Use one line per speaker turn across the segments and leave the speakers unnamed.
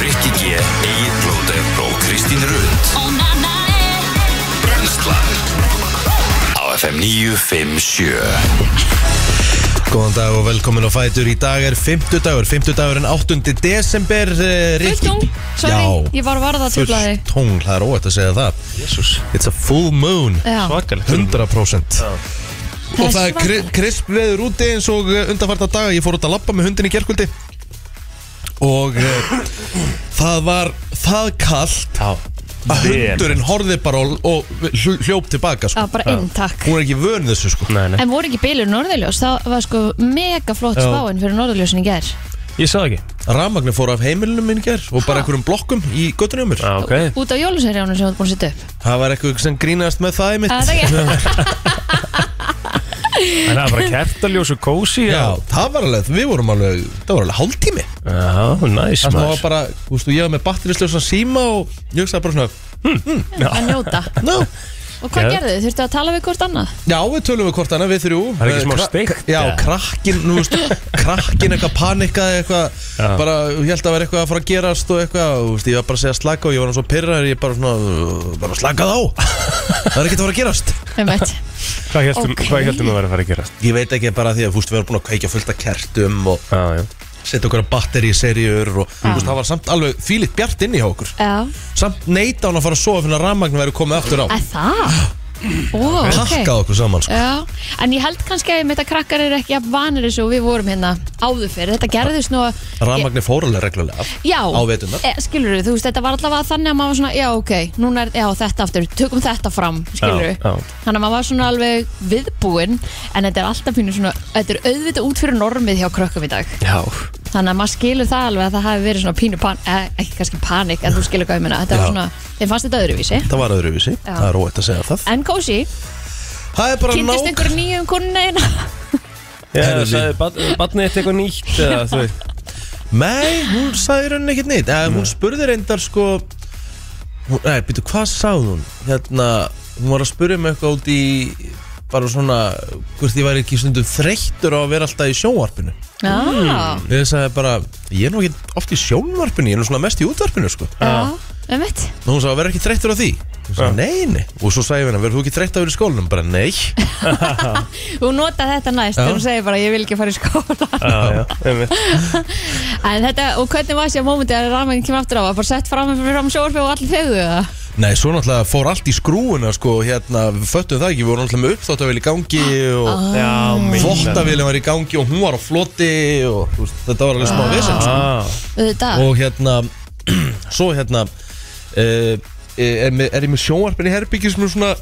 Rikki G, Egil Blóter og Kristín Rund Brenslan Á FM 957
Góðan dag og velkomin á Fætur Í dag er 50 dagur, 50 dagur en 8. desember uh,
Fullt tungl, sorry, ég var varða að tjóla
fullt
þig
tungl, það er óætt að segja það
Jesus.
It's a full moon,
Já.
Svakalegt.
100%
Það
Og
er
það er kri- krisp veður úti eins og undanfarta daga Ég fór út að labba með hundin í gerkvöldi Og uh, það var það kallt
Já.
að
Vel.
hundurinn horfið bara og, og hl- hljóp tilbaka
Já,
sko.
bara inn, takk
Hún er ekki vön þessu sko
Nei, nei.
En voru ekki bylur norðurljós, það var sko mega flott
Já.
spáin fyrir norðurljósin í gær
Ég sagði ekki.
Rafmagnir fór af heimilinu minn ger og bara
Ha?
einhverjum blokkum í göttunum mér
Já, ok.
Út af jóluserjánum sem þú ert búin að setja upp
Það var eitthvað sem grínast með það í mitt
Það er ekki,
En það er bara kertaljós og kósi.
Já, það var alveg, við vorum alveg, það var alveg hálftími
Já, næs
Það var
maður.
bara, þú veist, og ég var með batterislösa síma og ég hugsaði bara svona
að njóta
no.
Og hvað
Já.
gerðu, þurftu að tala við hvort annað?
Já, við tölum við hvort annað, við þrjú
Það er ekki
Eh,
smá
krak-
steikt,
Já,
eða?
krakkin, þú veist, krakkin eitthvað panikaði eitthvað
Já.
Bara, ég held að vera eitthvað að fara að gerast og eitthvað og, Þú veist, ég var bara að segja slaka og ég var svo pyrrar Ég bara svona, bara slakað á Það er ekkert að fara að gerast
Einmitt.
Hvað heldum
Ok.
okay. þú að vera að fara að gera?
Ég veit ekki bara því að, þú veist, við erum búin að kveikja fullt af kertum og
Já, já.
setja okkur að batteri í serjur og, þú veist, það var samt alveg fílitt bjart inni hjá okkur
Já,
Samt neita hann að fara að sofa fyrir að rafmagn væri komið aftur á
að það? Ó, ok
Pakkað okkur saman sko.
Já, en ég held kannski að þetta krakkar eru ekki jafn vanir þessu og við vorum hérna áður fyrir Þetta gerðist nú að
Rafmagn er fórulega reglulega
Já,
Á veturna.
e, skilur þú veist, þetta var allavega þannig að maður var svona, já ok, núna er, já þetta aftur, tökum þetta fram, skilur
Já, já.
Þannig að maður var svona alveg viðbúinn, en þetta er alltaf pínu svona, þetta er auðvitað út fyrir normið hjá krökkum í dag
Já.
Þannig að maður skilur það alveg að það hafi verið svona pínu pan, eh, ekki kannski panik, en þú skilur hvað ég minna, þetta
Já.
var svona, þeim fannst þetta öðruvísi
Það var öðruvísi,
Já.
það er óætt að segja það
En kósi,
Það er bara
kynntist
nóg
einhverju nýjum konuna
Já,
Herðu,
það sagði bad, badnið eitt eitthvað nýtt eða þú veit.
Nei, hún sagði í rauninni ekkert neitt Eða, Hún spurði reyndar sko hún, Nei, býtu, hvað sagði hún? Hérna, hún var að spurja mig eitthvað út í bara svona, hvort ég væri ekki stundum þreyttur á að vera alltaf í sjónvarpinu
Já,
Ég sagði bara, ég er nú ekki oft í sjónvarpinu, ég er nú svona mest í útvarpinu sko
já, einmitt
Og hún sagði, verður ekki þreyttur á því? Ég sagði, nei, nei Og svo sagði ég henni, verður þú ekki þreytt á að vera í skólanum? Bara, nei
Þú nota þetta næst
Já.
þegar þú segir bara ég vil ekki fara í skóla
Já, já. einmitt.
En þetta, og hvernig var þessi á mómenti að rafmængin kemur aftur á að bara sett fram fyrir fram sjórfi og allir þegðu það
Nei, svo náttúrulega fór allt í skrúuna sko, hérna, við föttum það ekki, við vorum náttúrulega með uppþóttavél í gangi og
Já, meina.
þvottavélum var í gangi og hún var á floti og þú veist, þetta var alveg smá vesen sko.
Ah,
Auðvitað,
og hérna, svo hérna uh, er, með- er ég með sjónvarpin í herbyggi sem er svona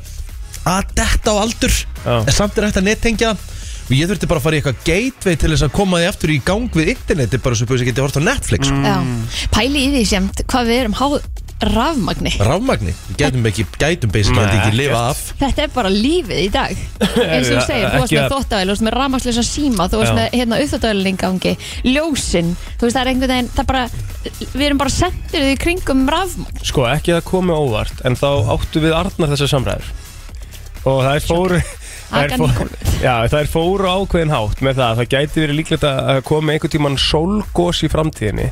að detta á aldur
Já.
en samt er hægt að nettengja það. og ég þurfti bara að fara í eitthvað gateway til þess að koma því aftur í gang við interneti bara svo búið að geta hort á Netflix sko.
já, pæli í því sem hvað við erum háð rafmagni
Ráfmagni, við gætum ekki, gætum basically
Nei,
ekki lifa
ekkert.
af
Þetta er bara lífið í dag eins og þú segir, þú varst
Ekki
með
að-
þóttavæl þú varst með rafmagnslösa síma, þú varst
Já.
með hérna uppþóttavælin í gangi, ljósin þú veist það er einhvern veginn, það er bara við erum bara sendir því kringum rafmagn
sko, ekki að komi óvart, en þá áttu við Arnar þessar samræður. Og það er fóru... þær
Akan
fóru- Já, það er fóru á ákveðin hátt með það. Það gæti verið líklegt að að komi einhvern tíman sólgós í framtíðinni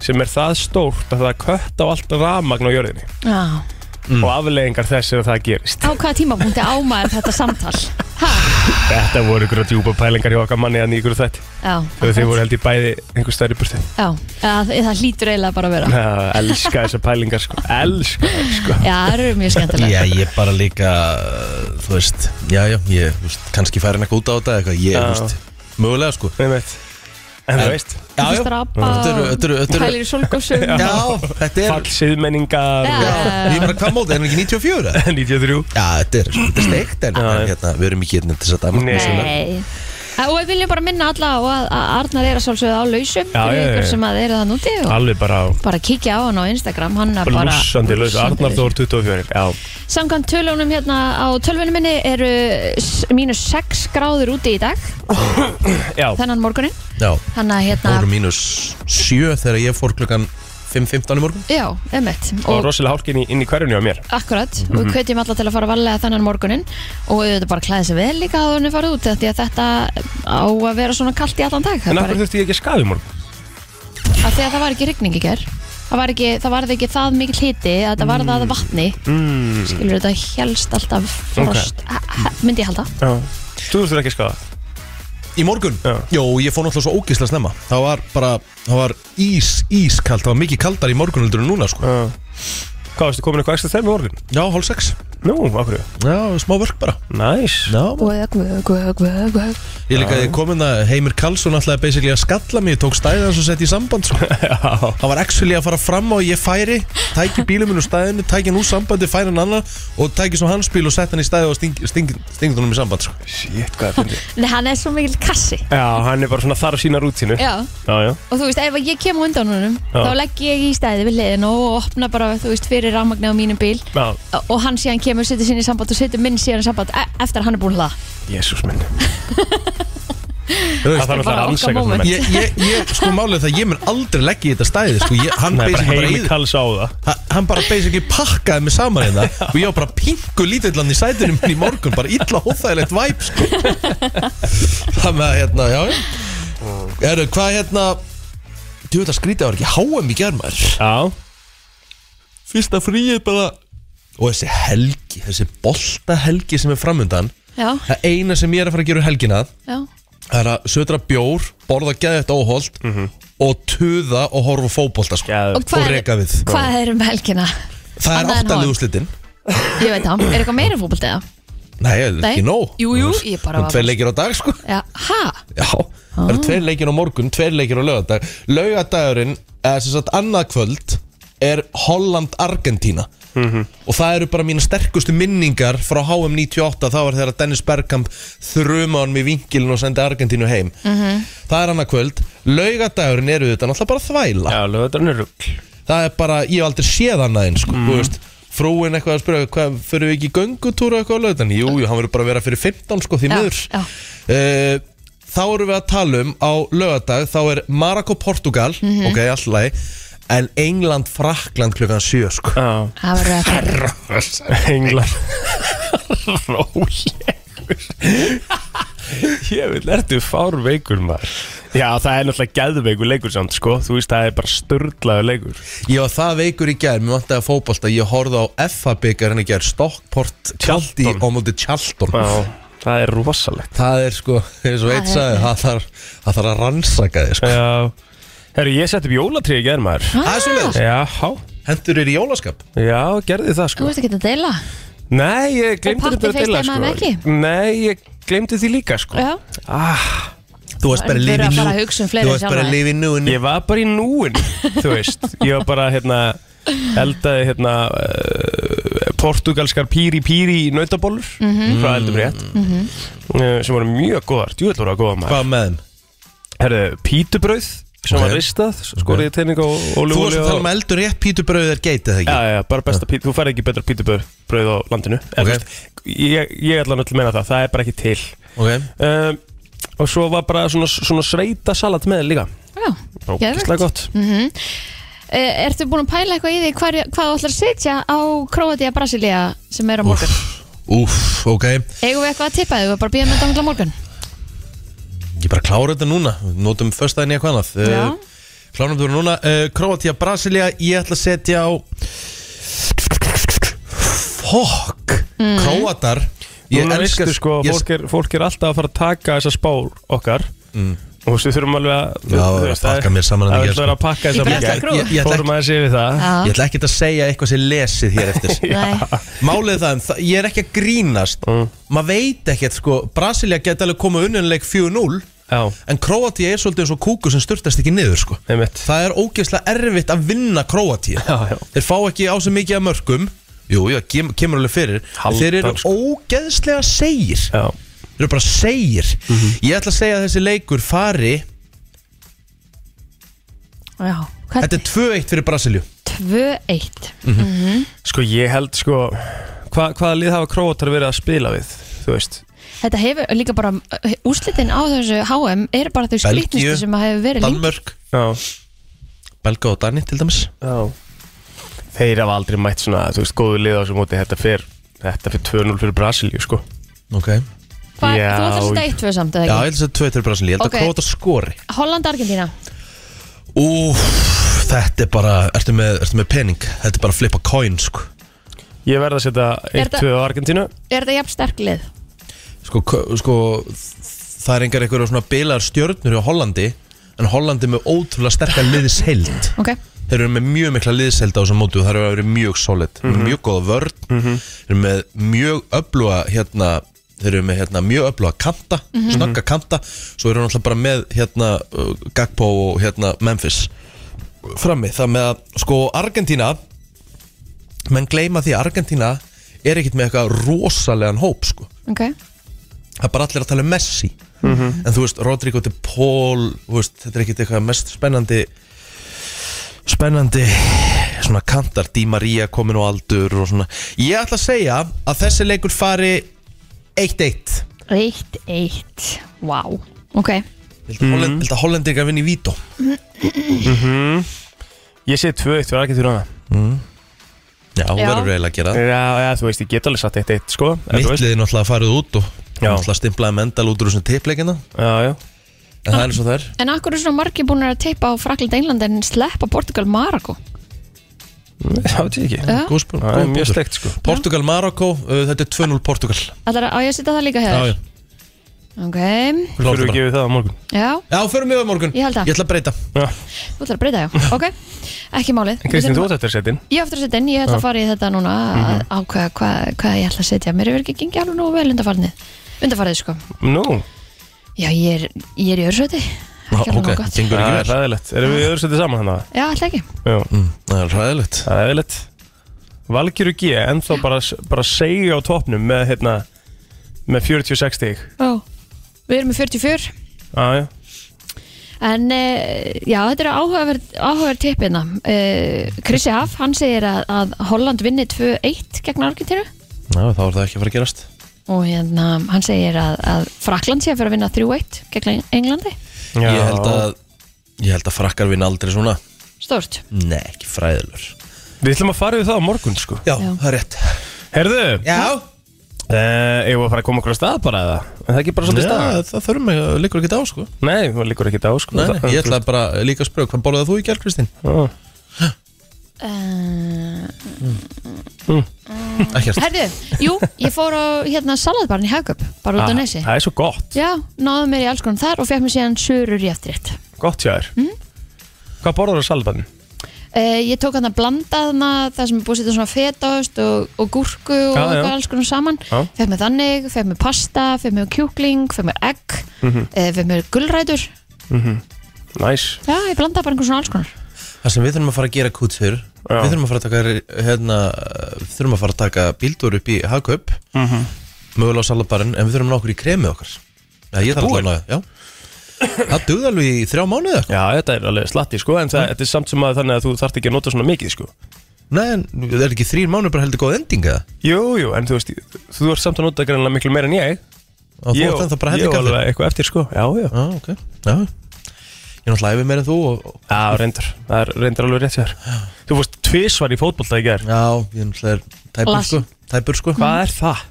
sem er það stórt að það kött á allt rafmagn á jörðinni
Já.
og afleðingar þess er að það gerist.
Á hvaða tímapunkti ámaður þetta samtal? Ha?
Þetta voru ykkur að djúpa pælingar hjá okkar manni að nýgur og þetta.
Já,
Þegar þið
akkurat.
voru held í bæði einhver stærri burti.
Já, það, það hlýtur eiginlega bara að vera
Já, elska þessar pælingar sko, elska þær, sko.
Já, það eru mjög skemmtilega
Já, ég bara líka, þú veist, já, já, ég, þú veist, kannski færin eitthvað út á þetta eitthvað, ég,
Já.
þú veist, mögulega, sko.
Einmitt. En þú veist,
Já,
Þú
já,
hlustar á ABBA
þetta eru, þetta eru, þetta eru,
Pælir í solgósum
já, þetta er,
fall siðmenningar
Já.
og-
ég meina, hvað mótið, er hún ekki 94? eða?
93
Já, þetta er, þetta er steikt, en,
Já, já.
en hérna, við erum ekki hérna til þess að dæma.
Nei.
vissulega.
Nei Æ, Og við viljum bara minna alla á að að Arnar er að sjálfsögða á
Já,
lausum fyrir
já, já,
ykkur
já.
sem að eru það núti og
Alveg bara á
bara kíkja á hann á Instagram hann er bara
blúsandi laus Arnar Þór 24 Já,
Samkvæmt tölunum hérna á tölvunum minni eru s- mínus 6 gráður úti í dag
já,
þennan morgunin
Já,
Þannig
það
að
voru
hérna
mínus 7 þegar ég fór klukkan 5.15 í morgun.
Já, emmett
og rosalega hálkin í, inn í hverjunni á mér
Akkurat, mm -hmm. og hvetjum alla til að fara varlega þennan morgunin og auðvitað bara klæða sér vel líka að henni fara út af því að þetta á að vera svona kallt í allan dag Það er
En af
bara,
hverju þurfti ég ekki að skafi morgun?
að því að það var ekki rigning í ger það var ekki það, varð ekki það mikil hiti að þetta varð að vatni
mm.
skilur þetta helst alltaf frost okay. myndi ég halda
Já. Þú þurftur ekki að skafa
Í morgun?
Já.
Jó, ég fór náttúrulega svo ógislega snemma Það var bara, það var ís, ískald Það var mikið kaldar í morgun heldur en núna sko
Já. Hvað varstu komin eitthvað ekstra þeim í orðin?
Já, hálf sex
Nú, okkur
Já, smá vörk bara
Næs
Já,
vög, vög, vög, vög, vög
ég líka ég kom inn að Heimir Karlsson ætlaði basically að skalla mig, tók stæðið hans og setti í samband sko.
Já.
Það var actually að fara fram á að ég færi Tæki bílum minn úr stæðinu, tæki hann úr sambandi, færi hann annan Og tæki svo hans bíl og setti hann í stæði og sting, sting, sting honum í samband sko.
Shit, hvað er fyndið?
Nei, hann er svo mikil kassi
Já, hann er bara svona þar á sína rútínu
Já,
Já, já
og þú veist, ef ég kem á undan honum
Já.
þá legg ég í stæði við hliðin og opna bara, þú veist, fyrir rámagni á mínum bíl
Já,
og hann síðan kemur, setur sinni í samband og setur minn síðan í samband e eftir að hann er búin að hlaða
jésús minn
Þú
Það
veist,
þarf alltaf
bara
að
okkar
ansaka svona
moment.
menn
Ég, ég, ég, sko málið er það, að ég mun aldrei leggja í þetta stæði sko. ég, Hann
Nei, bara
basically bara
heimi
eyðir-
kalls á það
Ha- hann bara basically pakkaði mig saman hérna og ég var bara pingu lítillan í sætunum minn í morgun, bara illa hóþægilegt væp sko. það með að hérna, já já Eru, hvað hérna þú veit að skrítið var ekki háum í germar
Já,
fyrsta fríið bara og þessi helgi, þessi bolta helgi sem er framöndan,
Já,
það eina sem ég er að fara að gera um helgina,
já,
það er að södra bjór, borða geðið óholt og tuða og horfa á fótbolta sko.
gæður
og hvað,
Og reka
er,
við.
hvað er um helgina?
það er
annað en
áttalið
HM.
úrslitin
Ég veit það, er eitthvað meira fókbalt eða?
Nei, það er
Nei.
ekki nóg
Jú, jú, ég bara var-
Tveir leikir á dag, sko
Já, ha?
Já, það eru tveir leikir á morgun, tveir leikir á lögadag Lögadagurinn, eða sem sagt annað kvöld Er Holland-Argentína Og það eru bara mína sterkustu minningar Frá HM98 Það var þegar Dennis Bergkamp Þruma hann með vinkilin og sendi Argentínu heim Það er annað kvöld Lögadagurinn eru þetta náttúrulega bara þvæla
Já, lögðarinn er rugl
það er bara, ég hef aldrei séð hann aðeins sko, þú veist, frúin eitthvað að spyrja hvað, fyrir við ekki í göngutúra eitthvað á lögðan jú, jú, hann verður bara að vera fyrir 15 sko, því
Já,
miður
já.
Eh, þá erum við að tala um á lögadag þá er Marako Portugal
Mhm.
ok, alltaf lagi en England Frakland klukkan 7 sko.
Já,
Það verður að fara
englar Rói Ég vil, ertu fár veikur maður Já, það er náttúrulega gæðveikur leikur samt, sko Þú veist, það er bara störlaður leikur
ég var það veikur í gær, mér vantaði að fótbolta ég horfði á FA byggar henni gær Stockport Tjaldi
Charlton.
á móti Tjaldon
Já, það er rosalegt
það er sko, eins og
Það
eitt
er-
sagði það þarf það þarf að rannsaka þið sko.
Já Herru, ég setti upp jólatrý í gerð maður
það er svolítið,
Já,
hendur er í jólaskap
já, gerði það sko
Þú veist ekki að deila?
Nei, ég glemdi
Og
þetta
pabbi FaceTimeaði mig
sko Nei, ég glemdi því líka sko
Já,
ah,
Þú varst bara að
Þú
lifa í
verður að
nú
fara að hugsa um fleiri
Þú varst
sjálfa
bara að
þig.
lifa í nú
Ég var bara í núin, þú veist Ég var bara, hérna, eldaði, hérna uh, Portugalskar píri píri nautabólur mm -hmm. Frá eldum rétt uh, Sem voru mjög góðar, djúvel voru að góða maður
Hvað með þeim?
Herru, pítubrauð Sem
Ok.
var ristað, sko, skorið í teininga og
Þú varst
olífóli
að tala um að eldur rétt pítubröðið er geitið það
Já,
ekki?
já, já, bara besta pít, þú færði ekki betra pítubröð á landinu
Ok.
okay. veist, ég, ég ætla náttúrulega að meina það, það er bara ekki til
Ok,
um, Og svo var bara svona, svona sveita salat með líka
já,
Ógislega gott
Eh, Ertu búin að pæla eitthvað í því hvar, hvað þú ætlar að setja á Króatia Brasilia sem er á morgun?
úff, ok
Eigum við eitthvað að tippa þig? Við bara býðum þetta á morgun
Ég bara klára þetta núna Nótum föstaðin í eitthvað annað
Já.
Eh, Klárum þetta núna uh, Kroatia, Brasilia Ég ætla að setja á Fuck
Mm.
Kroatar Ég
Núna
elska
veistu sko,
ég-
fólk er, fólk er alltaf að fara að taka þessar spár okkar Og þú veist, við Mm. þurfum alveg að
Já, það er að pakka mér saman að
að
gera,
Það er
sko.
að pakka
Í
þessar
bresta
mikið
krú.
Ég- ég ætla
Fórum aðeins yfir það
Já,
Ég ætla ekkert að segja eitthvað sem lesið hér eftir
nei,
Málið er það, en það- ég er ekki að grínast
Mm.
Maður veit ekkert sko Brasilia geti alveg komið unnunleik 4-0
Já,
En Króatía er svolítið eins og kúku sem styrtast ekki niður sko
einmitt
Það er ógeðslega erfitt að vinna Króatía
Já, já.
Þeir fá ekki á sig mikið af mörgum Jú, já, kem, kemur alveg fyrir
Haldan,
Þeir eru
sko.
ógeðslega segir
Já, Mhm.
Þeir eru bara segir Ég ætla að segja að þessi leikur fari
já
Þetta
Hvernig?
er 2-1 fyrir Brasilju
2-1
sko ég held sko hva, Hvaða lið hafa króatar verið að spila við, þú veist
Þetta hefur líka bara úslitin á þessu HM er bara þau
Belgíu,
skrýtnustu sem að hefur verið lengi
Danmörk,
Já,
Belga og Dani til dæmis
Já Þeir hafa aldrei mætt svona, þú veist, góðu lið á þessu móti Þetta fer, þetta fer 2-0 fyrir Brasilíu, sko
Ok Já,
Hvað,
Já,
Þú ætlar að setja 1-2 samt eða
ég ætla
ekki?
að segja 2-1 fyrir Brasilju Ég held
Ok.
að Króatar skori
Holland-Argentína
Úf, Þetta er bara, ertu með, ertu með pening Þetta er bara að flippa coin sko
Ég verð að setja
Er
1-2 á Argentínu
Er þetta jafn sterk lið?
Sko, k- sko það er engar einhverja svona bilar stjörnur hjá Hollandi En Hollandi er með ótrúlega sterkar liðsheild
Ok,
Þeir eru með mjög mikla liðsheild á þessum mótu og það eru að vera mjög solid mm Mjög góða vörn Þeir eru með mjög öfluga hérna Þeir eru með hérna, mjög öfluga kanta Snögga kanta Svo eru náttúrulega bara með hérna uh, Gagpo og hérna Memphis Frammi, það með að sko Argentína Menn gleyma því að Argentína er ekkert með eitthvað rosalegan hóp sko
ok
það er bara allir að tala um Messi en þú veist, Rodrigo de Paul þú veist, þetta er ekkert eitthvað mest spennandi spennandi svona kantar, Di Maria komin á aldur og svona, ég ætla að segja að þessi leikur fari 1-1
Eitt, eitt Vá, ok
Viltu mm -hmm. Hollend, Hollendingar vinni í Vító
Ég segi 2-1 fyrir Argentínu hana
Já, hún
Já.
verður eiginlega að gera það
Já, já, þú veist, ég get alveg satt 1-1 sko en þú veist-
Mittliði Eh, náttúrulega farið út og
Já.
náttúrulega stimplaði mendal út úr þessum tippleikina
Já, já
en það er eins og það er
En akkur er svona margir búin að teipa á Frakland England en sleppa Portugal Marako
Já, þetta er ekki
Já,
Góð spurning,
Það er
góð
mjög
punktur.
steikt sko
Portugal, Marokko, uh, þetta er 2-0 Portugal
ætlar að á ég að setja það líka
Já,
hér
já,
Ok,
Þú fyrir að
klárt þetta bara
gefa það á morgun
já,
Já, förum við á morgun
Ég held það.
Ég ætla að breyta
Já.
þú ætlar að breyta já Ok, ekki málið Við
Kristín, þú
þurfum að-
átt eftir að setja inn
Ég á aftur að setja inn, ég ætla að fara í þetta núna
Mhm.
að ákveða hvað hva ég ætla að setja Mér hefur ekki gengið alveg nú vel undarfarnið Undarfarið sko
Nú,
Já, ég er, ég er í öðursöti Ekki alveg
Ok,
nóg gott
gengur
það
ekki
er
vel
ræðilegt Erum við öðru setið saman þannig?
Já, alltaf ekki
Já,
Mm, Það er ræðilegt
það er ræðilegt Valgjuru G, ennþá bara, bara segja á topnum með, hérna, með 46 stík
Ó, Við erum með 44
Já, já
En uh, já, þetta er áhugaverð, áhugaverð tippina. Uh, Krissi Haf, hann segir að, að Holland vinni 2-1 gegn Argentínu
Já, þá er það ekki að fara að gerast
og hérna, hann segir að, að Frakland sé að fyrir að vinna 3-1 gegn Eng- Englandi.
Ég held að Ég held að frakkar vinna aldrei svona
Stort.
Nei, ekki fræðilur
Við ætlum að fara við það á morgun sko
Já,
Já.
það er rétt
Herðu,
Já,
eh, eigum við að fara að koma okkur á stað bara eða? En það er ekki bara svolítið
Já
stað
það þurfum mig að líkur ekki á sko
Nei, það líkur ekki á sko
Nei, nei, ég ætla bara líka að spyrja Hvað borðað þú í gerð, Kristín?
Já.
Uh,
Ekkert
herðu, jú, ég fór á hérna salatbarn í Hagöp, bara út á
Ah,
nesi.
Það er svo gott,
Já, náðu mér í alls konum þar og fekk mér síðan surur í eftirrétt.
gott hjá þér
Mhm.
Hvað borður á salbann?
Uh, ég tók hann að blanda þarna það sem er búið að setja svona fetaost og, og gúrku
Já,
og
já.
eitthvað alls konar saman
Já.
fekk mér þannig, fekk mér pasta, fekk mér kjúkling fekk mér egg, mm
Mhm.
fekk mér gullrætur
Næs
já, ég blandaði bara einhvern svona alls konar
Það sem við þurfum að fara að gera kút fyrir
Já.
Við þurfum að fara að taka hérna, uh, Þurfum að fara að taka bíldur upp í Hagkaup mm Mögulega á salabarinn En við þurfum að ná okkur í kremið okkar Já, ég þarf
Búin?
alltaf að ná það Já Það duð alveg í þrjá mánuði eða eitthvað.
Já, þetta er alveg slatti sko En það, þetta er samt sem að þannig að þú þarft ekki að nota svona mikið sko
Nei, en það er ekki þrjir mánuði bara heldur góð endinga
Jú, jú, en þú veist, þú ert samt að nota greinlega miklu meira en ég
Og þú
Ég
ert ennþá bara
ég á
heldur kaffi Já,
alveg eitthvað eftir sko Já, já,
ok Já Ég er náttúrulega æfið meira en þú og, og,
já reyndar, það er reyndar alveg rétt hjá þér Þú fórst tvisvar í fótbolta í ger
Já, ég er náttúrulega tæpur sko
Lasin.
Tæpur sko
Hvað er það?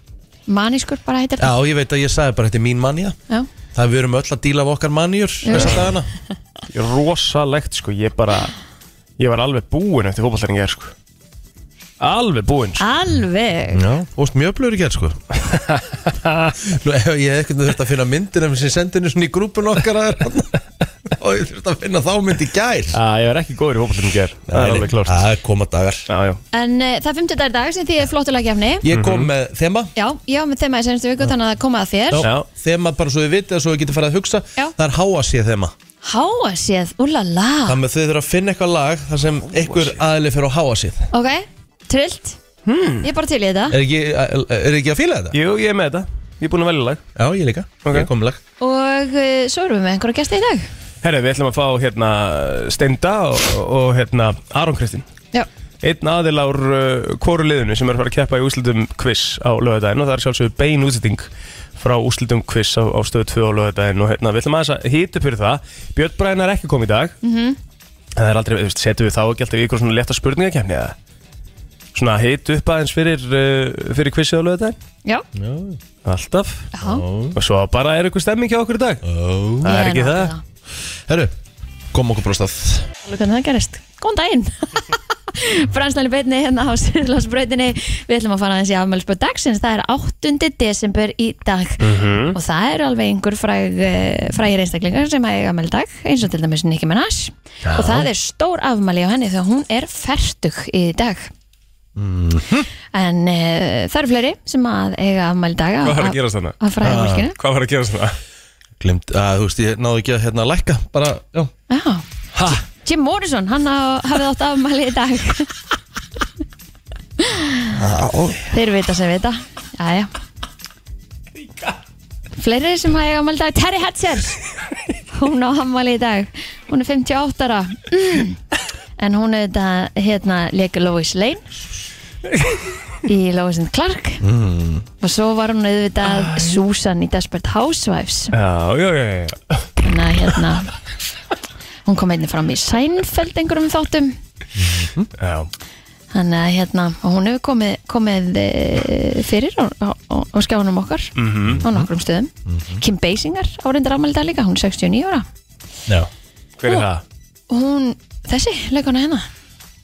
manískur bara heitir
Já, ég veit að ég sagði bara þetta er mín manja
Já.
Það er við erum öll að díla af okkar manjur Þessa dagana
rosalegt sko, ég bara ég var alveg búinn eftir fótballtæringi er sko alveg búinn sko.
alveg
Já, þú veist mjög blöður í gerð sko Nú, ef ég hef eitthvað þurft að finna myndir Ef sem sendinu svona í grúpun okkar að er Og ég þurft að finna þá mynd í gær
að ég var ekki góður í fótballtæringi er það er alveg klárt
Það koma dagar
já, já.
en uh, það er 50 dagar dag sem því er flottulega gefni
Ég kom
Mhm.
með þema
já, já, með þeim að ég senastu viku þannig að það koma að þér
Já.
Þema bara svo við vitið og svo við getum farið að hugsa
Já.
Það er háa sé þema
háa séð, úlala
Þannig að þið þurfa að finna eitthvað lag þar sem einhver aðli fyrir að háa síð
ok, trillt
Hmm.
ég er bara til í
Eh.
þetta
Er ekki, er ekki að fíla þetta?
jú, ég er með þetta ég er búinn að velja lag
Já, ég líka,
Ok.
ég kom með lag
og uh, svo erum við með einhverja gæsta í dag
herru, við ætlum að fá hérna Steinda og, og hérna Aron Kristinn
já,
einn aðil ár uh, kóru liðinu sem er að fara að keppa í úslutum quiz á lögadaginn og það er sjálfsögur bein útsetting frá úslutum quiz á, á stöðu 2 á lögadaginn og hérna, við ætlum aðeins að hýta fyrir það Björn Bræn er ekki komið í dag mm það er aldrei, þú veist, setjum við þá ekki alltaf í ykkur svona leta spurningakefni eða svona hýta upp aðeins fyrir, uh, fyrir quizið á lögadaginn
já,
alltaf
já
og svo bara er ykkur stemming hjá okkur í dag
oh.
það er
Ég
ekki
náði
það
Herru, kom okkur bara á stað
Alveg hvernig það gerist góðan daginn Brænslan í beinni hérna á Sýrlandsbrautinni Við ætlum að fara aðeins í afmælisbörn dagsins Það er 8. desember í dag
Mhm.
Og það eru alveg einhver fræg, eh, frægir einstaklingar sem að eiga afmæli í dag Eins og til dæmis Nicki Minaj Og það er stór afmæli á henni Þegar hún er fertug í dag
Mhm.
En uh, það eru fleiri sem að eiga afmæli í dag
Hvað var að gerast þarna?
Að fræða fólkinu
Hvað var að gera svona?
Glimt, að, þú veist, ég náðu ekki að hérna lækka Bara, já
Já
Ha?
Jim Morrison, hann á- hafði átt afmæli í dag Þeir vita sem vita Jæja Fleiri sem hafa eiga afmæli í dag Terry Hatcher Hún á afmæli í dag Hún er 58 ára mm. En hún er þetta hérna Leka Lois Lane Í Lois and Clark mm. Og svo var hún auðvitað Susan í Desperate Housewives
Já, já, já, já.
þannig að hérna hún kom einnig fram í Seinfeld einhverjum þáttum
já.
þannig að hérna og hún hefur komið, komið eh, fyrir á, á, á skjánum okkar
Mhm.
á nokkrum stöðum Kim Basinger áreindar afmæli í dag líka, hún er 69 ára
Já
Hver er það?
og hún, þessi, leikona hérna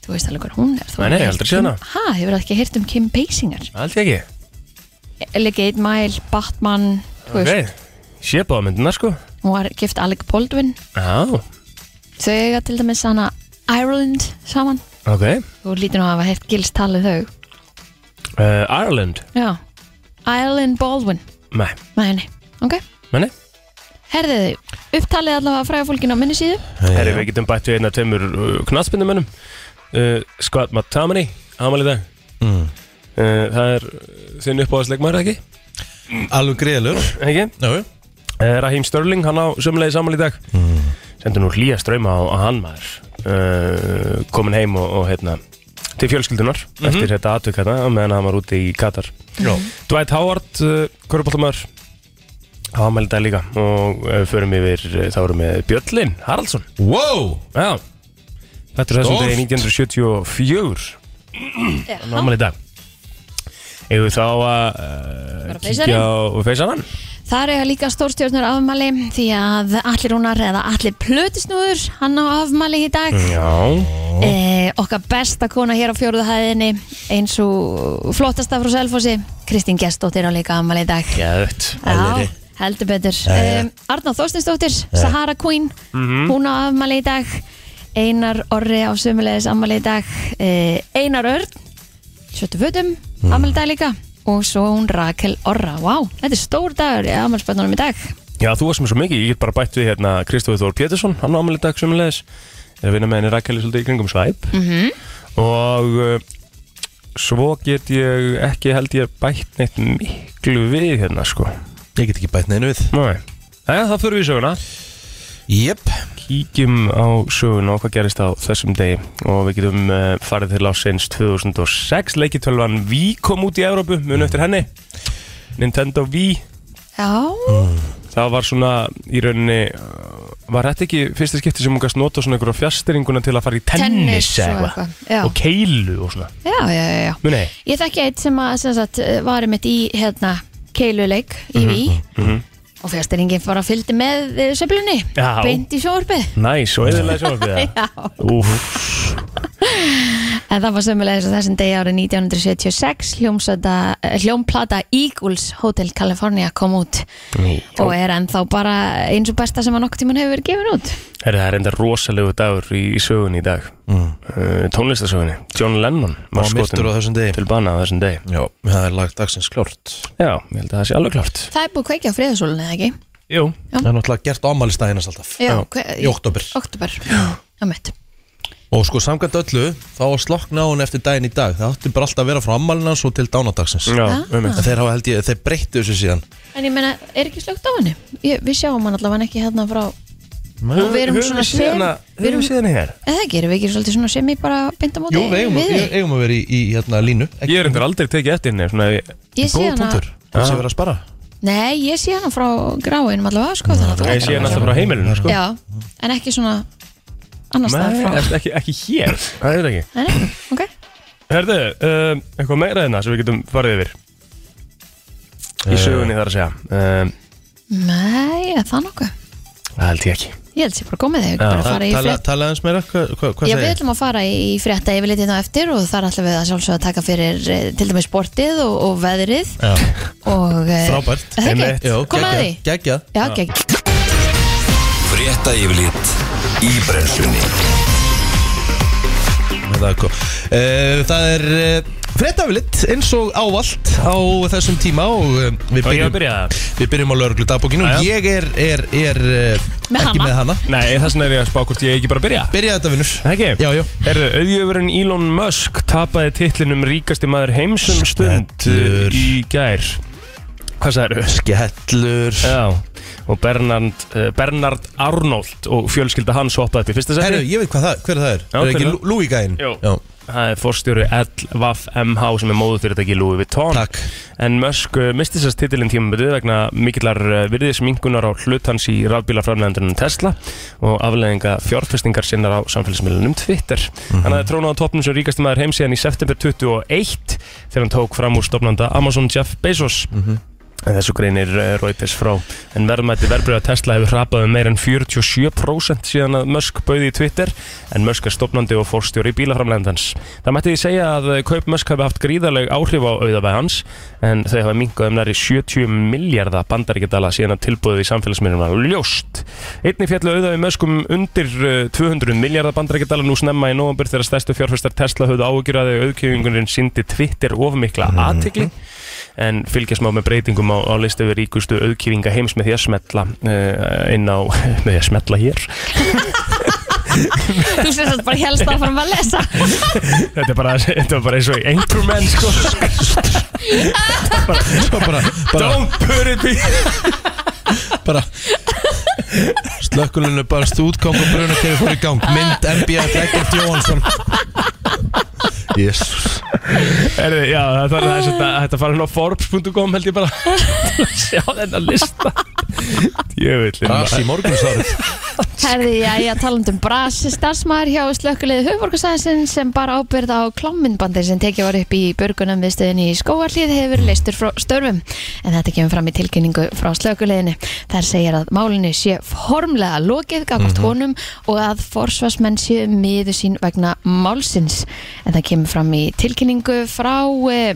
þú veist alveg hvað hún er þú
Nei, nei,
hefur
aldrei
ekki-
séð hana.
ha, hefur það ekki heyrt um Kim Basinger
Allt ekki.
Ellie Gate Mile, Batman þú
Ok.
veist,
Sé báða myndina, sko.
hún var gift Alec Baldwin
Já.
þau eiga til dæmis hana Ireland saman
Ok.
þú lítur nú að hafa heyrt gils talið þau
Uh, Ireland.
Já, Eileen Baldwin
Nei.
Nei, nei, ok
Menni?
Herðið þið, upptalið allavega fræða fólkinu á minni síðu
Herri, við getum bætt við eina tveimur uh, knattspindumönnum. Uh, Scott McTominay, ámæli í dag.
Mm.
Uh, það er uh, þinn uppáðasleikmaður, ekki?
Alveg greiðalur
Ekki?
Já,
Eh, Raheem Störling, hann á sömulegið saman í dag mm. Sendur nú hlýja ströyma á, á hann maður uh, Komin heim og, og hérna Til fjölskyldunar Eftir þetta atvik hérna á Meðan hann var úti í Katar
já
Dwight Howard, uh, korupoltamöður Há hann í dag líka Og uh, förum yfir, uh, þá erum við Björlin Haraldsson
Wow
Já Þetta er þessum
Stórt.
degi 1974 Hann ámæli í dag Eða þá að uh,
Bara
kíkja á feysanann
Þar eiga líka stórstjórnur afmæli því að allir rúnar eða allir plötisnúður hann á afmæli í dag
Já
eh, Okkar besta kona hér á fjóruðu hæðinni eins og flottasta frá Selfossi Kristín Gestóttir á líka afmæli í dag
Gæðvögt
Já, heldur betur
já.
um, Arna Þorstinsdóttir, Sahara Queen hún á afmæli í dag Einar Orri á sömulegis afmæli í dag uh, Einar Örn Sjöttu fötum,
Mm.
afmæli í dag líka og svo hún Rakel Orra wow, þetta er stór dagur í afmælspöndunum í dag
Já, þú varst með svo mikið, ég get bara bætt við hérna Kristofur Þór Pétursson, hann á ámæli dag sömulegis er að vinna með henni Rakkeli svolítið í kringum svæp -hmm. og uh, svo get ég ekki held ég bætt neitt miklu við hérna sko
Ég get ekki bætt neinu við
Nei, Jæja, það fyrir við í söguna
Jep
Kíkjum á söguna og hvað gerist á þessum degi og við getum uh, farið til ásins 2006 leikitölvan Wii kom út í Evrópu, mun eftir henni Nintendo Wii
Já,
það var svona í rauninni uh, var þetta ekki fyrsta skipti sem hún gæst nota svona einhverja fjastiringuna til að fara í tennis,
og
eða
eitthvað já.
og keilu og svona
já, já, já, já
muni,
Ég þekki eitt sem að sem sagt, varum mitt í hérna, keiluleik í
Mhm,
Ví og fjastiringin fór að fylgdi með eh, sveiflunni,
Já.
beint í sjóarpið
næs og eðalega sjónarfið
Já
Úf,
En það var sömulegis á þessum degi árið 1976 hljómsöta- eh, hljómplata Eagles Hotel California kom út og er ennþá bara eins og besta sem að nokkuð tíman hefur verið gefin út
herri, það er enda rosalegu dagur í, í sögunni í dag mm. uh, tónlistasögunni, John Lennon var
Má myrtur
skotin
á þessum degi
til bana á þessum degi
Já, það er lagt dagsins klárt
já, ég held að það sé alveg klart
Það er búið að kveikja á friðasólunni, eða ekki?
jú,
Það er náttúrulega gert ámælistæðinast alltaf
Já,
kve-
Í oktober
oktober Já, mitt
Og sko samkvæmt öllu Þá var slokkna hún eftir daginn í dag Það átti bara alltaf að vera frá ammælinan Svo til dánadagsins
já,
Ah.
um
En þeir hafa held ég Þeir breyttu þessu síðan
En ég meina, er ekki slögt á henni? Ég, við sjáum hann allavega ekki hérna frá Og við erum svona sem- við
við
erum-
erum síðan hér
Eða ekki, erum við ekki svolítið svona sem ég bara beint á móti
Jú, við eigum,
við
við
þig?
eigum að vera í, í hérna línu Ekki
ég er endur aldrei tekið eftir henni svona,
Ég sé
góð
hana
punktur Það sé vera að spara
Nei, ég sé hana frá gráinum allavega, sko þannig að þú
ég
ættir
sé
að
henni
vera-
alltaf frá heimilinu sko.
Já, en ekki svona annars staðar
Nei,
frá
ertu ekki, ekki hér Það er ekki
Nei, nei, ok
Herðu, um, eitthvað meira þeirna sem við getum farið yfir Í sögunni þar að segja um,
Nei, er það nokkuð?
Það held ég ekki
Ég held sér bara komið þig, bara að fara í
Tala-
frétt
Tala aðeins meira, hvað, hvað, hvað
Já, við
segir?
ætlum að fara í frétta yfirlit hérna á eftir og þar ætlum við að sjálfsögða að taka fyrir eh, til dæmis sportið og, og veðrið
Já,
og eh,
Frábært.
er Það
Einmitt.
ekki,
já,
komið að því
geggjað
Já, gegn
Frétta yfirlit í brennslunni
Það er, gott. Eh, það er uh, frettaflitt eins og ávallt á þessum tíma og uh,
Og
við,
ég að
byrjum,
byrja það
við byrjum á lögreglu dagbókinu
Já,
og
já.
ég er, er, er uh,
Með
ekki
hana.
með hana
Nei, þess vegna er ég að spá hvort ég ekki bara að byrja
Byrja þetta vinnur
Það ekki?
Já, já.
Herru, auðjöfurinn Elon Musk tapaði titlinum ríkasti maður heimsum stund eh,
Stendur.
í gær Hvað sagðið
Skellur
Já, og Bernard, uh, Bernard Arnold og fjölskylda hans hoppaði upp í fyrsta
Herru,
seti
ég veit hvað það, hver það er
Já,
Er
hver
ekki
er
Lú- Louis gæinn?
Jú.
Já,
Það er forstjóri LVMH sem er móðu fyrirtæki Louis Vuitton
Takk
En Musk uh, misti sérst titilinn tímabötu vegna mikillar uh, virðisminkunar á hlut hans í rafbílaframlegandunum Tesla og afleðinga fjárfestingar sinnar á samfélagsmiðlunum Twitter. Hann hafði trónað á toppnum sem ríkasti maður heim síðan í september 21 þegar hann tók fram úr stofnanda Amazon Jeff Bezos. En þessu greinir uh, Reuters frá. En verðmætti verðbröða Tesla hefur hrapað um meir en 47% síðan að Musk bauði í Twitter en Musk er stofnandi og fórstjóri bílaframlegandans. Það mætti því segja að eh, kaup Musk hafi haft gríðarleg áhrif á auðavæð hans en þau hafa minkað um næri 70 miljardar bandaríkjadala síðan að tilbúið í samfélagsmiðlum var ljóst. Einni fjallu auðaði möskum undir eh, 200 miljardar bandaríkjadala nú snemma í nóvambur þegar stærstu fjárfæstar Tesla höfðu áhugjur að þau auðkjöfingunin síndi Twitter ofmikla aðtikli en fylgjast má með breytingum á, á listu við ríkustu auðkjöfinga heims með því að smetla uh, inn á, með því að smetla hér
Þú sést að bara helst að fara að lesa
þetta er bara, þetta var bara eins og einhver menn sko
Svo bara, bara,
don't put it in
bara Slökkulunni bara stúdgang og brunakerfi fór í gang Mynd NBA Eggert Jóhansson Jesus
Erði, já, það þarf að þetta, þetta fara hérna á forbes.com held ég bara til að sjá þetta lista Jöfullin
Ras í morgunsárið
Herði, já, ég taland um Bras starfsmæður hjá slökkulegðu höfvorkasæðin sem bara ábyrð á klámyndbandir sem tekið var upp í börgunum við stöðinni í skóarlíð hefur leistur frá störfum en þetta kemur fram í tilkynningu frá slökkulegðinu þar segir að málinu sé formlega lokið gagvart honum og að forsvarsmenn séu miður sín vegna málsins en það kemur fram í tilkynningu frá eh,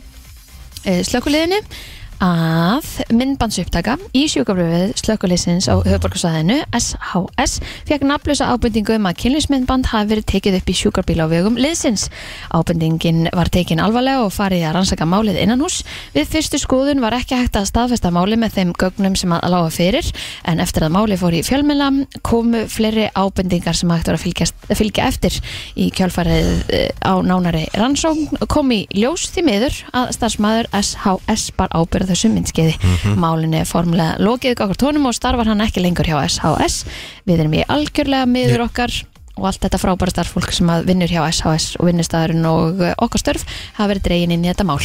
slökuliðinu eh, að myndbandsupptaka í sjúkabröfið slökuliðsins á höfbarkasvæðinu SHS fekk nafnlösa ábendingu um að kynlýsmyndband hafi verið tekið upp í sjúkarbíla á vegum liðsins. Ábendingin var tekin alvarlega og farið að rannsaka málið innan hús. Við fyrstu skoðun var ekki hægt að staðfesta málið með þeim gögnum sem að lága fyrir en eftir að málið fór í fjölmela komu fleiri ábendingar sem hægt var að fylgjast, fylgja eftir í kjálfarið eh, á nánari rannsókn kom í ljós því miður að starfsmæður SHS bar ábyrða þessu myndskeiði. Mm
Mhm.
-hmm. Málinu er formlega lokið okkur tónum og starfar hann ekki lengur hjá SHS. Við erum í algjörlega miður okkar og allt þetta frábæra starffólk sem að vinnur hjá SHS og vinnustæðurinn og eh, okkar störf hafa verið dregin inn í þetta mál.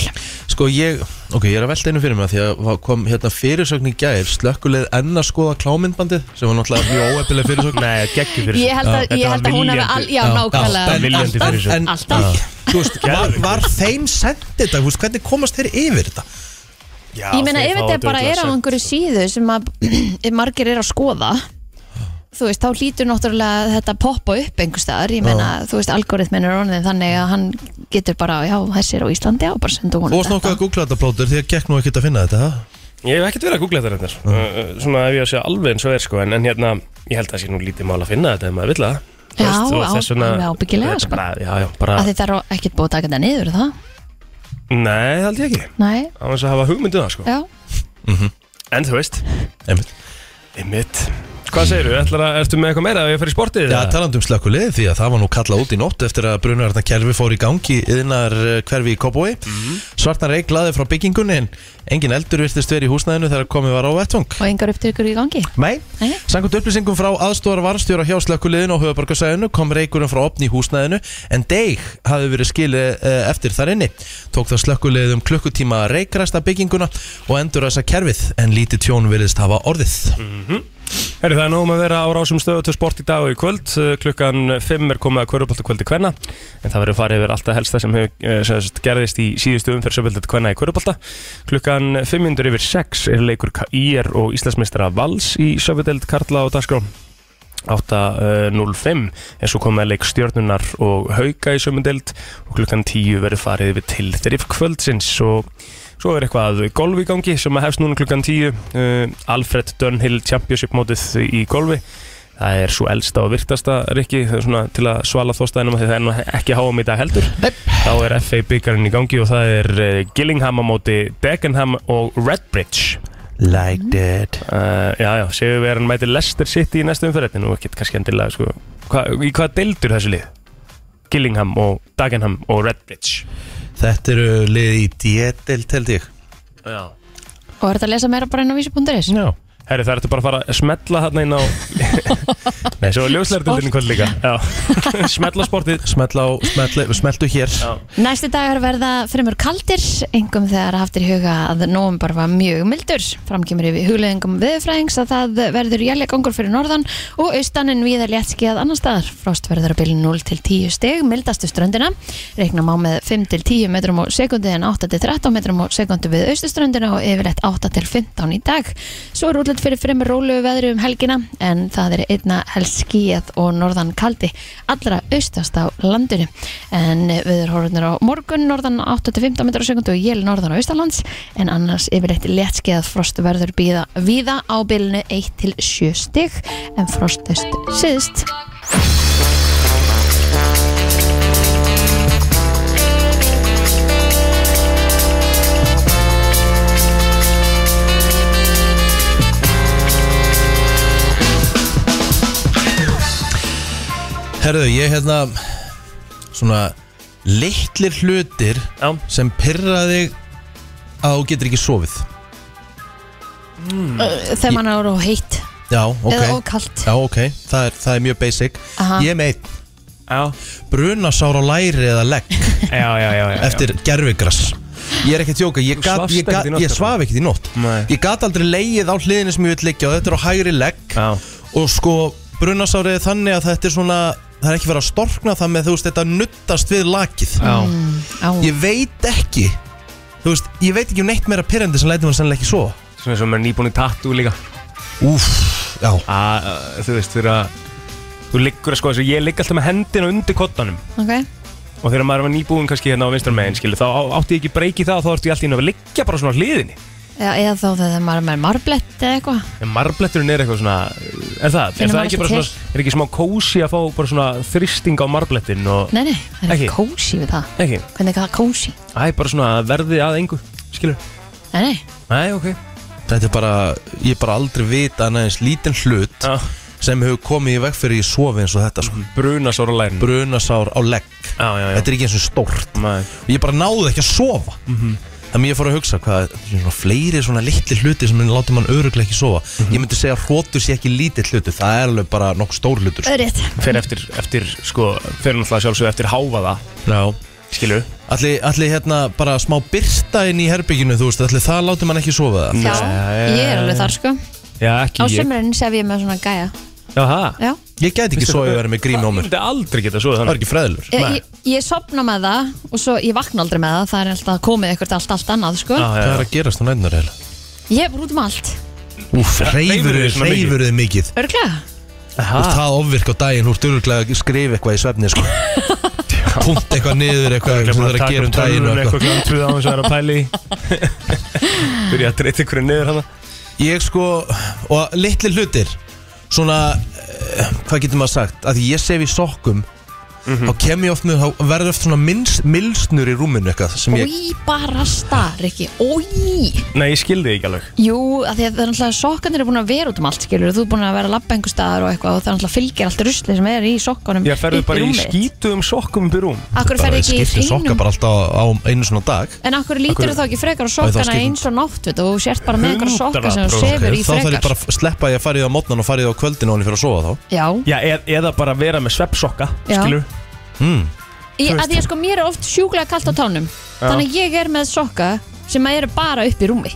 Sko ég, ok, ég er að velta einu fyrir mig af Því að það kom hérna fyrirsögn í gær Slökkuleið enn að skoða klámyndbandið Sem var náttúrulega mjög óefileg fyrirsögn
Nei, geggjum fyrir
Ég held að,
Þetta
ég held
var
að hún hefði,
viljandi.
al- já,
Já,
alltaf
nákvæmlega,
viljandi
alltaf,
fyrirsögn.
en-
alltaf.
Þú veist, var,
Geðveikt.
var þeim sendið þetta, þú veist, hvernig komast þeir yfir þetta?
Já,
Ég meina
þeir
ef
fá
þetta bara er á
örugglega
einhverju síðu sem að ef margir er að skoða þú veist, þá hlýtur náttúrulega þetta að poppa upp einhver staðar, ég meina, þú veist, algoritmin er orðin þannig að hann getur bara já, þessi er á Íslandi, já, bara sendu hún
Þú varst nokkuð að googla þetta plótur því að gekk nú ekkert að finna þetta, ha?
sent. Ég hef ekkert verið að googla þetta reyndar uh, uh, Svona ef ég að segja alveg eins og er sko En, en hérna, ég held að það sé nú lítið mál að finna þetta Ef maður vill það Þú
Já,
veist, og
á-
þess vegna-
alveg ábyggilega,
þetta
sko.
bara, Já, já, bara
að þetta er ekkert búið að taka þetta niður er það,
Nei, það held ég ekki
nei,
Á þess að hafa hugmyndið það sko
já
En þú veist,
Einmitt.
einmitt Hvað segirðu, ætlar að, ertu með eitthvað meira Ef ég fer í sportið
Já,
eða?
talandum slökkuleið því að það var nú kallað út í nótt eftir að brunarna kerfi fór í gangi yðnar hverfi í Kobói. Svartan reik laði frá byggingunni en engin eldur virtist verið í húsnæðinu þegar komið var á vettvang.
og engar upptökur í gangi
Nei,
Nei.
samkvæmt upplýsingum frá aðstóðar varstjóra hjá slökkuleiðinu og höfuborgarsæðinu kom reikurum frá opni í húsnæðinu en deig hafi verið skilið eh, eftir þar inni. Tók það slökkuleið um klukkutíma að reikræsta bygginguna og endur þessa kerfið en lítið tjón virðist hafa orðið.
Herri, það er nóg um að vera á rásum stöðu til sport í dag og í kvöld. Eh, Klukkan 5 er komið að kvörubolt og kvöldi kvenna. En það verður farið yfir alltaf helsta sem hefur eh, sem sagt, gerðist í síðustu umferð söpöldið kvenna í kvörubolta. Klukkan 5 undur yfir 6 er leikur IR og Íslandsmeistara Vals í söpöldið Karla og Dagskrá. eh, 8.05 en svo komið að leik stjörnunar og hauka í sömundeld og klukkan 10 verður farið við til þrif kvöldsins og svo er eitthvað golf í gangi sem að hefst núna klukkan 10 uh, Alfred Dunhill Championship mótið í golfi það er svo elsta og virtasta Rikki það er svona til að svala þóstaðinum því það er nú ekki háum í dag heldur þá er FA byggarinn í gangi og það er uh, Gillingham á móti Dagenham og Redbridge
Like that
Uh, já, já, séu við erum mætið Leicester City í næstu umferð, þetta er nú ekkert kannski endilega sko. Hva, Í hvaða deildur þessu lið? Gillingham og Dagenham og Redbridge
Þetta eru liðið í D-delt held ég
Já,
Og er þetta að lesa meira bara inn á vísi.is?
já. Herri, það ertu bara að fara að smetla hann inn á Nei, svo ljóslærdildin kvöld líka Já, smetla sportið
Smell á, smell, smeltu hér
Já.
Næsti dagar verða fremur kaldir, engum þegar haftir í huga að nóum bara var mjög mildur. Framkemur yfir hugleðingum viðfræðings að það verður jæljagangur fyrir norðan og austan en við er léttskíðað annar staðar. Frost verður að bylja 0 til 10 stig, mildastu ströndina. Reikna má með 5 til 10 metrum á sekundi en 8 til 13 metrum á sekundi við austuströndina og yfirleitt 8 til 15 í dag. Svo er útlætt fyrir fremur rólu veðri um helgina en það er einna helst skíðað og norðan kaldi allra austast á landinu en viðurhorfurnir á morgun norðan 8-15 metrar á sekundu og jél norðan á austalands en annars yfirleitt léttskeiðað frost verður býða víða á bylunu 1-7 stig en frostust syðst
Herðu, ég hérna Svona litlir hlutir
Já.
Sem pirra þig Að þú getur ekki sofið
uh, þegar mann er á heitt
Já, Mm. ok
eða ókalt
Já, ok, það er, það er mjög basic
Aha.
Ég er með einn
Já,
brunasár á læri eða legg
já, já, já, já.
eftir gerfigras Ég er ekki að tjóka, ég,
Þú
gat,
svafst
ég, gat,
ekkert í nótt,
ég
eða?
svaf ekkert í nótt
Nei.
Ég gat aldrei leið á hliðinu sem ég vil liggja og þetta er á hægri legg
Já.
og sko brunasárið er þannig að þetta er svona það er ekki verið að storkna það með þú veist þetta nuttast við lakið
Já.
á,
Ég veit ekki þú veist, ég veit ekki um neitt meira pyrrandi sem lætur mann sannlega ekki svo
Svona sem er nýbúin í tattu líka
Úff, já,
að, Þú veist, þegar að Þú liggur að sko, þess að ég ligg alltaf með hendina undir kottanum
ok
og þegar maður var nýbúinn kannski hérna á vinstra meginn skilu, þá á- átti ég ekki breyki það og þá ertu ég alltaf inn að liggja bara svona á hliðinni
Já, eða þá þegar maður er með marblett eða eitthvað
en marbletturinn er eitthvað svona er það, er
Finnur
það
maður
ekki bara
ekki
svona, er ekki smá kósi að fá bara svona þristing á marblettin og,
Nei, nei, það er ekki
Ekki.
kósi við það
ekki,
Hvernig er það kósi?
æ, bara svona að verði að engu skilur,
Nei, nei,
nei, ok
þetta er bara ég er bara aldrei vita annað eins lítinn hlut
Já.
sem hefur komið í veg fyrir ég sofi eins og þetta sko.
bruna sára lærin
brunasár á legg
já, já, já,
Þetta er ekki eins og stórt
Nei.
Og ég bara náði ekki að sofa Þannig ég fór að hugsa hvað þetta eru svona fleiri svona litli hluti sem láti mann öruglega ekki sofa Ég myndi segja að hrótur sé ekki lítill hluti Það er alveg bara nokkuð stór hlutur sko.
öðrétt
fer eftir, eftir sko, fer náttúrulega sjálfsög eftir háfaða
Já
skilur,
Allir, allir hérna bara smá byrta inn í herbygginu þú veist Allir það láti mann ekki sofa það
Já,
Nei.
ég er alveg þar sko
já,
Á
ekki ég
sömurinn sef ég með svona gæja
já, það
Já,
Ég gæti ekki sofið að vera með grími á
Ég
mér
myndi aldrei geta svo
Það
þannig
er ekki fræðilur
ég,
Nei.
ég, ég sopna með það og svo ég vakna aldrei með það, það er alltaf komið eitthvað allt, allt annað sko
Já, já,
Hvað
já.
er að gerast á nætnar heila?
Ég er út um allt,
Úf,
Hreyfirðu þig svona mikið?
reyfur þið mikið
örglega
Þú veist,
Aha.
það ofvirk á daginn, þú ert öruglega að skrifa eitthvað í svefni sko. Punkt eitthvað niður eitthvað sem
Það
þú þarf að gera um daginn og eitthvað.
eitthvað kláðum trúða á eins og það er að pæli Byrja að dreita ykkur niður hana
Ég sko, og litli hlutir Svona, eh, hvað getur maður sagt Að því ég sef í sokkum
Mhm.
Þá kem ég oft með, þá verður oft svona minns, Milsnur í rúminu eitthvað Sem ég,
Ói, bara star, ekki, ói
Nei, ég skildi þig ekki alveg
Jú, að því að það er alltaf sokkanir er búin að vera út um allt skilur Þú er búin að vera að labba einhver staðar og eitthvað og það er alltaf fylgir allt rusli sem er í sokkunum
Ég ferði bara í skítuðum sokkum upp í rúm
Akkur fer
bara, ég
ekki í
skipti sokka
hreinum
bara alltaf á, á einu svona dag
En akkur lítur þú þá ekki frekar á
Æ, þá
sokkana
skipti-
eins og nátt veit, og þú sért bara með einhver sokka sem
100%
þú sefur í
Þá þarf ég
frekar
bara að sleppa að ég að fara í það á mótnan og fara í það á kvöldin Og hann fyrir að sofa þá
Já,
Já, eð, eða bara vera með sveppsokka
Já.
Skilur Þú
Ég,
veist
að því að sko mér er oft sjúklega kalt á tánum Þannig að ég er með sokka sem að eru bara upp í rúmi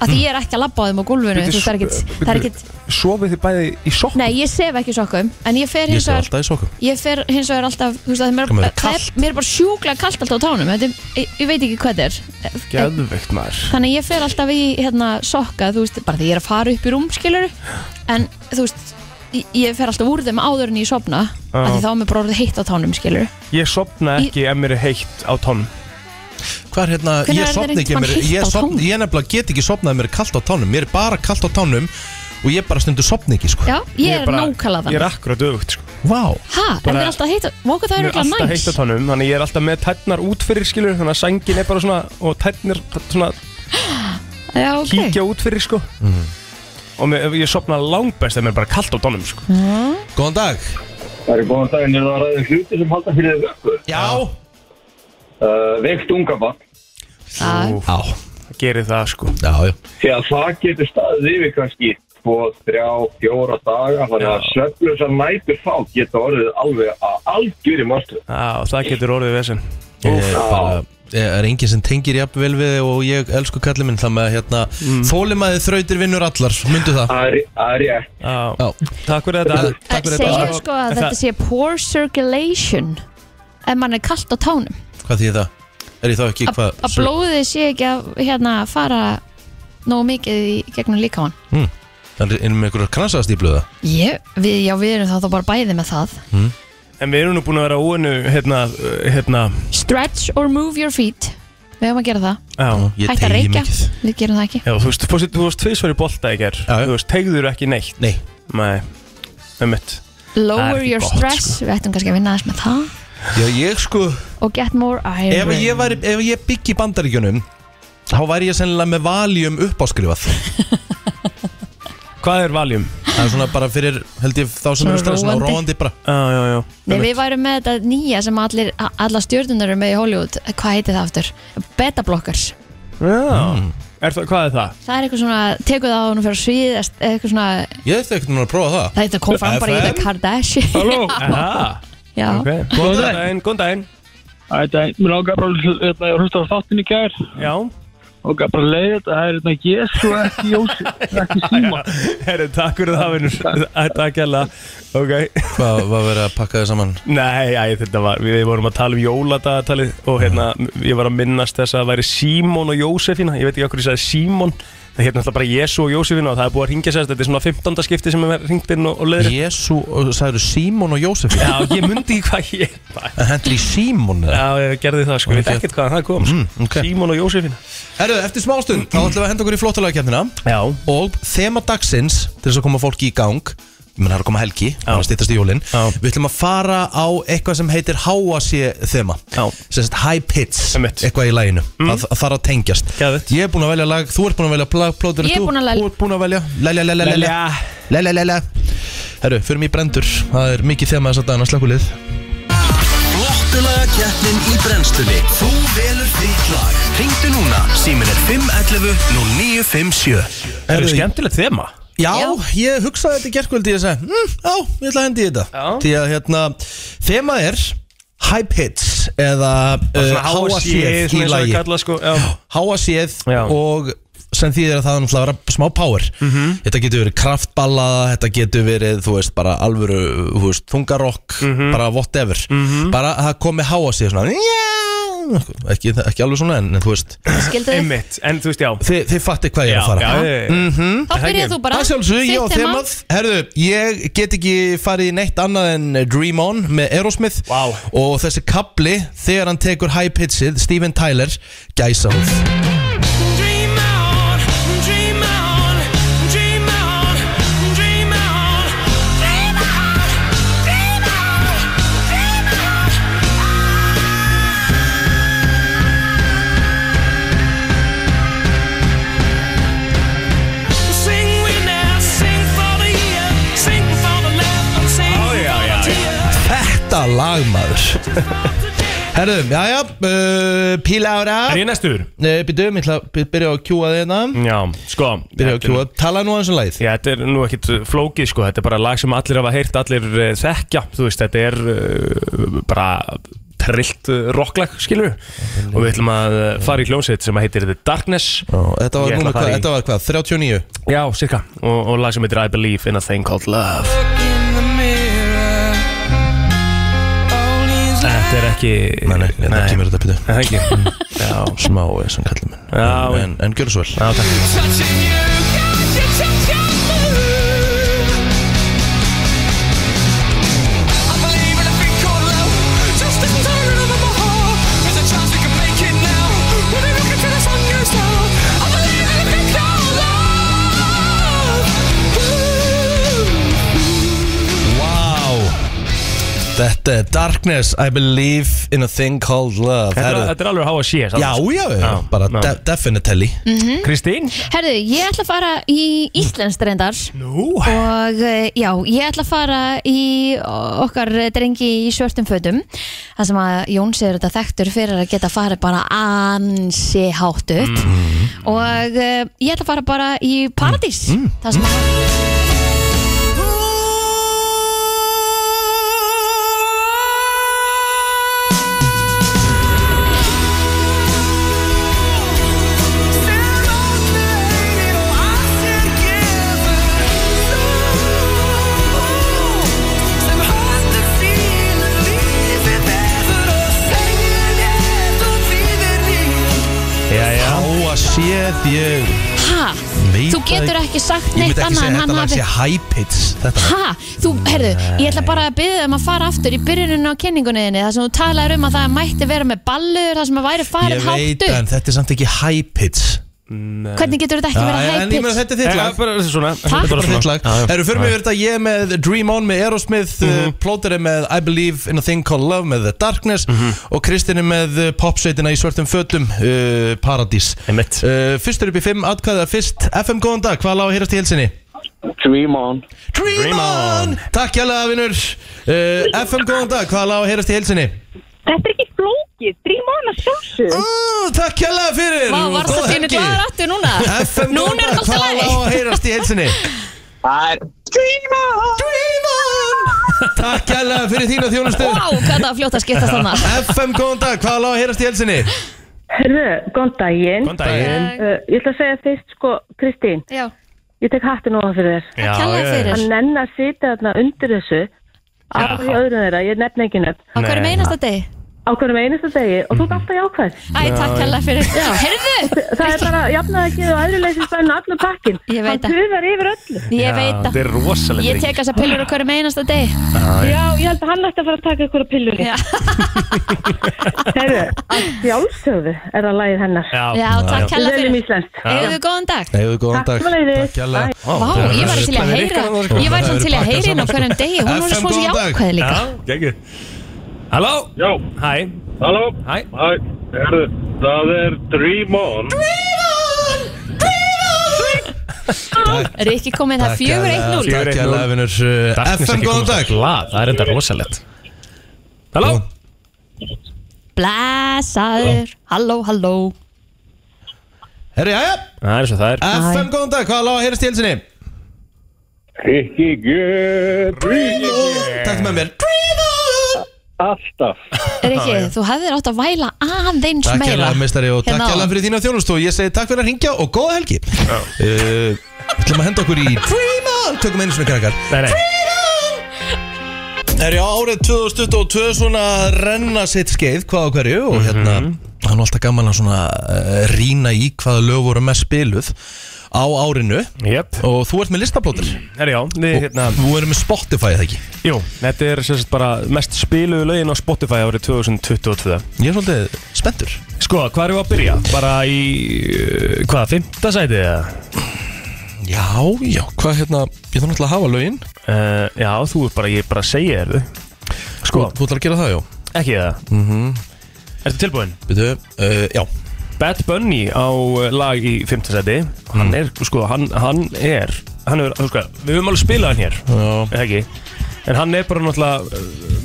að því ég er ekki að labba á þeim á gólfinu
Hmm. Bíddu,
þú veist, það er ekkit, það er ekkit
Sofið þið bæði í sokkum?
Nei, ég sef ekki í sokkum en ég
Ég
fer hins
sef
vegar
alltaf í sokkum
Ég fer hins vegar alltaf, þú veist að mér,
Hvað með það,
það er, það er,
kalt?
mér er bara sjúklega kalt alltaf á tánum Þetta, er- ég, ég veit ekki hvað þetta er
Geðveikt maður
Þannig að ég fer alltaf í hérna, sokka, þú veist, bara því ég er að fara upp í rúm, skilur En þú veist, ég, ég fer alltaf úr þeim áður en ég sopna
Já.
af því þá er mér bara orðið heitt á tánum skilur
Ég sopna
Í-
ekki ef mér er heitt á tónum
Hvað er hérna,
Hvenær
ég
er
sopna
þér
ekki
einhvern
mér,
tímann
ég,
heitt á
sopna,
tánum?
ég nefnilega get ekki sopnað ef mér er kalt á tánum Mér er bara kalt á tánum og ég bara stundu sopna ekki sko.
já, ég er
bara- Ég
nákvæmlega
er
þannig
akkurat öfugt sko.
Vá,
ha, en
bara-
það er alltaf heitt á móka það
Mér
er
er alltaf
örugglega
heitt á
næs
tónum Þannig ég er alltaf með tætnar út fyrir skilur Þannig að sængin er bara svona Og tætnar svona
já, ok
kíkja út fyrir sko
Mhm.
Og mér, ég sopna langbest ef mér er bara kalt á tónum sko.
góðan dag
Það er góðan daginn, er það að ræða hluti sem halda fyrir þér vöku?
Já,
Uh, veikt ungabann,
Já.
Úff,
já,
Það gerir það sko
já, já.
því að það getur staðið yfir kannski tvo, þrjá, fjóra daga, þannig að
Já.
svefnlösa nætur þá geta orðið alveg að algjöri mástu.
Á, Það getur orðið vesen
Ég er Eh, bara ég er enginn sem tengir jafn vel við þig og ég elsku kallið minn það með hérna mm. þólimaði þrautir vinnur allar, myndu það
Það er- það er rétt.
Á,
Já,
Takk fyrir
Takk.
þetta
Takk fyrir
segir
þetta.
sko að
En
þetta sé poor circulation ef mann er kallt á tánum
hvað þýðir það? Er ég þá ekki
að
hvað?
að blóðið sé ekki að hérna, fara nógu mikið í gegnum líkamann
Það er með einhverjar kransastýpluða
Ég, við, já við erum þá, þá bara bæði með það
En við erum nú búin að vera óinu hérna, uh, hérna,
Stretch or move your feet Við hefum að gera það
já,
Ég
Hætt að
teygi
reykja,
mikið.
við gerum það ekki
já, þú veist, þú veist, þú veist tvisvar í bolta í ger
Já, já.
Þú veist, tegður ekki neitt
Nei,
Nei, um mitt Það er
Lower
ekki
your
gott, sko.
stress, við ættum kannski að vinna aðeins með það
já ég sko
Og get more
Ef
iron
ég, væri, ef ég byggi í bandaríkjunum þá væri ég sennilega með valjum uppáskrifað
Hvað er valjum?
Það er svona bara fyrir, held ég, þá sem
Svona
eru stressin á
róandi.
róandi bara
Já, já, já
Nei, við værum með þetta nýja sem allir, a- alla stjórnunar eru með í Hollywood Hvað heitir það aftur? Beta blockers
Já, Mm. er það, hvað er það?
Það er eitthvað svona, tekur það á hún fyrir að svíðast Eitthvað svona,
Ég ætti ekkert núna að prófa það
það eitthvað kom fram bara í
FM?
þetta Kardashian
Halló Aha,
Já,
ok Góðan daginn, góðan daginn
Þetta, mér ágæði bara að hérna, ég hlusta á þáttinn í gær
Já,
og gæði bara að leiða þetta, það er hérna Jésu ekki Jósi, ekki Síma
herru, takk fyrir það, vinnur Takk hella, ok
Hvað var verið að pakka þið saman?
Nei, æ, þetta var, við vorum að tala um jóladagatalið og hérna, ég var að minnast þess að það væri Símon og Jósefina, ég veit ekki okkur ég sagði Símon, það hérna alltaf bara Jésu og Jósefina og það er búið að ringja sérst, þetta er svona 15. skipti sem er ringt inn og, og leiðir.
Jésu, sagður Símon og Jósef
Já, ég mundi ekki hvað ég, bara-
En hendur í Símon eða?
já, ég gerði það sko, ég veit ekkert hvaðan það kom, sko.
Mm, ok.
Símon og Jósefina.
Herru, eftir smástund, þá ætlum við að henda okkur í flottalagakefnina
Já,
Og þema dagsins, til þess að koma fólki í gang Ég menn, það er að koma helgi, það er að stýttast í jólin
Já.
Við ætlum að fara á eitthvað sem heitir háasé þema
Já.
Sem sagt high pitch,
Einmitt. Mm.
eitthvað í læginu Það það þarf að tengjast
Geðveikt.
Ég er búin að velja lag, þú ert búin að velja plag, plótur,
Ég er búin að
Þú
lel-
ert búin að velja, lelja, lelja, lelja
Lelja.
Lelja, lelja Herru, förum í brendur, það er mikið þema þess að dana slökulið
Flottulaga keppnin í brennstunni Þú velur þitt lag Ringdu núna, símin er 511 0957
það eru skemmtilegt þema.
Já,
Já.
ég hugsaði þetta í gerkvöldi Ég sagði, mm, já, ég ætla að hendi í þetta
Já.
Því að hérna, þema er Hype hits eða uh, háasíð
E,
í
svona eins og við
lagi
kalla sko, já.
Háasíð
Já.
og sem þýðir að það er náttúrulega að vera smá power
Mhm.
Þetta getur verið kraftballaða Þetta getur verið, þú veist, bara alvöru þú veist, Þungarokk,
Mhm.
bara whatever Bara að það komi háasíð svona, yeah! ekki, ekki alveg svona en, en þú veist,
skildu þið
Einmitt, en þú veist, já.
þið, þið fatti hvað ég er að fara Mm.
já, já, já.
Þá byrjið
ekki.
þú bara
Það sjálfsög, ég og
þitt þema.
þemað Herðu, ég get ekki farið í neitt annað en Dream On með Aerosmith
Vá.
Og þessi kapli, þegar hann tekur high pitchið, Steven Tyler, gæsa húð
Dream on, dream on, dream on, dream on, dream on, dream on, dream on. Sing we now, sing for the year, sing for the land, sing
Oh, yeah,
for
yeah,
the tear.
Þetta lagmaður Herðu, jæja, uh, píla ára
Er ég næstur?
Býtum, ég ætla að byrja á að kjúa þeirna
Já, sko.
Byrja á
þetta
að
er-
kjúa, tala nú aðeins um lagið
Já, þetta er nú ekkit uh, flókið sko, þetta er bara lag sem allir hafa heyrt, allir uh, þekkja, þú veist, þetta er uh, bara trillt uh, rocklag, skilur og við ætlum að uh, fara í hljómsveit sem heitir The Darkness,
Ó, Þetta
Ég
var
ætla að
númer
fara
hvað,
í-
þetta var hvað, 39
já, cirka og, og lag sem heitir I Believe in a Thing Called Love
Look in the mirror, all these
Þetta er ekki
Nei, nei, þetta kemur þetta býtu
Er það ekki, já,
Smá, eh, eins og kallum minn
Já,
En, en gjör svo vel
já, takk
touching you, 'cause you touch your mood.
Þetta er Darkness, I believe in a thing called love
Þetta er,
Herru,
þetta er alveg að hafa sé
Já, já, já,
Já,
bara
já.
de definitely
Kristín
Herðu, ég ætla að fara í Íslands reyndar
Nú
Og eh, já, ég ætla að fara í okkar drengi í svörtum fötum Það sem að Jóns er þetta þekktur fyrir að geta farið bara ansi hátt upp
Mm.
Og eh, ég ætla að fara bara í Paradís mm. Það sem að
Já, já
Á að sé því ég
Ha?
Veit
Þú
það
getur ekki sagt
Ég
neitt
myndi ekki
annað
segja
en
þetta
hann
lag
hafi
sé high pitch Þetta lag.
Ha? Þú, herðu, ég ætla bara að byrja um að fara aftur í byrjuninu á kynningunniðinni þar sem þú talar um að það mætti vera með ballur þar sem að væri farið
Ég
hátt
veit
upp
en þetta er samt ekki high pitch Eh,
Hvernig getur þetta
Já,
ekki verið
En ég meina
hægt?
þetta er þitt
Já,
lag
bara þetta er Eh, svona
Takk.
Þetta er
Bara
svona.
þitt lag
Já, Mhm. já.
Herru, fyrir mig verið þetta ég með Dream On með Aerosmith mm Plóterið með I Believe in a Thing Called Love með The Darkness
Mhm.
og Kristinni með uh, popsveitina í svörtum fötum uh, Paradís
Einmitt.
uh, Fyrstur upp í fimm, atkvæða fyrst FM góðan dag, hvað lág að heyrast í helsinni?
Dream on
Dream,
Dream
on.
On.
Takk hjálpa vinnur uh, FM góðan dag, hvað lág að heyrast í helsinni?
Þetta er ekki flókið, þrjum ána sjálfsög
Uh, takk hjálpa fyrir
Vá,
og
varst
góða
það þínu
helgi.
glaðar aftur núna?
FM
Núna
góðan
er
dag,
allt í
hvað
lagi.
lág að heyrast í helsinni?
Það er Dream on
Dream on Takk hjálpa fyrir þína þjónustu
Vá, hvað það var fljótt að skiptast þannig
FM, góðan dag, hvað lág að heyrast í helsinni?
Herðu, góðan daginn
Góðan daginn
uh, Ég ætla að segja fyrst sko, Kristín
Já,
Ég tek hattin ofan fyrir þér
Já,
Eh, kærlega
já,
fyrir.
Að nenn að sitja þarna undir þessu Af því öðrum þeirra, ég nefn ekki nefn
á hverjum
Nei.
einasta degi
Á hverjum einasta degi og þú ert alltaf jákvæð
Æ, takk hella fyrir Herðu,
Það er bara jafnaði ekki og aðriðleysi spennu allur pakkin
Ég veit
Hann
það.
tuðar yfir öllu
ég veit
Þetta
að
er rosalega
Ég tek þessa pillur á hverjum einasta degi
Já, ég held að hann ætti að fara að taka ykkur á pillunni
Já.
Herðu, að sjálfsögðu er það lagið hennar
Já, takk hella
Við
fyrir
erum íslenskt
Eigðu góðan dag
Hefðu góðan dag
Takk sömuleiðis.
Takk hérlega.
Vá, ég var til að heyra Ég var samt til að heyra hérna á hverjum degi Hún var
FM,
svo
góðan dag.
jákvæð líka
Já, geggjur Halló
Já,
Hæ
halló
Hæ
Hæ, herðu, það er Dream On
Rikki komið það
Takk hérlega, Takk
4-1-0
4-1-0.
hérlega, vinur Uh, FM, góðan dag
Glad, það er enda rosalegt Halló
Góðan.
Blesaður, halló, halló
Herri, jæja
Það er eins og það er
FM, góðan dag, hvað lág að heyrast í helsinni?
Rikki Gjörri
Takk með mér
Alltaf
Rikki, þú hefðir átt að væla aðeins
Takk
meira
hérlega, meistari og takk
Hérna.
hérlega fyrir þína þjónust og ég segi takk fyrir að ringja og góða helgi Uh, Ætlum að henda okkur í Dream on Tökum einu svona krakkar
Nei, nei
Herri, árið 2022 svona að renna sitt skeið hvað á hverju og hérna hann er alltaf gaman að svona uh, rýna í hvaða lög voru mest spiluð á árinu
Jöp
og þú ert með listaplótir
Herri já, við hérna
og þú erum með Spotify eða ekki
Jú, þetta er sem sagt bara mest spiluðu lögin á Spotify árið 2022
Ég er svolítið spenntur
Sko, hvað erum við að byrja? Bara í, uh, hvað, fymta sæti eða?
Já, já, hvað hérna ég þarf náttúrulega að hafa lögin
Uh, já, þú er bara, ég er bara að segja þér þau Sko,
Þú ætlar að gera það, já
ekki það mm
Mhm.
-hmm. Ertu tilbúin?
Byrju, uh, já
Bad Bunny á uh, lag í fymta sæti
Mhm.
Hann er, sko, hann, hann er Hann er, sko, við höfum alveg spilað hann hér
Já,
eða ekki en hann er bara náttúrulega uh,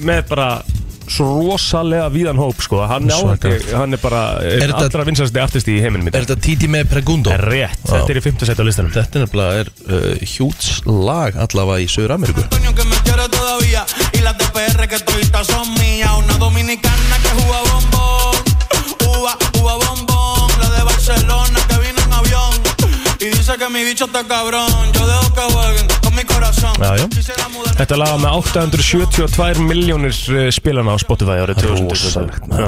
með bara svo rosalega víðan hóp sko. hann, á,
Svakalegt.
hann er bara
Er
er
þetta-
allra vinsasti artist í heiminum í dag.
Er þetta Titi með Pregundo?
er rétt,
Já.
þetta er í 50 seti á listanum
Þetta er nefnilega er, uh, hjúts lag allavega í Söður Ameríku
Coño que me quiere todavía y las de PR que todavía son mías. Una dominicana que juega bombón, uva, uva bombón. La de Barcelona que vino en avión y dice que mi bicho está cabrón. Yo dejo que jueguen con mi corazón.
Já, já.
Quisiera mudarme.
Þetta lag var með 872 miljónir spilana eh, á Spotify árið 2000 Já.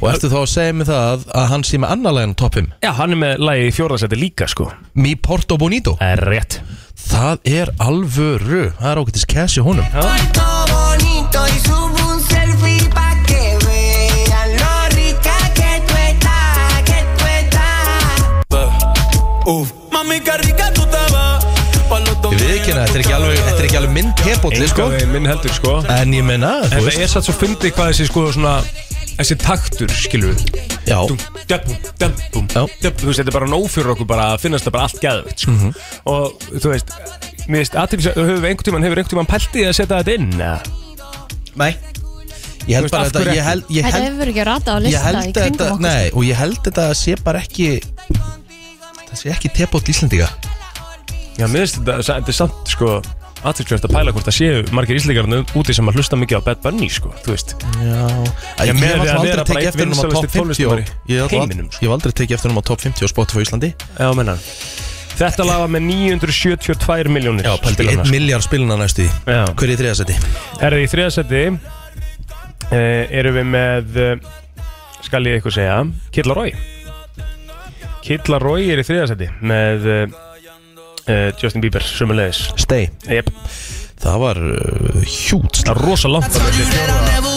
Og ertu þá að segja mig það að hann sé með annað lagin á toppum
Já, hann er með lagi í fjórðarsæti líka sko
Mi Porto Bonito
Er rétt
Það er alvöru Það er ákveðtis cash í honum
Puerto bonito y subo un selfie pa' que vean lo rica que tú estás, que tú estás.
Uf. Mami, qué rica tú te vas. Pa' los
Ég veit viðkynna, þetta er ekki alveg, þetta er ekki alveg minn tebólli, sko
Engan veginn minn heldur sko
En ég menna, þú
En það
veist
er satt svo fyndið hvað þessi sko svona Þessi taktur skilur við
Já,
Dúm, döpum, döpum,
Já.
döpum Þú veist, þetta er bara nóg fyrir okkur bara að finnast það bara allt geðvegt sko. Og þú veist, mér veist, aðtýmsa, hefur einhvern tímann, hefur einhvern tímann pælt í að setja þetta inn eða?
nei Ég
Þú veist,
held bara
af
þetta,
hverju
ég
ekki?
held, ég
Þetta
held
hefur ekki rata á
Ég
lista í
held að þetta,
kringum okkur sko.
nei, og ég held að þetta sé bara ekki Það sé ekki tebóll Íslendinga
Já, mér veist, þetta, þetta er samt sko aðtýmsvægt að pæla hvort það séu margir íslikarinn úti sem að hlusta mikið á Bad Bunny sko, þú veist
Já, ég,
Já,
ég
með því
hef
að
alltaf
vera bara
aldrei tekið
einn
eftir hennum
vinsælasti
á top 50 og-
tónlistarmaður í
Ég hef
heiminum, sko.
alltaf- ég hef aldrei tekið eftir hennum á top 50 og Spotify Íslandi
Já, menna Þetta lag var með 972 miljónir
Paldi 1 miljard spiluna næstu í
sko. Já.
Hver er í þriðasæti?
Erðu í þriðasetti uh, Erum við með uh, Skal ég eitthvað segja Killa Rói Killa Rói er í þriðasetti Með uh, uh, Justin Bieber Sumulegis
Stay
yep.
Það var uh, hjút
Það er rosa langt frá milli.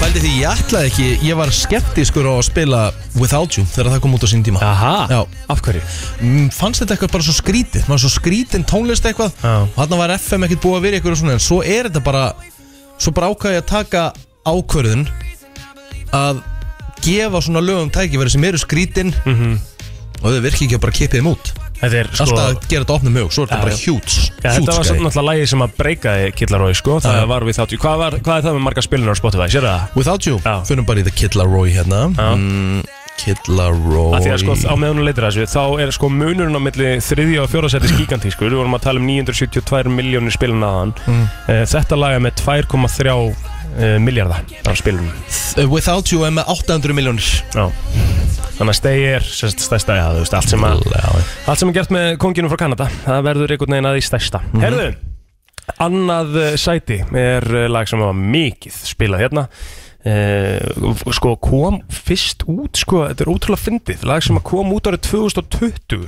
Paldi því ég ætlaði ekki Ég var skeptiskur á að spila Without You Þegar það kom út á sín tíma
Aha,
Já.
af hverju?
Mm, Fannst þetta eitthvað bara svo skrítið Maður svo skrítin tónlist eitthvað
Já.
Og þarna var FM ekkert búið að vera eitthvað svona En svo er þetta bara Svo bara ákvæði að taka ákvörðun Að gefa svona lögum tækifæri sem eru skrítin Og þau virki ekki að bara kippa þeim út
Þetta er Mhm. sko
Alltaf að gera þetta opnum mög Svo er þetta
Já,
bara
já.
hjúts
Já, þetta var samt
Hjúts
náttúrulega lagið sem að breykaði Killarói sko, það
Já.
var við þáttu hvað, var, hvað er það með marga spilunar á Spotify, sér það?
Without You
Já.
Fyrir bara í The Kid Laroi hérna
Já.
mm, Kid
Af því
Laroi
að sko á meðan hún leitir að þessu þá er sko munurinn á milli þriðja og fjóra seti gigantískur, við vorum að tala um 972 miljónir spilun aðan mm. þetta laga með 2,3 uh, miljardar á spilunum
Without You er með 800 miljónir
Já. þannig að stegi er sérst, stærsta ja, veist, allt, sem að, allt sem er gert með konginum frá Kanada það verður einhvern veginn að því stærsta Herðu, annað eh, sæti er eh, lag sem var mikið spilað hérna Uh, sko kom fyrst út sko, þetta er ótrúlega fyndið lag sem að kom út árið 2020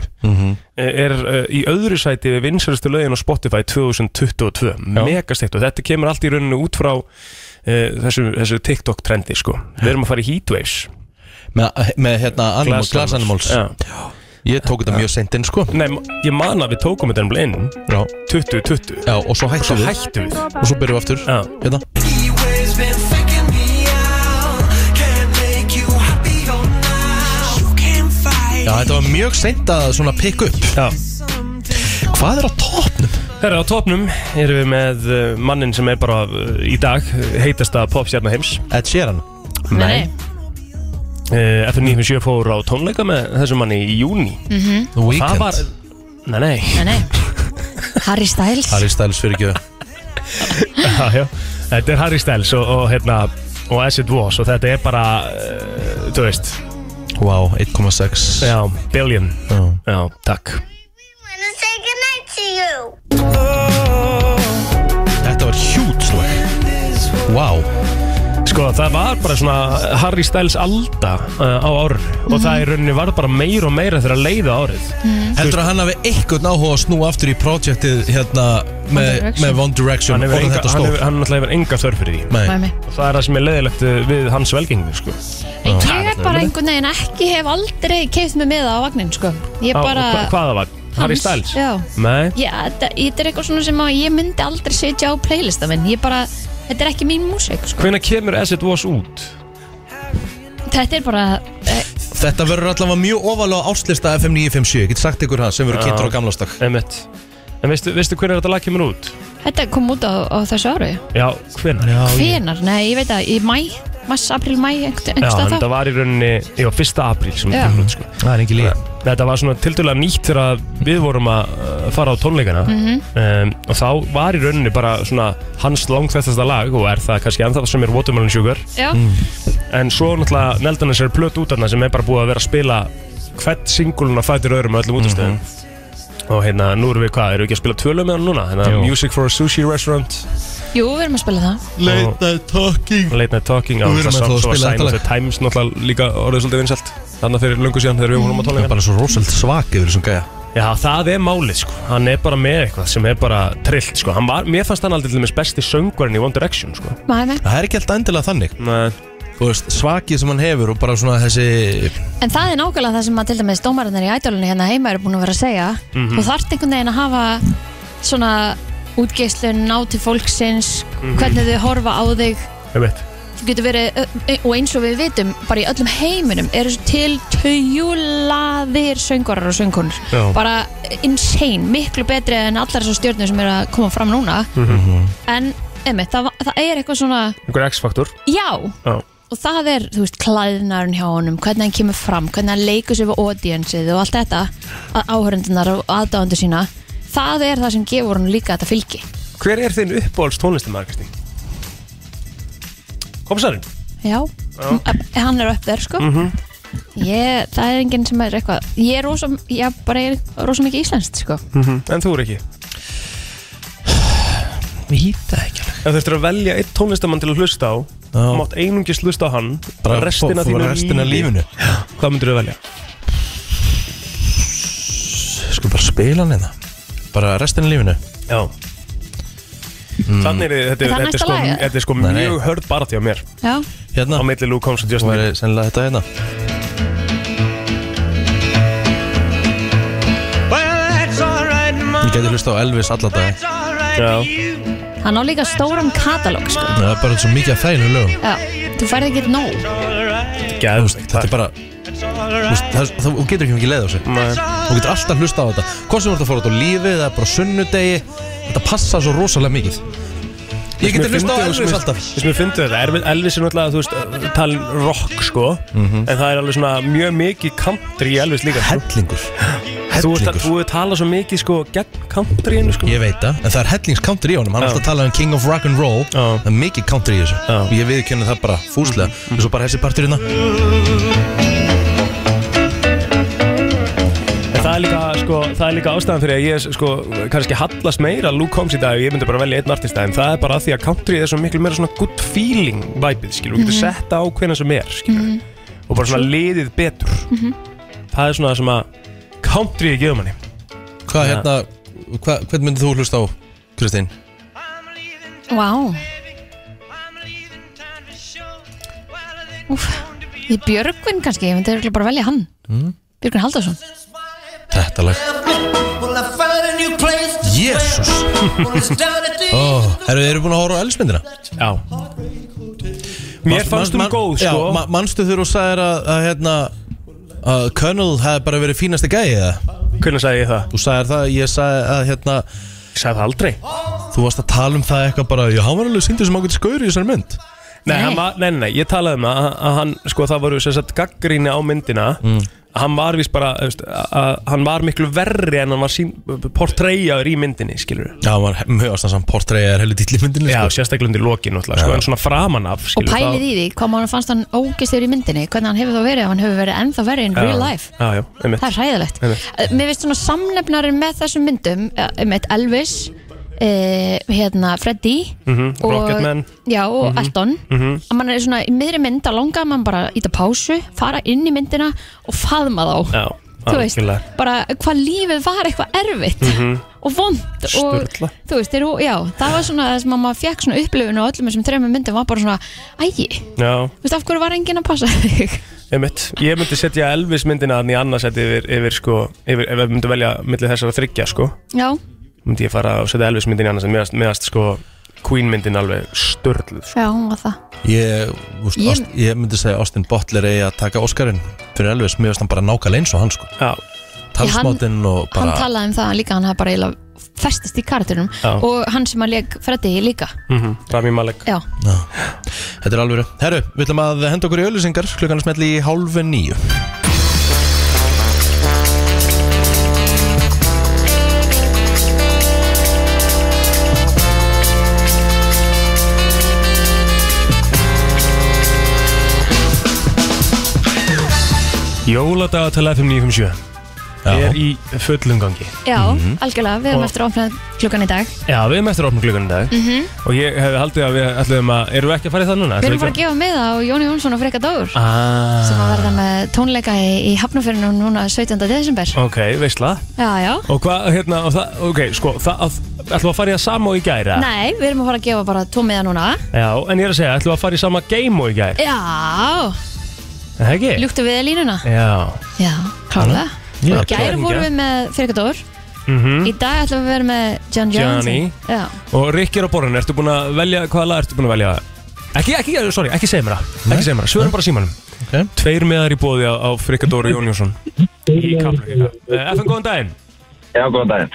er uh, í öðru sæti við vinsælustu lögin á Spotify 2022 megastegt og þetta kemur allt í rauninu út frá uh, þessu, þessu TikTok trendi sko við erum að fara í Heatwaves
með, með hérna animals, glass animals
Já.
Ég tók þetta mjög seint inn sko
Nei, ma- ég man að við tókum þetta nefnilega inn
Já,
2020
já og svo
og svo
hættum við
hættum við
Og svo byrjum við aftur
Já.
Hérna Já, þetta var mjög seint að svona pick up
Já.
Hvað er á topnum?
Herra á topnum erum við með uh, mannin sem er bara uh, í dag uh, heitasta popstjarnar heims
Ed Sheeran
Nei,
uh, FN97 fór á tónleika með þessum manni í júni
The Weeknd
Það var Nei, nei
nei, nei Harry Styles
Harry Styles fyrir ekki
Já, já. Þetta er Harry Styles og, og hérna og As It Was og þetta er bara uh, þú veist
Wow, 1,6
já, billion
Já.
Já, takk
Þetta var hjút slag Wow
Sko það var bara svona Harry Styles alda uh, á ár og það
Mhm.
í rauninni var bara meira og meira þegar að leiða árið
Heldur að hann hafi eitthvað náhuga að snúa aftur í projektið hérna með,
Direction.
með One Direction
hann hefur
og
enga,
þetta
hann
stór
hefur, hann náttúrulega hefur enga þörf fyrir því
Nei, nei.
og það er það sem er leiðilegt uh, við hans velgengni sko.
En ég er bara einhvern veginn ekki hef aldrei keift mig með á vagnin sko. Ég bara
hva, Hvaða var? Harry
Hans,
Styles?
já.
Nei,
Já, þetta þetta er eitthvað svona sem að ég myndi aldrei setja á playlista minn Ég bara, þetta er ekki mín músík sko.
hvenær kemur As It Was út?
Þetta er bara, eh,
Þetta verður allavega mjög ofalega áslista FM 957 Ég get sagt ykkur það sem verður kynntur á gamlastak
Einmitt. En veistu, veistu hvenær þetta lag kemur út?
þetta kom út á, á þessu ári
Já, hvenær? Já,
Hvenar? Nei, ég veit að í mæ, mars, april, mæ,
Já, en
einhverstað
þetta
þá
var í rauninni, já, 1. apríl sem
Já.
þetta kemur út sko.
Það er ekki líka
Þetta var svona tildulega nýtt þegar að við vorum að uh, fara á tónleikana
Mhm.
um, og þá var í rauninni bara svona hans langþættasta lag og er það kannski ennþá sem er Watermelon Sugar
Já,
Mm.
en svo náttúrulega neldan þessari plöt út þarna sem er bara búið að vera að spila hvert singulun að fætir öðrum á öllum útastöðum og hérna nú erum við hvað, erum við ekki að spila tvölu með hann núna hérna,
Mhm. Jú.
Music for a Sushi Restaurant
jú, við erum að spila það
Late
night talking
Late Night Talking á
Við erum
þess að
ennþá
svo að
að spila
Sign of
þetta
the Times náttúrulega líka orðið svolítið vinsælt þannig fyrir löngu síðan þegar við vorum á
Það
tónleikana
er bara svo rosalega svak yfir þessum gæja
hérna. Já, það er málið sko, hann er bara með eitthvað sem er bara trillt sko, hann var, mér fannst hann aldrei til dæmis besti söngvarinn í One Direction sko
Mæ, mæ,
Það er ekki alltaf endilega þannig
Nei,
þú veist, svakið sem hann hefur og bara svona þessi
En það er nákvæmlega það sem að til dæmis dómarinnir í ædólunni hérna heima eru búin að vera að segja
Mhm.
Þú þarft einhvern veginn að hafa svona útgeislun, ná til fólksins
Mhm.
hvernig þau horfa á þig
Einmitt.
þú getur verið, ö- og eins og við vitum bara í öllum heiminum eru svo til tjúlaðir söngarar og söngunir
Já.
bara insane, miklu betri en allar þessar stjórnir sem eru að koma fram núna en einmitt, það, það er eitthvað svona
Einhver X-faktor
já,
Já
og það er, þú veist, klæðnarinn hjá honum hvernig hann kemur fram, hvernig hann leikur sér við audiensið og allt þetta að áhörundunar og aðdáðandu sína það er það sem gefur hann líka þetta fylgi
Hver er þinn uppbóls tónlistamæður, Kristín? Komsarinn
já,
Já.
M- hann er upp þér sko ég, það er enginn sem er eitthvað ég er rosa, ég bara er rosa mikið íslenskt sko
Mhm.
En þú er ekki
Ég hýta ekki
Ef þú þurftur að velja eitt tónlistamann til að hlusta á
Já.
Þú mátt einungis hlusta á hann
Bara
restina
fó- fó-
þínu
restina af lífinu.
Hvað myndir þú velja?
sko bara spila hann hérna bara restin af lífinu
Já Mm. Þannig er þetta,
Er það
þetta,
næsta
er sko,
lag, eða?
þetta er sko
Nei, nei.
mjög hörð bara því á mér
já,
hérna
Á milli Luke Combs og
það
Justin
væri sennilega þetta hérna ég geti hlusta á Elvis alla dag
Já.
hann á líka stóran katalóg sko
það er bara svo mikið að þæginu lögum
já, þú færði ekki nóg
Þú veist, þetta er bara þú veist, það er- þú- þú getur ekki mikið leið á sig
Nei.
þú getur alltaf hlusta á þetta hvort sem þú ert að fara út á lífið eða bara á sunnudegi þetta passa svo rosalega mikið ég geti hlusta á Elvis alltaf
Þess mér fyndu þetta, Elvis- Elvis er náttúrulega, þú veist, talin rock, sko
Mhm.
En það er alveg svona mjög mikið country í Elvis líka sko.
hellingur
Þú ert að,
hellingur
þú ert að tala svo mikið, sko, gegn countryinu, sko
Ég veit það, en það er hellingscounter í honum Hann er
Já.
alltaf að tala um King of Rock'n'Roll Það er mikið counter í þessu Og Ég viðkynna það bara fúslega
Mhm.
Og svo bara þessi partur hérna
En það er líka, sko, það er líka ástæðan fyrir að ég, sko, kannski hallast meira að Luke Combs í dag ef Ég myndi bara velja einn artist en það er bara af því að country er svo miklu meira svona good feeling vibeið, skilur Þú getur
Mhm.
sett það á hvena sem er, skilur
Mhm.
Og bara svona liðið betur
Mhm.
Það er svona það sem að country er gefur manni
Hvað hérna, hva, hvern myndir þú hlusta á, Kristín?
Vá Úf, ég Björgvin kannski, ég myndi örugglega bara velja hann
Mm.
Björgvin Haldarsson
Þetta lag Jésús Ó, Herru, eru búin að horfa á Elvis-myndina?
Já Mér fannst hún góð,
já,
sko.
ma- Manstu þú sagðir að, að hérna að Colonel hefði bara verið fínasti gæi eða?
Hvernig sagði ég það?
Þú sagðir það, ég sagði að hérna Ég
sagði það aldrei
Þú varst að tala um það eitthvað bara Já, hann var alveg sýndur sem ákveðt skaur í þessari mynd
Nei, hann var, nei, nei, nei, ég talaði um það að- að hann, sko, það voru sem sagt gaggrinni á myndina að hann var vist bara, þú veist, að, að hann var miklu verri en hann var sín, portreyjaður í myndinni, Sko. skilur
Já, hann var mjög ástæðan saman portreiðar heilu dýll í myndinni sko.
Já, sérstaklega undir lokin, náttúrulega, sko, en svona framan af,
Og
skilur
pælið í því, hvað mann fannst hann ógistur í myndinni Hvernig hann hefur þá verið, ef hann hefur verið ennþá verið in real life
Já, já, einmitt
Það er hræðilegt
Einmitt.
Eh, Mér finnst svona samlefnarinn með þessum myndum eh, einmitt Elvis, eh, hérna Freddy
Mhm,
og-
Rocketman
Já, og Elton
Mhm.
að mann er svona í miðri mynd að langa að mann bara íta pásu, fara inn í myndina og faðma þá
Já,
þú veist,
algjörlega.
bara hvað lífið var eitthvað erfitt
Mhm.
og vond og
Sturla.
þú veist, þeir, já, það var svona það sem að maður fekk svona upplifun og öllum þessum þreymum myndum var bara svona, ægi,
Já,
þú veist af hverju var enginn að passa þig
einmitt Ég myndi setja Elvis myndina þannig annars yfir, yfir, sko, yfir, ef við myndum velja millir þessara þryggja, sko
já,
myndi ég fara og setja Elvis myndin í annars en meðast, meðast sko Queen myndin alveg störluð sko.
já, hún var það
Ég, úst,
Ég-
ég... Ást, ég myndi segja Austin Butler eigi að taka Óskarinn fyrir Elvis, mér finnst hann bara nákvæmlega eins og hann sko
Já
Talsmátinn og bara
hann talaði um það líka, hann hafði bara eiginlega festist í karakterunum
Já.
og hann sem að leik Freddy líka,
mm -hmm. Rami Malek
já
Já, þetta er alvöru Herru, við ætlum að henda okkur í öllusingar klukkan er smetli í hálfu nýju
Jóladagatala 5957 er í fullum gangi
Já, algjörlega, við
Mhm.
erum
Og-
eftir að opna klukkan í dag
Já, við erum eftir opnum klukkan í dag
Mhm.
Og ég hefði haldið að við ætlum að Erum við ekki að fara í það núna?
Við erum bara að gefa með á Jóni Jónsson og Freyka Dór
ah,
sem að verða með tónleika í, í Hafnafjörnum núna 17. desember
Ok, veistla
Já, já
Og hvað, hérna, og það, ok, sko það, að, Ætlum við að fara í það sama og í gæra?
Nei, við erum að fara að gefa bara tvo miða núna
Já, en ég er að segja, ætlum við að fara í sama game og í gæra?
Já,
Eh. Er það ekki?
ljúktu við línuna
Já
Já, klálega
Já,
Í gær
klárlega.
vorum við með Freyka Dór
mm
Í dag ætlum við að vera með John Johnson
Johnny.
Já,
Og Rikki er á borðinu, ertu búin að velja, hvaða lag ertu búin að velja? Ekki, ekki, sorry, ekki segja mér það Ekki segja mér það, svörum bara símanum
Ok.
Tveir meðar í bóði á, á Frikadóru Jón Jónsson Í kaplöku FN, góðan daginn,
Já, góðan daginn.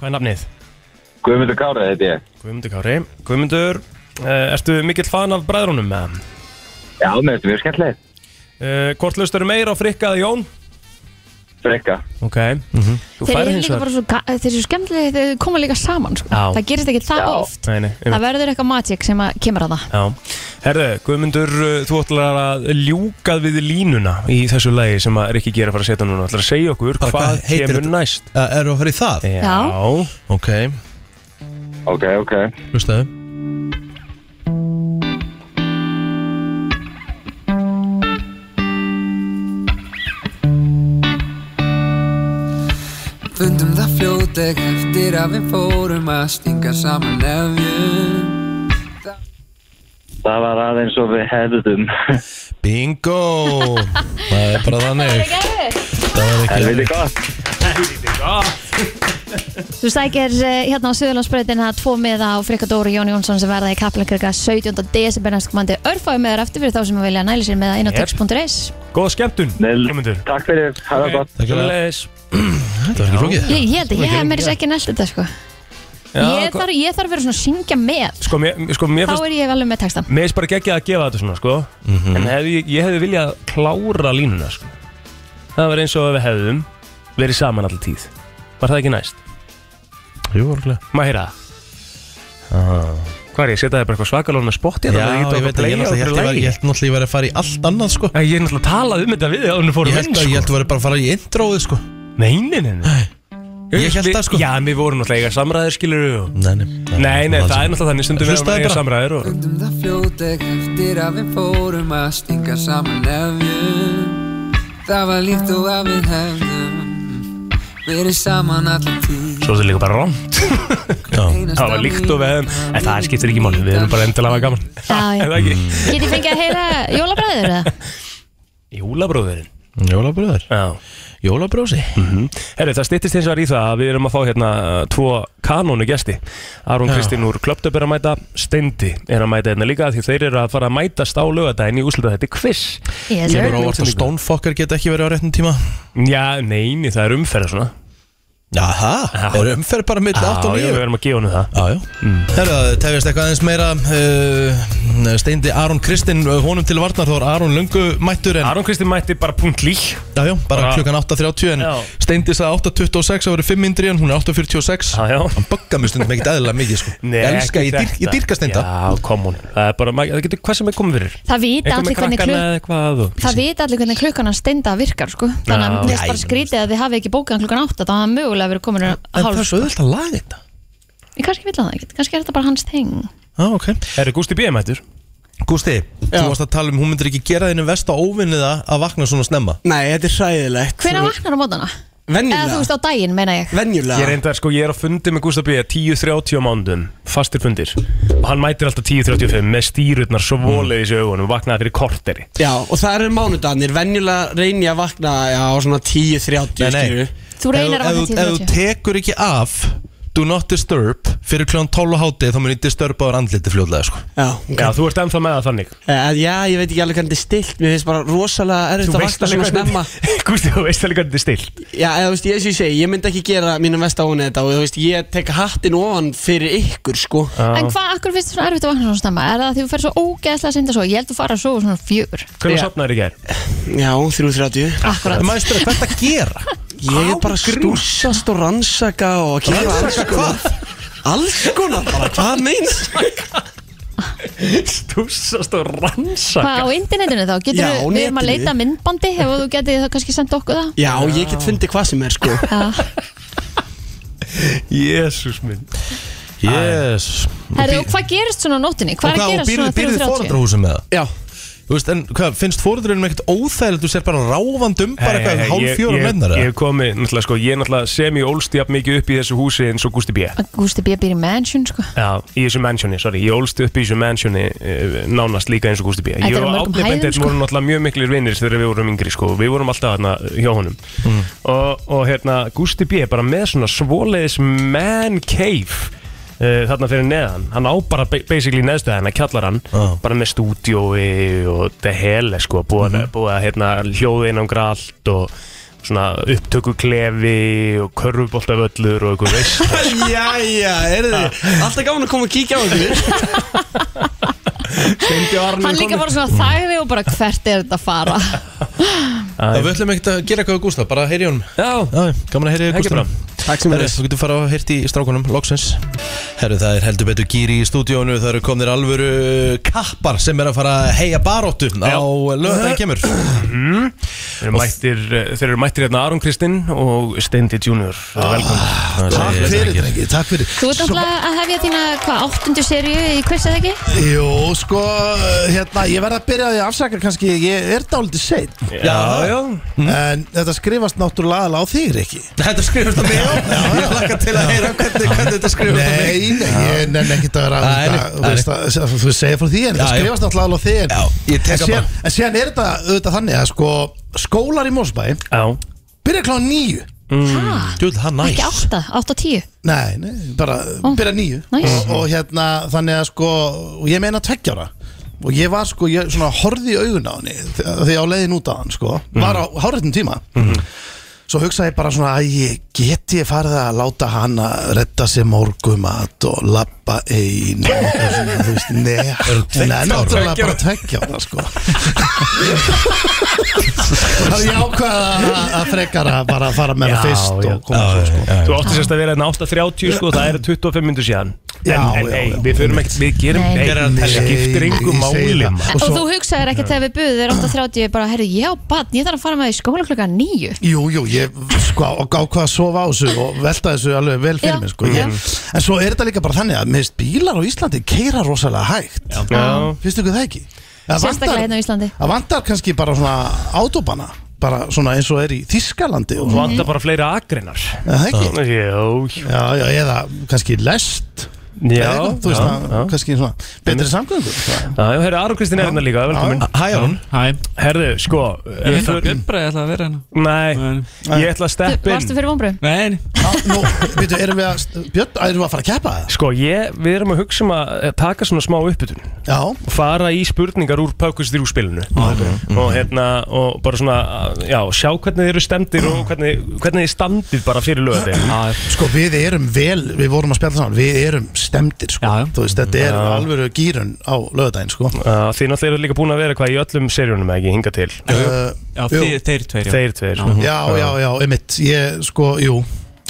hvað er nafnið?
Guðmundur Kára, þetta ég.
Guðmundur Kári Guðmundur, uh, ertu mikill fan af bræðrunum með
Já, með þetta mjög skemmtilegt.
uh, Hvort löstur meira á Frikka eða Jón? Mhm.
Frekka.
Ok, þú
þeir
færið
eru
hins
líka
vegar
bara svo, ga- þeir eru svo skemmtilega þeir koma líka saman sko.
Já.
Það gerist ekki það oft
Nei, nei, einmitt.
Það verður eitthvað magic sem að kemur að það
Já, herðu, Guðmundur, uh, þú ætlar að ljúka við línuna í þessu lagi sem að Rikki Geir er að fara að setja núna, ætlar að segja okkur
Bara
hvað,
hvað heitir
kemur
þetta?
næst.
Uh, Erum við að fara í það?
Já.
Ok,
Ok, ok.
hlustaðu
Fundum það fljótleg eftir að við fórum að stinga saman nefjum
Það var aðeins og við hefðum.
Bingo Það er bara
Eh.
þannig Það var ekki
Helviti gott.
Þú sækir eh, hérna á Suðurlandsbreytina tvo miða á Frikka Dóru Jón Jónsson sem verða í Kaplankirka 17. desember næstkomandi örfáðu meðar eftir fyrir þá sem að vilja næli sér meða inn á
Yep.
tex.is
Góða skemmtun,
Nel,
Guðmundur.
takk fyrir. Hafa það gott.
Takk fyrir það.
Sömuleiðis.
Þetta var ekki flókið
Ég, ég held að ég hef meira sér ekki nælt þetta sko
Já,
ég,
hva-
þarf, ég þarf verið svona að syngja með
Sko, mér, sko, mér
Þá
finnst,
er ég alveg með textan
mér finnst bara geggjað að gefa þetta svona, sko,
Mhm.
en hef, ég, ég hefði viljað klára línuna, sko. Það var eins og að við hefðum verið saman alltaf tíð. Var það ekki næst?
Jú, orðlega
Má heyra það? Hvað er ég, setja það bara eitthvað svakalón með spotti?
Já, ég veit að ég náttúrulega held ég var- ég held náttúrulega ég var að fara í allt annað sko
Ég er náttúrulega talað um þetta við áður en við
Ég
fórum
held
inn
að ég
sko.
held að vera bara að fara í introðu sko
Nei, nei, nei, nei.
Ég held það, sko.
Já, en við vorum náttúrulega eiga samræðir skilur við og...
Nei, nei,
Nei, nei, það er náttúrulega þannig stundum við vorum
Hlustaðu
eiga
bara.
samræðir og...
Fundum það fljótleg eftir að við fórum að stinga saman nefjum Það var líkt og að við hefðum verið saman allan tíð
Svo er þetta líka bara rámt Það var líkt og við hefum En það skiptir ekki máli, við erum bara endilega að hafa gaman
Já, já.
Er það
Mm.
ekki?
Get ég fengið að heyra jólabræður eða?
Jólabróðurinn
Jólabröður
Já
Jólabrósi
Mm. Herri, það styttist hins vegar í það að við erum að fá hérna uh, tvo kanónu gesti Aron Kristín úr Klöptöp er að mæta Steindi er að mæta hérna líka því þeir eru að fara að mætast á lögadaginn í úslita þetta quiz
Yes,
Ég
sir.
er óvart að Stonefucker get ekki verið á réttum tíma
Já, neini, það er umferða svona
Jaha,
Já.
er umferð bara milli 8
Já, Mm.
og
já,
9
við erum að gefa hennu það
Jájá Herra, það tefjast eitthvað aðeins meira uh, Steindi Aron Kristinn uh, honum til varnar Þó er Aron lungu mættur en
Aron Kristín mætti bara punkt lík
Jájá, bara
Bara-
klukkan 8.30 en
Já.
Steindi sagði 8.26 Það voru 5 mindri en hún er 8.46
Já, já
Hann bugga mér stundum ekkert eðlilega mikið sko Ég elska, ég, dýr, ég dýrka Steinda
Já, kom hún Það er bara, maður- það getur hvað sem er komið fyrir
Það vita
Eitthvað með
allir
krakkana
hvernig klukkan
eða eitthvað og-
Það vita allir hvernig klukkan að steinda virkar sko Þannig að
Já.
mér er bara skrítið að þið hafi ekki bókað hann klukkan 8 þá hafa mögulega verið komin
En það er
hálf
svo öðvöld að laga þetta
Ég kannski vil að það ekki, kannski er þetta bara hans þing
Já, ok
Eru Gústi B. mættur?
Gústi, þú varst að tala um hún myndir ekki gera þínu vest á óvinniða að vakna svona snemma
Nei, þetta er hræðilegt
Hvenær vaknar á mótana? Eða þú veist
Venjulega
á daginn meina ég
Ég
Venjulega
reyndar, sko, ég er á fundi með Gústa B. 10.30 á mándum, fastir fundir og hann mætir alltaf 10.35 með stýrutnar svo voleiðis í augunum og vaknaði fyrir korteri
Já, og það eru mánudagarnir Venjulega reyni ég að vakna Já, á svona 10-30
Nei, nei.
skilurðu.
Þú reynir
Ef-
að
ef
vakna
þú- Ef þú
10.30
tekur ekki af Do not disturb Fyrir kljóðan 12 á hátið Þá mun ég disturba á andliti fljóðlega sko.
Já, ok
Já, þú ert ennþá með það þannig
Eh, Já, ég veit ekki alveg hvernig þetta er stilt Mér finnst bara rosalega erfitt að vakna svona snemma
Gústi, þú veist alveg hvernig þetta er stilt
Já, eða þú veist, ég, eins og ég segi, ég myndi ekki gera mínum vest á hún þetta og þú veist, ég tek hattin ofan fyrir ykkur, sko
En hvað, akkur finnst þér svona erfitt að vakna svona snemma? Er það að því þú fer svo ógeðslega senda svo? Ég held að fara að sofa svona fjögur
Hvernig
Já.
sopnaði þér í gær?
Já, 330
Akkurat
Maður spyrir hvað er þetta að gera
Ég er bara að stúsast og rannsaka og að gera alls konar Alls konar bara, hvað meins?
Stúsast og
Hvað á
rannsaka
internetinu þá? Getur
Já, á
við, við erum að
netinu.
leita að myndbandi hefur þú getið það kannski sendt okkur það?
Já, ég get fundið hvað sem er sko
Já.
Jésús minn
Jésús
Herru, og hvað gerist svona á nóttinni? Hvað er að gerast svona
Býrðu þið
3.30?
fóreldrahúsum með það?
Já
Þú veist, en hvað, finnst fóreldrarinn ekkert óþægilegt Þú sér bara ráfandum, bara eitthvað hálf fjóra mennar
Ég hef komið, náttúrulega sko, ég er náttúrulega semi-ólst jafn mikið upp í þessu húsi eins og Gústi B
Gústi B. býr í mansion sko
Já, í þessu mansioni, sorry, ég ólst upp í þessu mansioni uh, nánast líka eins og Gústi B
Þetta
Ég
er á
og
mörgum
Árni
hæðum,
Benedikt
sko.
vorum náttúrulega mjög miklir vinnir þegar við vorum yngri, sko Við vorum alltaf hérna hjá honum og, og hérna, Gústi B er bara með svona svoleiðis man cave uh, þarna fyrir neðan Hann á bara ba- basically neðstu hérna, kjallar hann Bara með stúdiói og the hell, sko Búið, mm. búið að hérna hljóðinangra allt og svona upptökuklefi og körfuboltavöllur og eitthvað veist
Jæja, er þið Alltaf gaman að koma og kíkja á okkur
Hann líka bara svona þægði og bara hvert er þetta að fara
Það við ætlum ekkert að gera eitthvað á Gústa, bara að heyri honum
Ah, Já,
Já, gaman að heyri
Ekki
Gústa
bara.
Takk sem
Herru,
er
þú getur fara að heyrti í strákunum, loksins Herru, það er heldur betur gýri í stúdíónu Það eru komnir alvöru kappar sem er að fara að heia baróttu á lögðan kemur
Þeir eru mættir, eh, þeir eru mættir hérna Aron Kristinn og Steindi Junior
Ah.
Velkomin
Takk
fyrir drengi, takk fyrir
Þú ert náttúrulega að hefja þína hvað áttundu serju í quiz eða ekki?
Jú, sko, hérna, ég verð að byrja á því að afsaka kannski, ég er dálítið sein
Já, já
En þetta skrifast náttúrulega aðalega á þig, Rikki
Þetta skrifast á mig á Ég lakka til að heyra hvernig, hvernig þetta skrifast á mig
Nei, nei, ég nenn ekkert að vera
Nei, nei,
að- þú veist
nei.
að- að- Þú segir frá því, en
Já,
þetta
já.
skrifast náttúrulega aðalega á þig en-
Já, ég
En
teka
síðan-
bara
en síðan er þetta auðvitað þannig að sko Skólar í Mósbæ
Já,
byrja klá nýju
Ha,
Djúl, það næs
ekki átta, átta og tíu
Nei, nei, bara byrja nýju
Næs.
og, og hérna, þannig að sko og ég meina tveggjára og ég var sko, ég svona horfði í augun á henni þegar ég á leiðin út á hann sko var
Mhm.
á háréttum tíma svo hugsaði ég bara svona að ég geti ég farið að láta hann að redda sér morgumat og labba ein og eitthvað svona, þú veist, nei hún er náttúrulega bara tveggjára sko þannig ég ákvaða að frekara bara að fara með
Já,
það fyrst
já.
og koma svo sko
þú átti sérst að vera hérna 8.30 sko, það er 25 minnur síðan
Já,
En, en
já,
nei,
já.
við förum ekkert, við gerum
Nei.
nei,
Nei,
Það skiptir engu
ég segi
máli
það.
maður.
Og
Og
svo-
þú hugsaðir ekkert þegar við buðum þér 8.30 bara, herru, ég á badn, ég þarf að fara með í skóla klukkan nýju
Jú, jú, ég sko á- ákvað að sofa á þessu og velta þessu alveg vel fyrir
Já,
mér sko. ég, En svo er þetta líka bara þannig að minnst bílar á Íslandi keira rosalega hægt
Já.
Finnst ykkur það ekki? Það
Sérstaklega hérna á Íslandi.
Það vantar kannski bara svona autobana bara svona eins og er í Þískalandi og
Þú
svona,
vantar bara fleira agreinar
er það ekki?
Jó,
Já, já, eða kannski lest
já,
eða, eitthvað, þú
já,
veist það,
já.
kannski svona betri samgöngur
Já, já, herri, Aron Kristinn er hérna líka, velkomin
Hæ, Jón
Hæ
Herðu, sko, ef
Ég
við
hef
förum-
Björn bara, ég ætla að vera hérna
Nei, ég ætla að
Þú-
steppa
Varstu
inn
fyrir vonbröðum?
Nei,
Nú, veitu, erum við að Björn, erum við að fara að keppa það?
Sko, ég, við erum að hugsa um að eh, taka svona smá uppbytun
Já,
fara í spurningar úr Pökkus 3 spilinu
Ah,
og
Mhm.
hérna og bara svona, já, sjá hvernig þið eru stemdir og hvernig, hvernig þið standið bara fyrir löðin
Sko við erum vel, við vorum að spjalla saman Við erum stemdir sko
Já, já.
Þú veist, þetta er alvöru gýrun á lögadaginn sko
Þið náttúrulega eru líka búin að vera hvað í öllum seríunum eða ekki hinga til
uh,
já,
Jú.
þeir, þeir tveir já.
Þeir tveir
Já, já, já, emitt Ég, sko, jú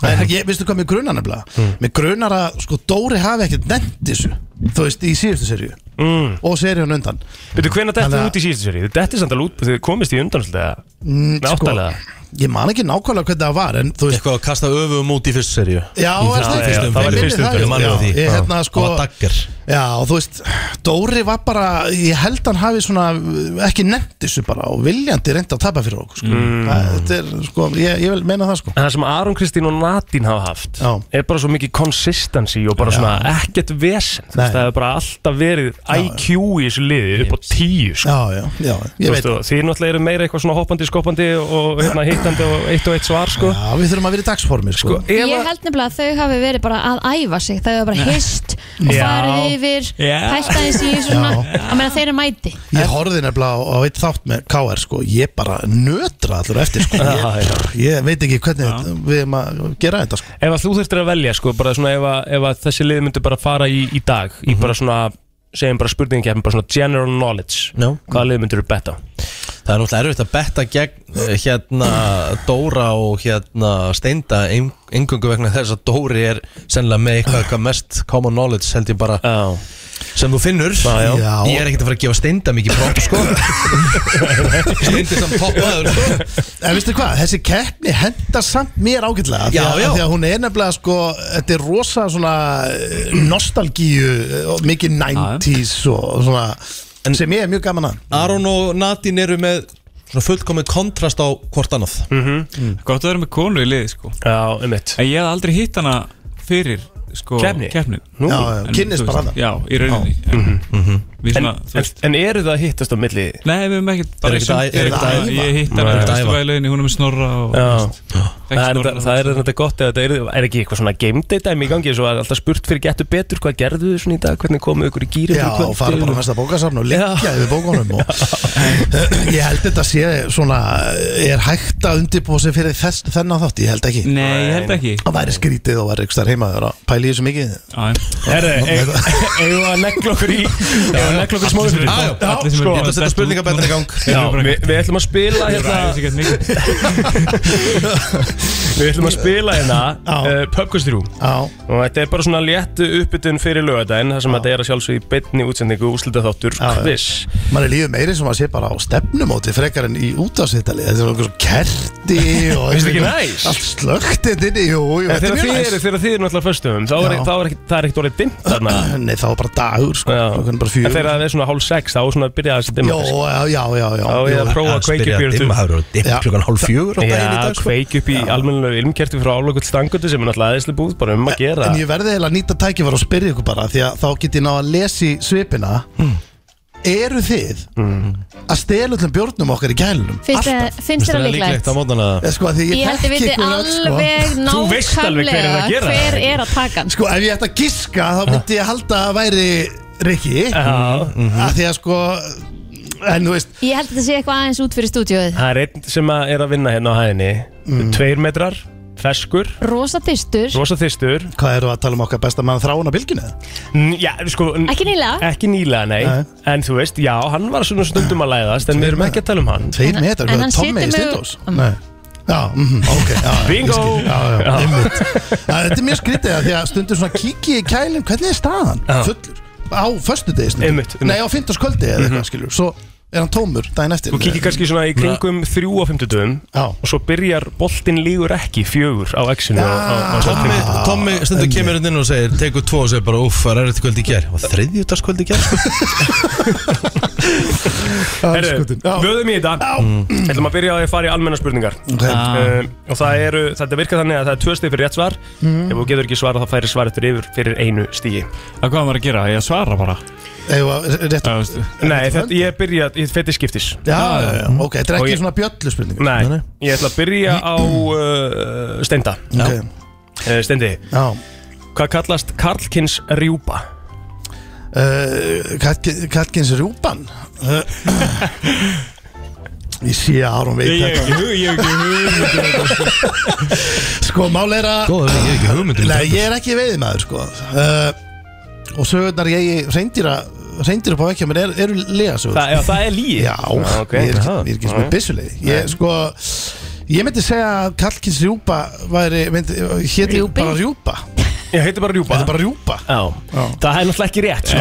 En ég, veistu hvað mér grunar nefnilega? Mér grunar að, sko, Dóri hafi ekkert nefnt þessu Þú veist, í síðustu serju
Mm.
Og seríun undan
Veitu, hvernig dettu
Þannig að-
þið út í síðustu séri? Þið dettið samt alveg út, þið komist í undanslutlega
mm,
Náttalega
Ég man ekki nákvæmlega hvernig það var En, þú veist,
Eitthvað að kasta öfum út í fyrstu serju
já, er
já,
það
já,
ekki? Ég
það var í
minni
fyrstu
það,
umferð,
já,
Ég man
já,
eftir því.
Ég, hérna, sko
Og að dagger
Já, og þú veist, Dóri var bara, ég held hann hafi svona uh, ekki nefnt þessu bara og viljandi reyndi að tapa fyrir okkur, sko. Það, þetta er, sko, ég, ég vil meina það, sko.
En það sem Aron Kristín og Nadín hafa haft
Já.
er bara svo mikið consistency og bara svona ekkert vesen Þú veist,
Nei.
Það hefur bara alltaf verið IQ í þessu liði upp á tíu sko.
Já, já, já, ég veit.
Veistu, þið náttúrulega eru meira eitthvað svona hoppandi, skoppandi og hérna, hittandi og eitt og eitt svar sko.
Já, við þurfum að vera í dagsformi, sko.
Sko, ef
Ég
að-
held nefnilega að þau hafi verið bara að æfa sig Þau hafi bara hist og
Já.
farið yfir
Já.
Hætta eins í svona Að meina þeir eru mæti
Ég horfði nefnilega á- á eitt þátt með KR, sko, ég bara nötra allur eftir, sko.
Já, já.
Ég, ég veit ekki hvernig þetta, við erum að gera þetta, sko.
ef að þú þurftir að velja sko, bara svona ef að, ef að þessi lið myndi bara fara í, í dag
Mhm.
í bara svona, segjum bara spurningin hérna, bara svona general knowledge
Já.
hvaða lið myndir þú betta?
Það er náttúrulega erfitt að betta gegn eh, hérna Dóra og hérna Steinda engöngu vegna þess að Dóri er sennilega með eitthvað hvað mest common knowledge held ég bara
Já,
sem þú finnur já, já. Ég er ekkert að fara að gefa steinda mikið prop sko. Steindi samt toppaður sko.
En veistu hvað, þessi keppni hendar samt mér ágætlega af því
Já,
að-
já.
af Því að hún er nefnilega sko, þetta er rosa svona eh, nostalgíu og mikið 90s og svona sem ég er mjög gaman að
Aron og Nadine eru með svona fullkomið kontrast á hvort annað mm -hmm.
Gott að vera með konu í liði sko
Já, einmitt
En ég hef aldrei hitt hana fyrir sko
Keppni?
Kefni
Nú. Já, já, kynnist bara
Já, í rauninni
Já. Mhm, mhm.
Við
En,
svona, þú
en, en eru það að hittast á milli?
Nei, við höfum ekkert bara
Er
sem-
ekkert
bara-
að æfa?
Ég hitt
Nei.
hana í
Ekkert að æfa.
festivalinni, hún er með snorra og
Já.
Þekkt
Það er,
snorra.
það er þetta gott eða þetta er, er ekki eitthvað svona game day dæmi í gangi svo er alltaf spurt fyrir getur betur hvað gerðu þið svona í dag hvernig komuðu ykkur í gýri
Já, og fara bara á næsta bókasafn og liggja yfir bókunum og ég held þetta sé svona eh, er hægt að undirbúa sig fyrir þess, þennan þátt, ég held ekki
Nei, ég held ekki
Það væri skrítið og væri ykkur stær heima þegar að pæli í þessu mikið
Herre, e- eigum við að negla okkur í eigum við að negla okkur í smóðu fyrir
Já, já.
Já,
Ég
sko.
ætla að setja spurningabendur í gang.
Já, við við ætlum að spila hérna Við ætlum að spila hérna uh, Pöpkustrú og þetta er bara svona létt uppbytun fyrir lögadaginn þar sem þetta er að sjálfsög í beinni útsendingu úslita þáttur quiz
Man er lífið meiri sem að sé bara á stefnumóti frekar en í útafsýttali Þetta er okkur svo kerti og
Finnst þér ekki næs?
Allt slögt þetta inni, jú, jú,
En
þetta er
þegar
mjög
þið
næs
eru þegar þið eru náttúrulega föstum þá er,
Já.
þá er ekki, það er ekkert orðið dimmt þarna
Ah, Nei, þá er bara dagur sko,
en
bara fjögur.
þegar það er svona hálf sex þá er svona að byrja að þessi dimma sko.
Jó, já, já, já, já
Þá er ég að prófa að kveikja upp í
dimma, það hefur verið dimmt klukkan hálf fjögur á daginn í dag,
Já,
sko.
kveikja upp í almennilegu ilmkerti frá álokull stangutu sem er náttúrulega aðeinslega búð bara um að gera
En ég verði eiginlega að nýta tækifar og spyrja ykkur bara Því að þá get ég ná að lesi svipina
Hmm.
Eru þið að stela öllum bjórnum okkar í gælunum?
Finnst þér- finnst þér það líklegt?
á mótana
Eða sko, því
Ég,
ég,
held að við
þekki
þið
ykkur öll, sko.
alveg nákvæmlega hver er að taka hann
Sko, ef ég ætti að giska, þá myndi ég halda að væri Rikki
Já. Mhm.
Af því að sko, en þú veist
Ég held að þetta sé eitthvað aðeins út fyrir stúdíóið
Það er einn sem að er að vinna hérna á hæðinni
Mm.
Tveir metrar, feskur
Rosa þystur
Rosa þystur
Hvað eru að tala um okkar besta mann þráin á bylginu?
Já, sko n-
Ekki nýlega
Ekki nýlega, nei En þú veist, já, hann var svona stundum að læðast En við erum ekki að tala um hann
Tveir
En- en
metrar,
hvað, hann Tommy situr í með- Um. Steindós?
Nei Já, mhm, ok já, ég
Bingo!
skil, Já, já,
Já.
einmitt Já, Þetta er mjög skrítið að því að stundum svona kiki í kælinn Hvernig er staðan?
Já.
Fullur Á föstudegi stundum
Einmitt, einmitt.
Nei, á fimmtárskvöldi eða eitthvað skilur Svo er hann tómur daginn eftir
Þú kikið kannski svona í kringum þrjú á fimmtudum Og svo byrjar boltinn lígur ekki fjögur á exinu á, á, á
Tommy, Tommy stundu
einmitt.
kemur hérna inn og segir tekur tvo og segir bara uff, það er þetta kvöld í ger og þriðjútaskvöld í sko? ger
Herru, vöðum í þetta Við ætlum að byrja á því að fara í almenna spurningar
Mm. Ok.
um, Og það eru, þetta virkar þannig að það er tvö stig fyrir rétt svar
Mhm.
Ef þú getur ekki svarað þá færi svarið fyrir yfir fyrir einu stigi
Að hvað maður að gera? Ég að svara bara
Eða, rétt
Nei, þetta, ég byrja, ég fætti skiptis
Já, já, já, ok, þetta er
Og
ekki
ég-
svona bjöllu spurning
Nei, ég ætla að byrja á uh, Steinda
Ok.
uh, Steindi
Já.
Hvað kallast Karlkins rjúpa?
Eh, Katkins Rjúpan Eh, Ég sé að Aron veit
Ég hef ekki hug- ég hef ekki
hug Sko, mál er að
Góður, ég hef ekki hugmynd um
Nei,
þetta.
ég er ekki veiðmaður, sko uh, Og sögurnar ég í reyndýra Reyndýra på vekkja, menn er, eru lega sögur
Það- já, það er lygi?
Já,
Já, ok.
ég er ekki,
Já.
ég er ekki svona
Já.
byssulegi Ég, sko, ég myndi segja að Karlkins Rjúpa væri myndi, Héti bara Rjúpa
Ég heiti bara rjúpa
Þetta er bara rjúpa
Já, það er náttúrulega ekki rétt sko.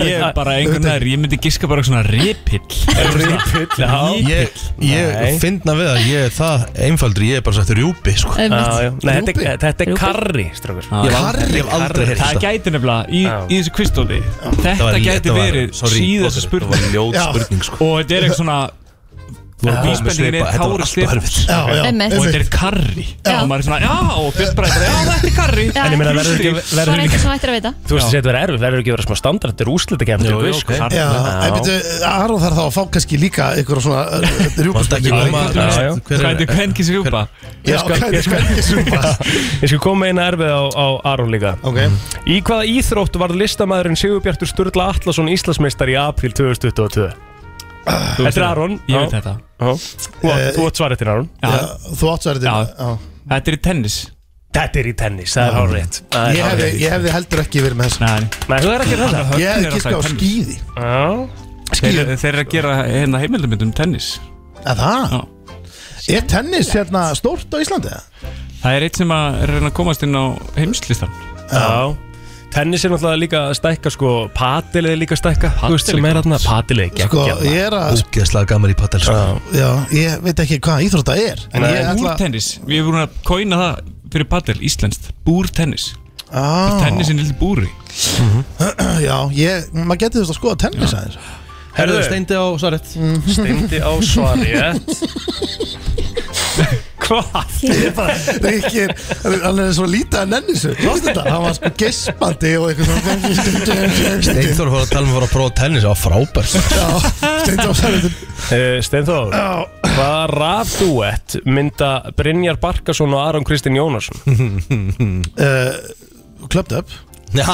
Ég er bara einhvern veginn Ég myndi giska bara svona ripill
Eh, Ripill, já
Ég, ég finna við að ég er það einfaldri, ég er bara sagt rjúpi sko.
Einmitt. Já, já. Nei,
þetta er- Rjúpi? þetta er Rjúpi? karri, strákur.
Ég hef aldrei- ég hef aldrei heyrt
Það
þetta.
gæti nefnilega í,
Já.
í þessu kvistóli
Það var
Þetta
lé-
gæti
það var-
verið
sorry,
síðasta
Óskar,
spurning
það var ljót
Já.
spurning, sko.
Og þetta er eitthvað svona
Þú voru komið
Vísbendingin
svipa,
er
þetta var
Kári
allt
Stefáns
erfitt. Já, já. Einmitt.
Og þetta er karri
Já.
Og maður er svona, já, og Björn Bræði bara, já, þetta er karri
Já. En ég meina, verður
ekki-
Það er eitthvað sem ættir að vita
Þú veist að þetta er erfið, verður ekki að vera smá standard Þetta er úslita kemur
Jú, jú, ok.
Já, en byrju, Aron þarf þá að fá kannski líka einhverja svona eh, rjúpaspurningu.
kvenkins rjúpa?
Já, hvað er kvenkins rjúpa?
Ég skal koma eina erfið á, á Aron líka
okay.
Í hvaða íþrótt varð listamæðurinn Sigurbjartur Sturla Atlason Íslandsmeistar í april 2022? Ah. Þetta er Aron
Ég veit
Já.
þetta.
Já. Þú átt- Þú átt svarið til Aron
Þú átt sverðið
Þetta er í tennis
Þetta er í tennis, það er
Já.
hárrétt Það er
Ég hefði,
hárrétt.
ég hefði heldur ekki verið með þessu
Ah, Nei, þú er ekki með það
Ég hefði giska á skýði
Þeir, þeir eru að gera hérna heimildamöndum tennis
Að það? Er tennis hérna stórt á Íslandi? eða?
Það er eitt sem að er að reyna að komast inn á heimslistan
Já.
tennis er náttúrulega líka að stækka sko, padel er líka að stækka
Padel
Þú veist sem er þarna, padel er
Sko,
geggjað, maður.
ég er að-
Ógeðslega gaman í padel sko.
Já, ég veit ekki hvað íþrótt það er En ég ætla
Búrtennis, við erum búin að kóina það fyrir padel, íslenskt, búrtennis
ah.
Tennisin er til búri
Já, ég, maður getur þess að skoða tennis aðeins
Herðu, steindi á svaret
Steindi á svarið. Hvað?
Ég er bara, Rikki er, hann er svo lítið að nenni þessu Þú veist þetta, hann var sko gespandi og eitthvað svona
Steinþór fór að tala um að fara að prófa tennis Það var frábær
Eh, Steinþór, hvaða rafduett mynda Brynjar Barkason og Aron Kristinn Jónasson?
Eh, Klöpt upp
Já,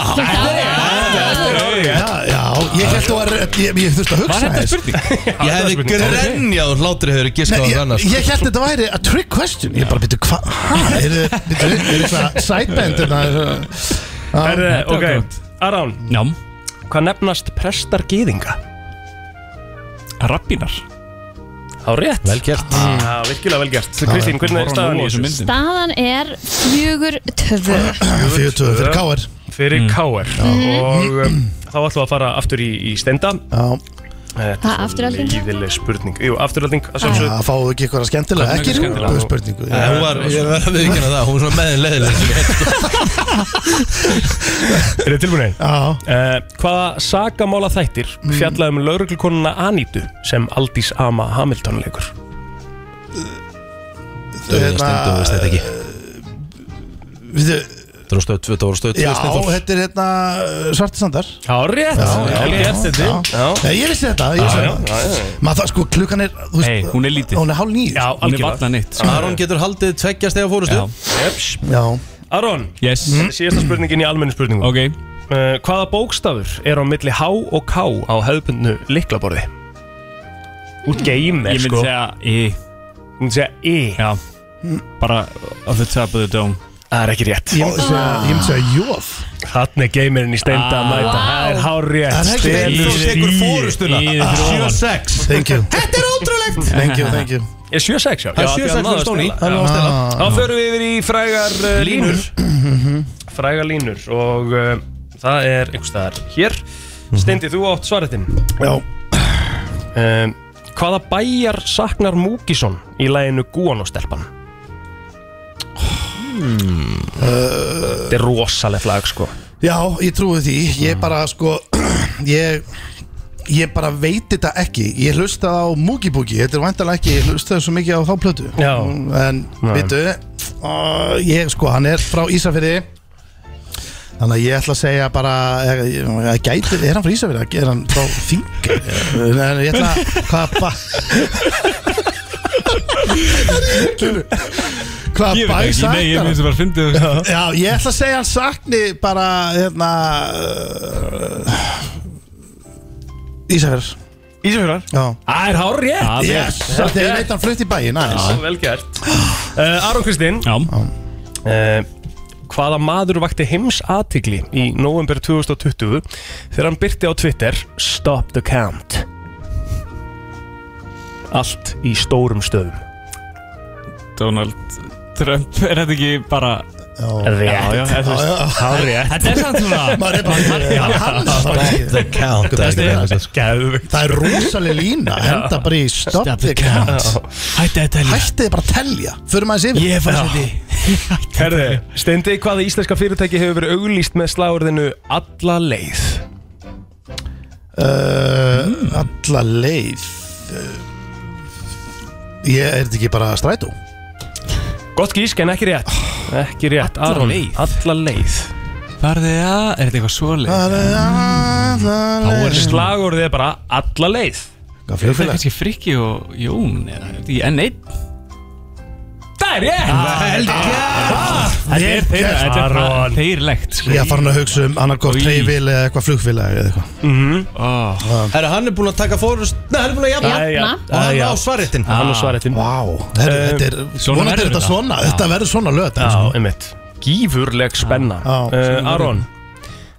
já, ég held þú að, ég, ég þurfti að hugsa
Var þetta
aðeins.
Ég hefði grenjað og hlátri hefur giskað á
Nei,
það
ég,
annars sko.
ég held þetta væri a trick question Ég bara byrju hvað Er þetta sideband hérna, er það- Já.
Herðu, ok, Aron
Já
Hvað nefnast prestar gýðinga?
Rappinar
Á rétt Vel
gert
Já, virkilega vel gert Kristín, hvernig er staðan í þessu?
Staðan er fjögur tvö
Fjögur tvö fyrir KR.
Mm.
Fyrir K.R. Og um, þá ætlum við að fara aftur í, í stenda Eh,
Já
Þetta
Ha, afturhalding?
líðileg spurning Jú, afturhalding að sjálfsögðu.
Já, fáðu ekki eitthvað skemmtilega Ekki rúpa spurningu
Nei, Hún var, ég verði að viðkynna það Hún var svona meðin leðileg
Er þið tilbúinir?
Já Mm.
Hvaða sagamála þættir fjallaðum lauruglukonuna Anítu sem Aldís Ama Hamilton leikur?
Hérna,
Steindu, veist þetta ekki
Við
Það voru stöð 2, það voru stöð 2
Já, þetta er hérna svartisandar
Já, rétt Vel gert, Steindi. Já.
Nei, ég vissi þetta,
Já,
ég vissi
já,
þetta.
já, já.
Maður það sko, klukkan er þú veist,
hún er lítið
Hún er hálf nýr
Já,
Hún er varla neitt, sko.
Hérna, Aron getur haldið tveggja steg fórustu
Jeps.
Já
Aron,
yes.
síðasta spurningin í almennu spurningum
Ok
uh, Hvaða bókstafur er á milli H og K á hefðbundnu liklaborði? Út geimer,
Ég myndi
sko
segja í
Hún myndi segja E. í
Já Bara of the top of the dome
Það er ekki rétt
Ég myndi segja, ég myndi segja jóf
Þannig er geimerinn í steinda að mæta Það er hár
Það
rétt
er ekki rétt.
Þú tekur fórustuna
Í- í- fyrir ofan.
7-6
Thank you
Þetta er ótrúlegt
Thank you, thank you
Er 7-6 já?
Það er
Já, því
7-6
að
fyrir
náðist
Stóni.
til að-
Hann náði að stela.
Þá förum við yfir í frægar uh, línur
Mhm.
Frægar línur og uh, það er einhvers staðar hér
Mhm.
Steindi, þú átt svaretinn
Já
um, Hvaða bæjar saknar Múkisson í læginu Guanostelpan?
Hmm.
Þetta er rosalegt lag sko
Já, ég trúi því
Ah.
Ég bara sko Ég Ég bara veit þetta ekki Ég hlustaði á Moogie Boogie Þetta er vantanlega ekki Ég hlustaði svo mikið á þá plötu
Já.
En,
Nei.
veitu uh, Ég sko, hann er frá Ísafirði Þannig að ég ætla að segja bara Er, er, gæti, er hann frá Ísafirði? Er hann frá Þing? En ég ætla að Hvað ba Hvað
Ég veit
bæ
ekki, nei, ég
saknar?
finnst það bara að fyndi það
Já, ég ætla að segja hann sakni bara hérna uh, Ísafjörður
Ísafjörðar?
Já
Það er hár rétt
Yes, þetta er neitt hann flutt í bæinn
Já,
aðeins
vel gert uh, Aron Kristinn
Já
Eh, Hvaða maður vakti heims aðtigli í november 2020 þegar hann byrti á Twitter Stop the count Allt í stórum stöðum
Donald Trump Er þetta ekki bara
Já,
Já, já, þú veist
Hár rétt
Þetta er samt svona
maður er bara hann er bara ekki-
The count það er ekki meira sér.
Geðveikt.
Það er rosalega lína, henda bara í stop the count
Hætti þetta líka
Hættið bara að telja, förum aðeins yfir Ég fann þetta
Herði, Steindi, hvaða íslenska fyrirtæki hefur verið auglýst með slagurðinu Alla leið
Uh, Alla leið uh, Ég er þetta ekki bara strætó
Gott gísk en ekki rétt Ekki rétt,
Alla
Aron
leið.
Alla leið
Farði að Er þetta eitthvað svoleið?
Alla
Þá er slag
Slagurðið er bara Alla leið
Hvað
Er þetta
flugfélag?
kannski Frikki og Jón eða er þetta í N1?
Það er rétt Ah,
Þetta er þeirra, þetta er bara
Aron.
þeirlegt sko.
Ég er farin að hugsa um annarkort
Í.
treyfil eða eitthvað flugfélag eða eitthvað
Ó,
Herra, hann er búinn að taka fórust Nei, hann er búinn að jafna
Jafna.
Æ, já.
Og hann
Æ, já.
á svarréttin
Hann og svaretinn
Vá, herru, þetta er,
svona
vonandi
verður
er þetta
þetta.
svona, þetta verður svona lög þetta,
Já,
sko.
einmitt Gífurleg spenna
Já,
uh, Aron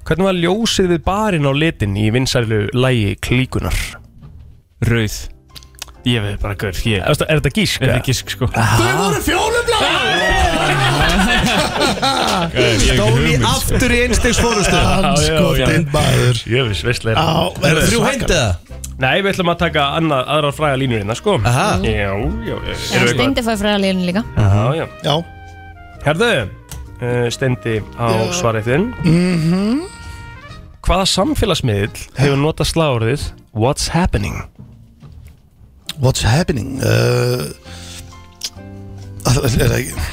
Hvernig var ljósið við barinn á litin í vinsælu lægi klíkunar?
Rauð Ég veit bara gaur, ég
Er, er þetta gísk?
Er þetta gisk sko
Þau voru fjólubláð Stól í aftur í einstegs fórustu Anskotinn sko, maður
Jöfis, veistlega
Á, er það þrjú heind eða?
Nei, við ætlum að taka annað, aðrar fræga línur hérna, sko Aha Já, já, já
Já, Steindi fóði fræðalíðinu líka
Já, já
Já
Herðu, uh, Steindi á
Já.
svarið þinn
Mhm
Hvaða samfélagsmiðl hefur notað slagurðið What's happening?
What's happening? Uh, Það það- er það ekki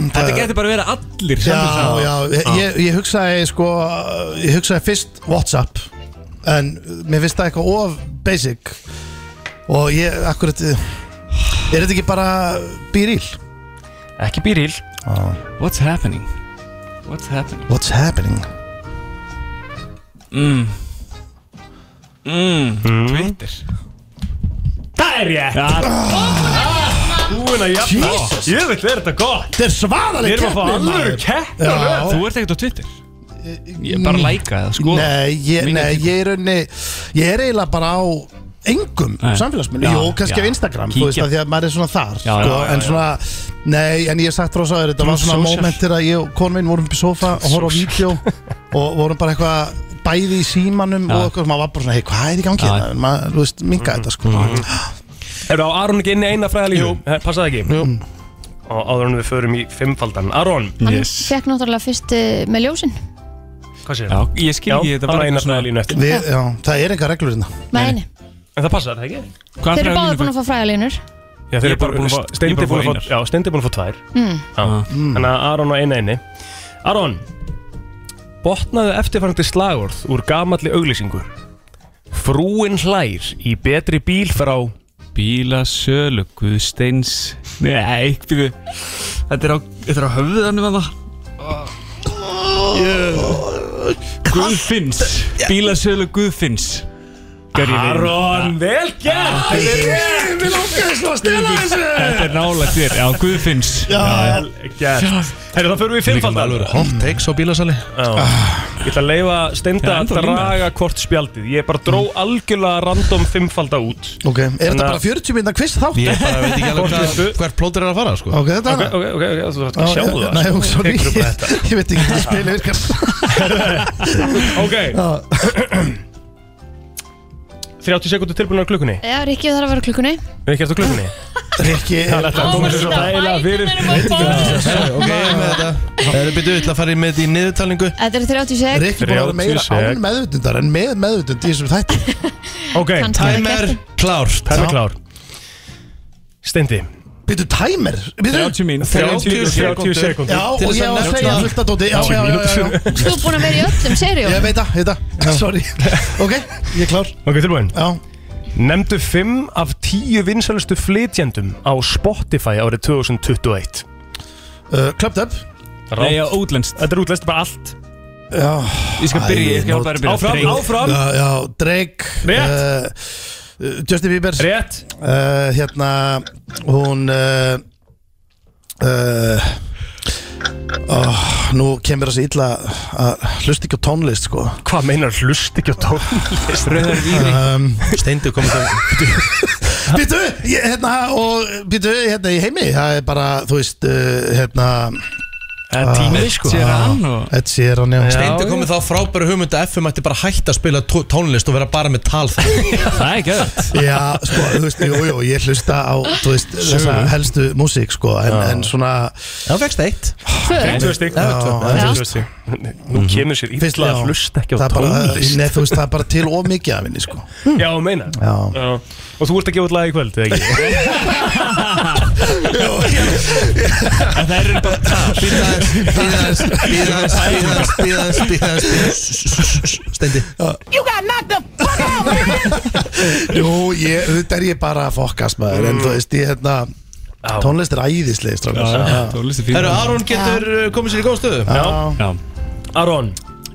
Þetta getur bara verið allir
Já, já, ég,
ég,
ég, ég hugsaði sko Ég hugsaði fyrst Whatsapp En mér finnst það eitthvað of basic Og ég, akkurat Er þetta ekki bara býrýl?
Ekki býrýl
What's happening? What's happening?
What's happening?
Mm. Mm. Twitter
Það er ég Búin að jafna
Jesus.
Jöfis, er þetta gott
Þetta er svaðaleg
Við erum að fá
keppni,
alvöru
maður.
keppni
Já.
á röð.
Þú ert ekkert á Twitter Ég bara læka það, sko
Nei, ég, nei, ég er unni Ég er eiginlega bara á engum
Nei.
samfélagsmiðlum,
Já,
Jó, kannski
já.
á Instagram, þú veist
Kíkja.
að því að maður er svona þar
Já,
sko,
já, já,
En
já.
svona, nei, en ég hef sagt rosaður Þetta var
True
svona
social.
momentir að ég og konu minn vorum upp í sofa og horfum á vídeo og vorum bara eitthvað bæði í símanum
Já.
og eitthvað sem maður var bara svona, hei, hvað er í gangi þetta? Maður, þú veist, minga þetta sko
Mhm.
Eru á Aron ekki inn í eina fræða línu? Jú Passa það ekki? Jú
Mm.
Og áður en við förum í fimmfaldan Aron
Hann fekk náttúrulega fyrst eh, með ljósin
Hvað séu það?
Ég skil ekki, þetta var
bara
eitthvað
eina fræða línu eftir
Við, já, það er enga reglur hérna
Með henni
En það passar, það ekki?
Þeir eru báðir búin að fá fræðalínur
Já, þeir
Ég
eru bara búin að fá
ég er
Steindi
bara
búin
búinn
að
að
fá Já, Steindi búin að fá tvær
Mm.
Já. Þannig að Aron og eina einni Aron Botnaðu eftirfarandi slagorð úr gamalli auglýsingu Frúin hlær í betri bíl frá
Bílasölu, Guðsteins Nei, byrju Þetta er á, þetta er á höfðanum að það Guðfinns Bílasölu Guðfinns
Aron, vel gert Þetta er rétt.
Við lókaðum svo að stela
Þetta er nálægt þér, já Guðfinns
Vel gert Herru, þá förum við í fimmfaldan
Hot takes á bílasali
Ég ætla að leifa Steinda Ah.
Já,
að Mm.
ennþá
draga kort spjaldið Ég bara dró algjörlega random fimmfalda út
Ok, er þetta bara 40 minna kvist þátt?
Ég bara veit ekki alveg hvað-
hvert plótur er að fara sko
Ok, þetta er
Ok, ok, ok, ok, þú ætti að sjá það
Nei,
sko.
ok, sorry,
Tekur upp á þetta.
ég veit ekki hvað spila virkar
Ok 30 sekundur tilbúin á klukkunni
Já, Rikki þarf að vera á klukkunni
Við erum gert á klukkunni
Rikki
Það er alltaf að koma sér svo þægilega fyrir
Ok, ég er með þetta Það eru byrjuð til að fara í með þetta í niðurtalningu
Þetta eru 36
Rikki búin að vera meira
36.
án meðutundar en með meðutund í þessum þætti
Ok,
Kannski er það timer gert.
klár
Timer klár Steindi
Býtu tæmer? Býtu-
30 mín- 30 sekúndur. sekúndur.
Já,
Til
og
þess
ég
að
var að
nefna-
segja fullt að dóti Já, já, já, já, já.
Þú er búin að vera í öllum serió
Ég veit það, ég veit það Sorry Ok, ég er klár
Ok, tilbúin
Já
Nemndu 5 af 10 vinsælustu flytjendum á Spotify árið 2021
Uh, Clubbed up
Nei, já, útlenskt
Þetta er útlenskt bara allt
Já
Ég skal byrja, ég skal bara byrja
Áfram,
Drake.
áfram
Já, já, Drake
Rétt.
uh, Justin Bieber
Rétt
uh, Hérna, hún uh, uh, oh, Nú kemur þessi illa að hlusta ekki á tónlist, sko
Hvað meinar hlust ekki á tónlist?
Rauðar víri
um,
Steindu komið það
Býtu, ég- hérna, og býtu, hérna í heimi Það er bara, þú veist, uh, hérna
Það er tímið sko
Séran og
Ed Sheeran, já
Steindu komið þá frábæru hugmyndu FM ætti bara að hætta að spila tó- tónlist og vera bara með tal það
Það er ekki öðvöld
Já, sko, þú veist, jú, jú, ég hlusta á, þú veist, þessa helstu músík, sko En, en svona,
Það fegst eitt
Tvö stík
já,
Tvö stík
Mhm.
Nú kemur sér
fyrst,
illa að hlusta ekki á
það er bara,
tónlist
Nei, þú veist, það er bara til ómikið af henni, sko
Já, meina
Já,
Já. Og þú ert að gefa út lag í kvöld, eða ekki?
Það er bara
Býðaðins, býðaðins, býðaðins, býðaðins, býðaðins, býðaðins Steindi
jú, ég, þetta er ég bara að fokast maður
Mm.
En þú veist, ég, hérna,
Já.
tónlist er æðislega, strákar
Tónlist er fyrir
Herru, Aron getur uh, komið sér í góð stöðu
Já,
Já
Aron,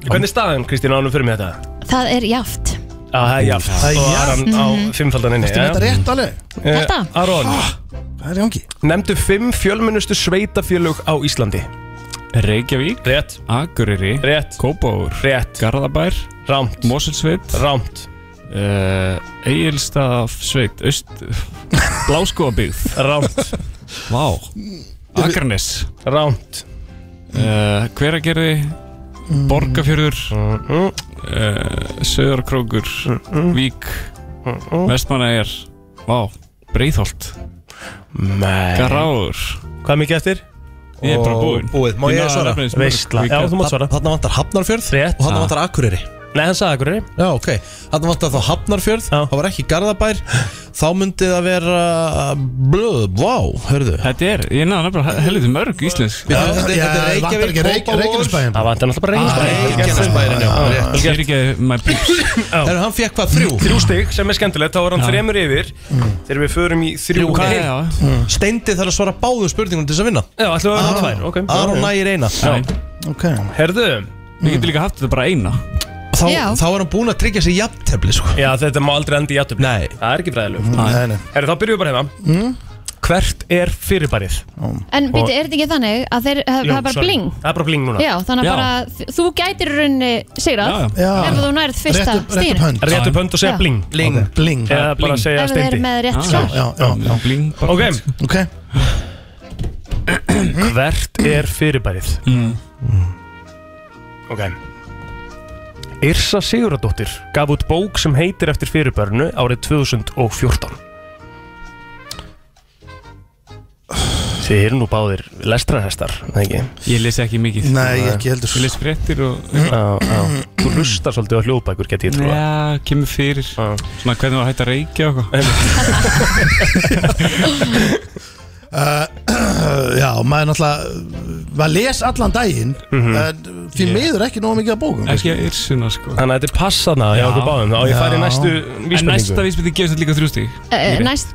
hvernig er staðan, Kristín, ánum fyrir mig þetta?
Það er jaft
Já, það er jaft
Það er
Og
jafnt.
Aron á fimmfaldan inni Eh,
þetta er rétt alveg
Þetta?
Aron,
Hvað er í gangi?
nefndu fimm fjölmennustu sveitafjölug á Íslandi
Reykjavík
Rétt,
Akureyri
rétt,
Kópáur
rétt,
Garðabær
rámt,
Moselsveit
rámt,
uh, Egilstaf Sveit Öst Bláskóabíð
rámt
Vá Akranes
Ránt
uh, Hveragerði
Mm.
Borgafjörður uh, Söðarkrókur eh, Vík Vestmanæjar Vá, Breitholt Garáður
Hvað er mikið eftir?
Ég er bara búinn
Búið, má ég svara?
Veistla, já þú mátt svara
Þarna vantar Hafnarfjörð Rétt Og þarna
Já.
vantar Akureyri
Nei, hann sagði Akureyri
Já, ok Þarna vantar þá Hafnarfjörð Það var ekki Garðabær Þá myndi það vera Blöð, vá, hörðu
Þetta er, ég náðu nefnilega helviti mörg íslensk
Já, þetta er- þetta er Reykjavík, vantar ekki Reykj- Kópavogur. Reykjanesbæinn? Það vantar náttúrulega bara Reykjanesbæinn. Reykjanesbæinn, já, rétt.
Ég er ekki my peeps
Þegar hann fekk hvað, þrjú?
Þrjú stig, sem er skemmtilegt, þá var hann
Já.
þremur yfir Þegar við förum í þrjú
Mm. Þrjú,
heilt.
já, Steindi þarf að svara báðum spurningum til þess að vinna
Já, ætlum við að hafa
Ah.
tvær, ok Mm.
Aron nægir eina.
Já.
Ok
Herðu
Við getum líka haft þetta bara eina
Þá,
Já.
þá er hann búinn að tryggja sér jafntefli sko.
Já, þetta má aldrei enda í játtum Nei Það er ekki fræðilegu
Nei, nei.
Herðu, þá byrjum við bara hefða
Mm.
Hvert er fyrirbærið?
En býti, er þetta ekki þannig að þeir það
Jú,
er bara
sorry.
bling?
Það er bara bling núna
Já, þannig að bara þ- þú gætir í rauninni sigrað
Já, já.
ef þú nærð fyrsta stíðinu
Rétt upp hönd og segja
Já.
bling
Bling, bling
Eða bara segja
Ef þið
steindi
eru með rétt
Ah,
svar.
já, já, já. Ok
Ok
Hvert er fyrirbærið?
Mm.
Ok Yrsa Siguradóttir gaf út bók sem heitir eftir fyrirbærinu árið 2014 Þið eru nú báðir lestrarhestar, eða ekki?
Ég lesi ekki mikið
Nei, ég ekki
heldur
Ég les fréttir og
Já, já. Þú lustar svolítið á hljóðbækur, get ég trúið
Já, kemur fyrir Svona hvernig var hægt að reykja og
Uh, já, maður náttúrulega maður les allan daginn mm
Mhm.
því
Ég-
miður ekki nóg mikið að bókum
Ekki að yrsuna sko
Þannig að þetta er passana hjá
Já.
okkur báðum Þá ég fari í
Já.
næstu
En
vísbendingu
næsta vísbending gefur þetta líka þrjú stig.
Eh, Næst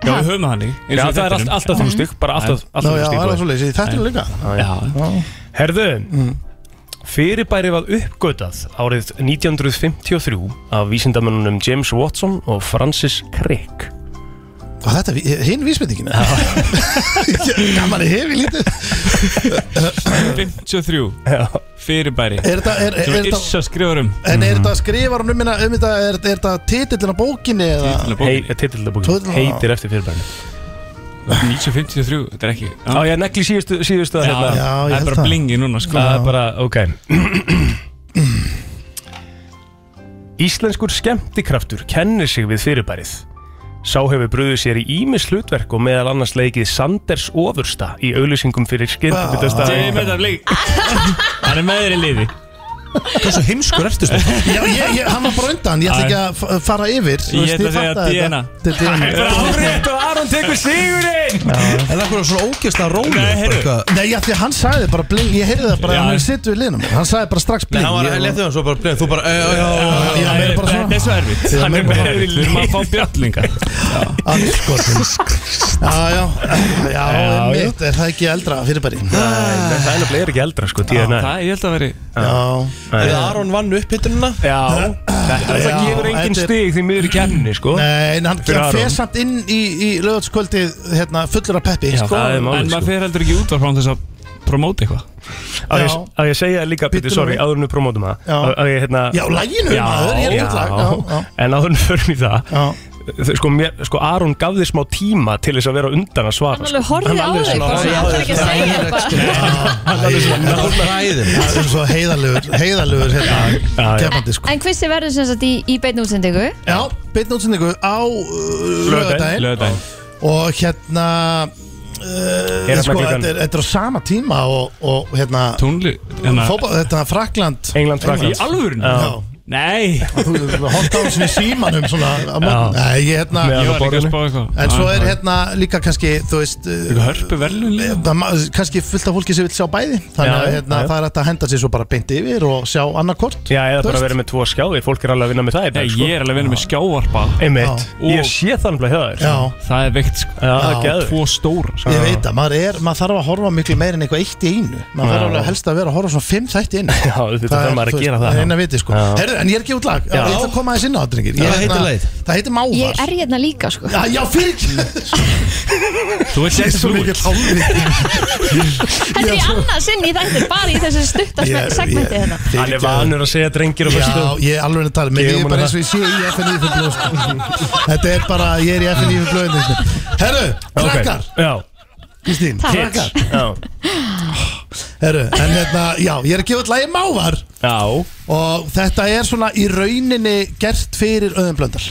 Já,
Ha?
við höfum það hannig
Já, það er allt- alltaf þrjú stygg, bara alltaf, alltaf þrjú stygg
Já.
Herðu, fyrirbæri var uppgötað árið 1953 af vísindamönnunum James Watson og Francis Crick
og þetta er hinn vísbendingin gaman að hefi lítið
53 Fyrirbæri
Er þetta- er-
Sem
er þetta-
Yrsa skrifar um
en er þetta skrifar um minna um þetta er, er þetta titillin á bókinni eða
Titillabókin
Titillabókin.
heitir eftir fyrirbærinu
1953, þetta er ekki
Já, ég negli síðustu, síðustu
Já,
hérna.
já, ég Það er held bara það. blingi núna, sko.
Það er bara, ok Íslenskur skemmtikraftur kennir sig við fyrirbærið Sá hefur bröðið sér í ímis hlutverk og meðal annars leikið Sanders Ofursta í auðlýsingum fyrir skyndibitasta
Jimmy Metablik Hann er með þér í liði
Hversu heimskur ertu sko? stund?
já, ég, ég, hann var bara undan, ég ætla ekki að fa- fara yfir þú
Ég
veist,
ætla að segja
fattaði
DNA.
þetta. Þetta er DNA
Árétt og Aron tekur sigurinn
En það er svona ógeðslega róli
Nei, Nei, já, því að hann sagði bara bling, ég heyrði það bara,
Já.
hann er sittu í liðnum Hann sagði bara strax
Nei,
bling
hann var
ég-
að leta það Svo bara bleið Þú bara Já, já, já
Já, meira bara svona.
Þetta er svo erfitt
Já,
Hann er
meira bara
með þér í
svona.
liði Við erum að fá bjallingar
Anskotin Já, já, já,
Já,
já, er það ekki eldra fyrirbæri?
Nei, það er nefnilega ekki eldra sko, DNA
Það ég held að veri
Þegar Aron vann upp hittununa
Já Þetta
Já,
það gefur engin
þetta er-
stig því miður í kenninni sko
Nei, en hann
Fyrir
hann
Aron.
fer samt inn í, í lögatskvöldið hérna, fullur af peppi
Já,
sko.
það er málið En maður fer heldur ekki út frá þess að promóta eitthvað
Að
Já.
ég, að ég segja líka, bitur,
Bíddu
sorry,
nú við.
áður en við promótum það
Já.
Að- að ég, hérna,
Já, laginu,
Já,
maður, ég er
já,
rétt lag, já, já.
En áður en við förum í það
Já.
þau- Sko, mér, sko, Aron gaf þið smá tíma til þess að vera undan að svara
Hann
sko.
alveg horfði á þig bara svona, hann þarf ekki að segja þetta
Það er
ræðin
Það er svo heiðalugur, heiðalugur hérna, kefandi sko
En hversi verður sem sagt í, í beinu útsendingu?
Já, beinn útsendingu á uh,
Laugardaginn.
lögadaginn
Laugardaginn.
Og hérna
Er
uh,
þarna
sko,
klukkan-
þetta er, þetta er á sama tíma og, og hérna
Tónli hérna-
fótball- Þetta er Frakland
England,
Í alvörun
Já.
Nei
Þú hótt á þessu í símanum svona á morgun
Já.
Nei, ég hérna
Ég var ekki að spá eitthvað
En svo er hérna líka kannski, þú veist eh,
Eitthvað hörpu verðlun
það ma- kannski fullt af fólki sem vil sjá bæði þannig
Já,
að
já,
hérna,
já.
það er hægt að henda sér svo bara beint yfir og sjá annarkort
Já, eða
Þú
bara
veist.
vera með tvo skjáði Fólk er alveg að vinna með það í dag
Nei,
sko.
ég er alveg að vinna með skjávarpa
Einmitt,
Já.
ég sé þannig að það
Já.
er
Það er veikt sko
Já, það er geðveikt.
Tvo stóra sko.
Ég veit að maður, er, maður þarf að horfa miklu meir en eitthvað eitt í einu maður
Já.
þarf alveg helst að vera að horfa svona fimm þætti inn
Já, þetta þarf maður að gera það
Það er eina viti sko
Já.
Herru, en ég er ekki út lag
Já.
Ég ætla að koma aðeins inn á þetta drengir. Ég
Hvað
er
heitir
hérna-
lagið?
Það heitir Mávar
Ég er hérna líka sko
Já, já, fyrir
Þú ert
Ég er
ekki
svo
flúið
mikið hálfið
Þetta er í annað sinn í þetta, bara í þessu stutta
Ég-
segmenti hérna.
ég-
þetta
Hann er vanur að segja drengir og
Já,
föstu
ég er alveg að tala Mér
Gefum
er bara
honum
eins og ég sé í FNI fyrir sko. blöð Þetta er bara, ég er í FNI fyrir blöð Herru,
Ok.
krakkar
Já,
Kristín
Takk.
krakkar.
Já.
Herru, en hérna, já, ég er að gefa allagi mávar
Já
Og þetta er svona í rauninni gert fyrir Öðum Blöndal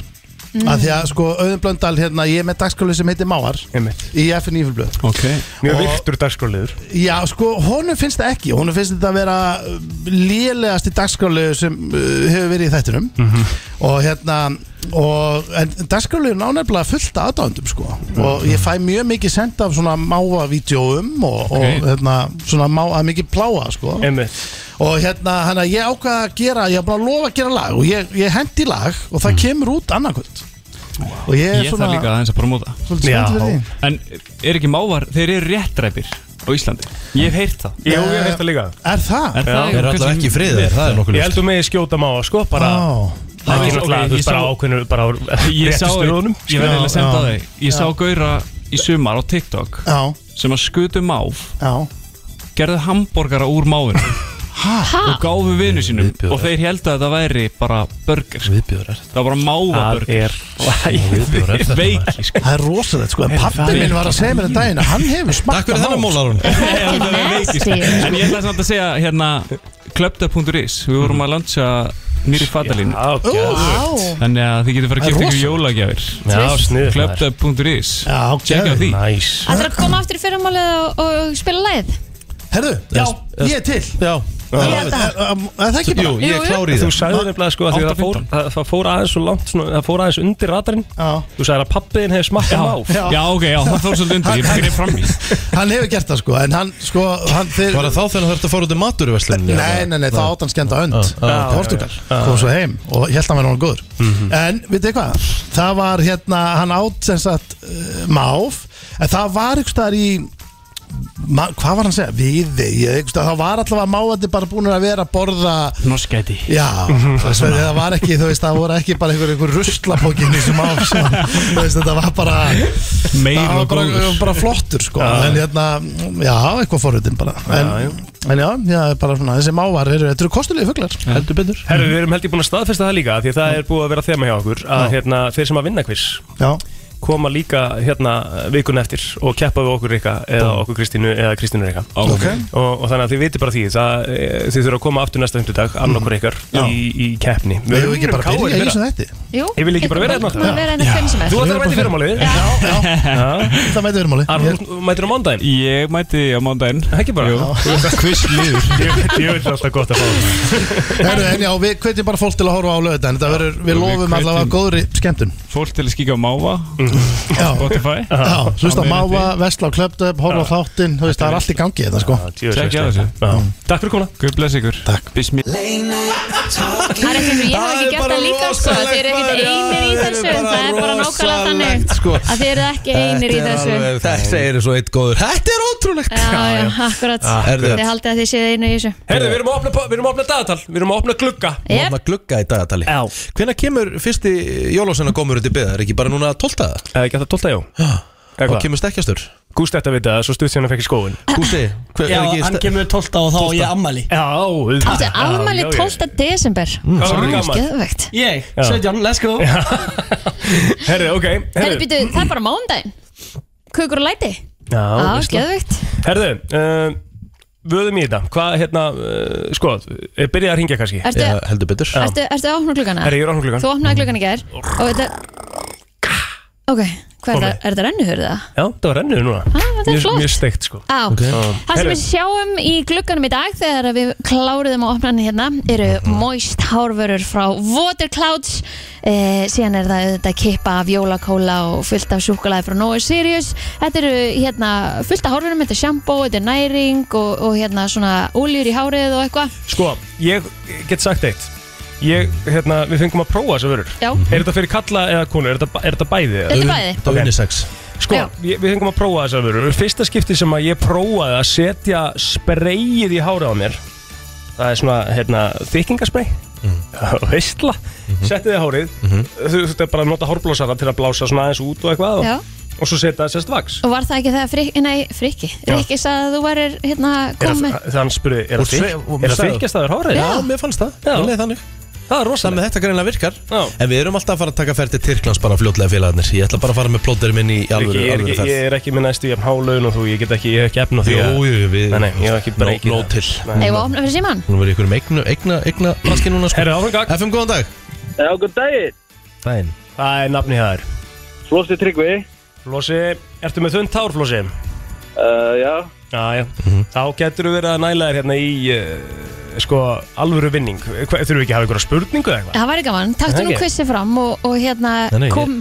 Mm.
Af Því að sko Öðum Blöndal, hérna, ég er með dagskálu sem heitir Mávar
Einmitt.
Í FN Ífjöblöð
Ok
Mjög
Og-
virtur dagskráliður
Já, sko, honum finnst það ekki Honum finnst þetta að vera uh, lélegasti dagskálu sem uh, hefur verið í þættinum
Mhm.
Og hérna og, En dagskálu er nánefnilega fullt aðdándum sko. Og ég fæ mjög mikið senda af svona máva-vídeóum Og,
Ok.
og hérna, svona máva, mikið pláa sko.
Einmitt.
Og hérna, hann að ég ákvað að gera Ég er bara að lofa að gera lag Og ég, ég hendi lag og það kemur út annarkvöld Og ég er
Ég þarf
svona
líka aðeins að promóta
Svolítið spennt fyrir því.
En er ekki mávar, þeir eru réttræpir á Íslandi Ég hef heyrt það
Jú, ég hef þetta líka
Er það?
Er það?
Er allavega ekki í friði,
Við-
það er nokkuð
Ég
ljóst.
heldur með ég skjóta máva sko bara
Á. Á,
Ekki náttúrulega,
ok,
þú
ég
veist bara
sá-
ákveðinu bara á
Ég sá
réttu stöðunum
Ég verði að senda
Já.
þig Ég sá gauðra í sumar á TikTok
Já.
sem að skutu máf
Já.
gerðu hambúrgara úr máfinu og gáfu vinu sínum og þeir held að það væri bara burger viðbjörar það var bara máva burger
Viðbjóður er þetta,
veiki sko
Það er rosalegt sko, en
Er það
pappi minn var að segja mér um daginn að hann hefur smakka Takk fyrir þennan
mólarun
Það er veiki, sko. en ég ætla samt að segja hérna klöpta.is við vorum að lansa nýri fatalín
Vá.
þannig að þið getur fara að gifta
Það er
ykkur
rosa.
jólagjafir
Já, sniðugt, maður.
klöpta.is
geðu.
checka því
Það er að koma aftur í fyrramálið og, og spila lagið
Herðu, já, ég er til Já,
Ég
Er
held
er- um, er það ekki bara?
Þú sagði nefnilega sko að því það fór, það, það fór aðeins svo langt svona, Það fór aðeins undir radarinn Þú sagði að pappiðin hefði smakkað máf
Já. Já, ok, já, það fór svolítið undir, ég greip fram
í
Hann hefur gert það sko, en hann sko hann, þeir...
Var það þá þegar þú þurfti að fara út í maturverslinni?
Nei, nei, nei, þá átt hann skenda önd
Já, já, já,
Portugal,
já, já.
kom svo heim og ég held að hann verið hann góður
Mhm.
En, veit þið hvað, það var hérna hann átt sem sagt uh, máf, en það var ykkur staðar í ma, hvað var hann að segja, viði ég, ykkur staðar, það var allavega máandi bara búin að vera að borða
Norskæti
Já,
Mhm.
þess vegna það var ekki, þú veist, það voru ekki bara einhver, einhver ruslapókin í þessum áf sem, hann- þú veist, þetta var bara
Meir
það var
og
bara,
góður.
bara flottur sko,
Já.
en hérna, já, eitthvað forritin bara, en,
Já,
en já, já, bara svona, þessi mávar eru, þetta eru kostulegi fuglar
heldur betur
Herru, við erum held ég búin að staðfesta það líka Því að það er búið að vera þema hjá okkur Að hérna, þeir sem að vinna quiz
Já.
Koma líka hérna vikun eftir Og keppa við okkur Rika Eða okkur Kristínu eða Kristínu Rika
Ok.
og, og þannig að þið viti bara því það, e, Þið þurfa að koma aftur næsta fymtudag Annar okkur ykkar í, í keppni
Við hefum ekki bara að byrja í þessu þætti
Jú,
Ég vil ekki bara vera hérna
Má vera hérna hvernig sem er.
Þú ætlar að mæta í fyrirmálið Já,
já Það mæti verið máli
Arnur, þú mætir á mándaginn
Ég mæti á mándaginn
Ekki bara
Hvist liður
Ég veit alltaf gott að fá það
Herru, en já, við kveitjum bara fólk til að horfa á lögðan Þetta verður, við
Og við
lofum
hvetjum-
allavega góðri skemmtun
Fólk til að skika á máva
Já.
á Spotify
Já, hlusta á
Á
máva,
miðnætti.
vesla á klöptöp, horfa á þáttinn þú veist, Það er allt í gangi þetta sko
Tjekkja á þessu
Takk fyrir komuna
Guð bless ykkur Takk Bismi
Það er eitthvað, ég hef ekki gert það líka sko, þeir eru ekkert einir í þessu, en það er bara nákvæmlega þannig
sko.
að þeir eru ekki einir í þessu. Eh?
Það segir svo eitt góður Þetta er ótrúlegt
Já, já, akkurat,
Ah, herðu.
þið haldið að þið séu einir í þessu.
Herðu, við erum að opna, við erum að opna dagatal Við erum að opna glugga
Við erum að glugga í dagatali Hvenær kemur fyrsti jólásenna komur út í byggðar? Ekki bara núna 12.
Eða Eh, ekki að það 12. já
Og kemur stekkjastur
Gústi ætti að vita það, svo stutt sem hann fekk í skóin
Gústi, hver
Já, hann kemur 12 og þá á
12.
ég ammali
Já, auðvitað.
Áttu afmæli 12. desember.
Mm. Hvað verður
Vá,
gamall?
Geðvegt.
Ég,
Já.
17, let's go
Herðu, ok
Herri, býtu, það er bara mándaginn. Kukur og læti.
Já,
Já,
veistla.
geðvegt.
Herðu, uh, vöðum í þetta Hvað, hérna, uh, sko er Byrjað að ringja kannski
Ertu- Já,
heldur betur
Ertu, ertu að opna gluggana?
Herri, ég er að opna gluggann.
Þú opnaði gluggan í gær og þetta... Ok, hvað er
Komið.
það? Er þetta rennuhurð það?
Já, það var rennuður núna
Ah, þetta er
Mjög-
flott.
Mjög steikt sko
Á, það sem við sjáum í glugganum í dag þegar við kláruðum að opna hann hérna eru moist hárvörur frá Water Clouds eh, síðan er það þetta kippa af jólakóla og fullt af sjúkulaði frá Noah Sirius þetta eru hérna fullt af hárvörum þetta er shampoo, þetta er næring og, og hérna svona óljur í hárið og eitthvað
Sko, ég get sagt eitt Ég, hérna, við fengum að prófa þessa vörur
Já.
Er þetta fyrir kalla eða konu, er þetta, er þetta bæði?
Þetta er bæði. Þetta
er
unisex Sko,
Já.
ég, við fengum að prófa þessa vörur Fyrsta skipti sem að ég prófaði að setja spreyið í hárið á mér Það er svona, hérna, þykkingasprey
Mhm.
Veistla Setti þið í hárið Þú þú þetta bara að nota hárblásara til að blása svona aðeins út og eitthvað
Já.
og, og svo setja það sérst vaks
og var það ekki þegar Frikki, nei Frikki
Já.
Frikki sagði að þú værir hérna
Er
komið
það- Þann spurði, er
Og
það
sve-
þykk-
og
er það
sagði-
þykkastaður hárið?
Já, mér fannst það
Já.
Ég leið þannig Það er rosalega Þetta greinlega virkar En við erum alltaf að fara að taka ferð til Tyrklands bara fljótlega félagarnir Ég ætla bara að fara með plótterinn minn í alvöru,
ég, er
alvöru
ekki,
ferð
ég er ekki með næstu jafn hálaun og þú, ég get ekki, ég hef ekki efn á því
Jú,
að-
jú, við
Nei, nei, ég hef ekki
Nó-
bara ekki
nóg til.
Eigum við að opna fyrir síman?
Nú verður ykkur um eigna, eigna, eigna Braski núna sko Herra, áfram gang FM, góðan dag
Já, góð daginn
Dæin
Það er nafni það er
Flósi Tryggvi
Flósi, ertu með þund tár, Flósi?
uh, Já
Já, já Þá getur þú verið að næla þér hérna í, uh, sko, alvöru vinning Hva, Þurfum við ekki að hafa ykkur spurningu eða eitthvað?
Það væri gaman, taktu
Það
nú
ekki.
kvissi fram og, og hérna
Nei, nei, ég-
kom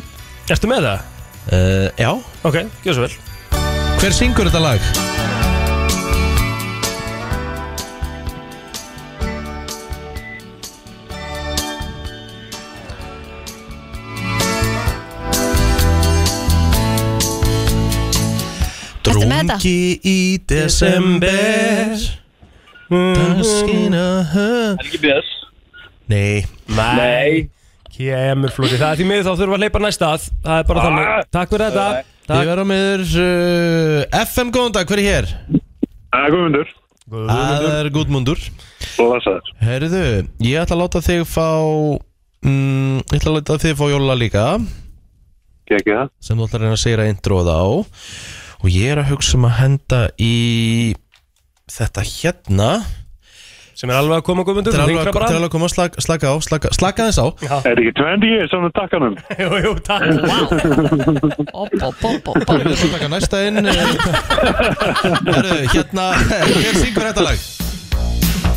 Ertu með það?
Uh, já
Ok, gjör svo vel
Hver syngur þetta lag?
Ertu með þetta?
Drungi í desember Daskina
Helgi Björns
Nei
Nei Kemur Flósi, það er því miður þá þurfum við að hleypa næsta að Það er bara
Ah.
þannig Takk fyrir þetta
Ég verða með uh, FM góðan dag, hver er hér?
Guðmundur
Það er Guðmundur
Blessaður
Herðu, ég ætla að láta þig fá mm, Ég ætla að láta þig fá jóla líka
Gekki það
sem þú ætlar að reyna að segja introð á og ég er að hugsa um að henda í þetta hérna
sem er alveg að koma Guðmundur
Þetta er alveg
hringra
að-
bara.
þetta er alveg að koma slaka, slaka á, slaka, slaka þess á
Já.
Er ekki 20 years on the takkanum?
Jú, jú, takk
Við erum að taka næsta inn eh, Herru, hérna Hér syngur þetta lag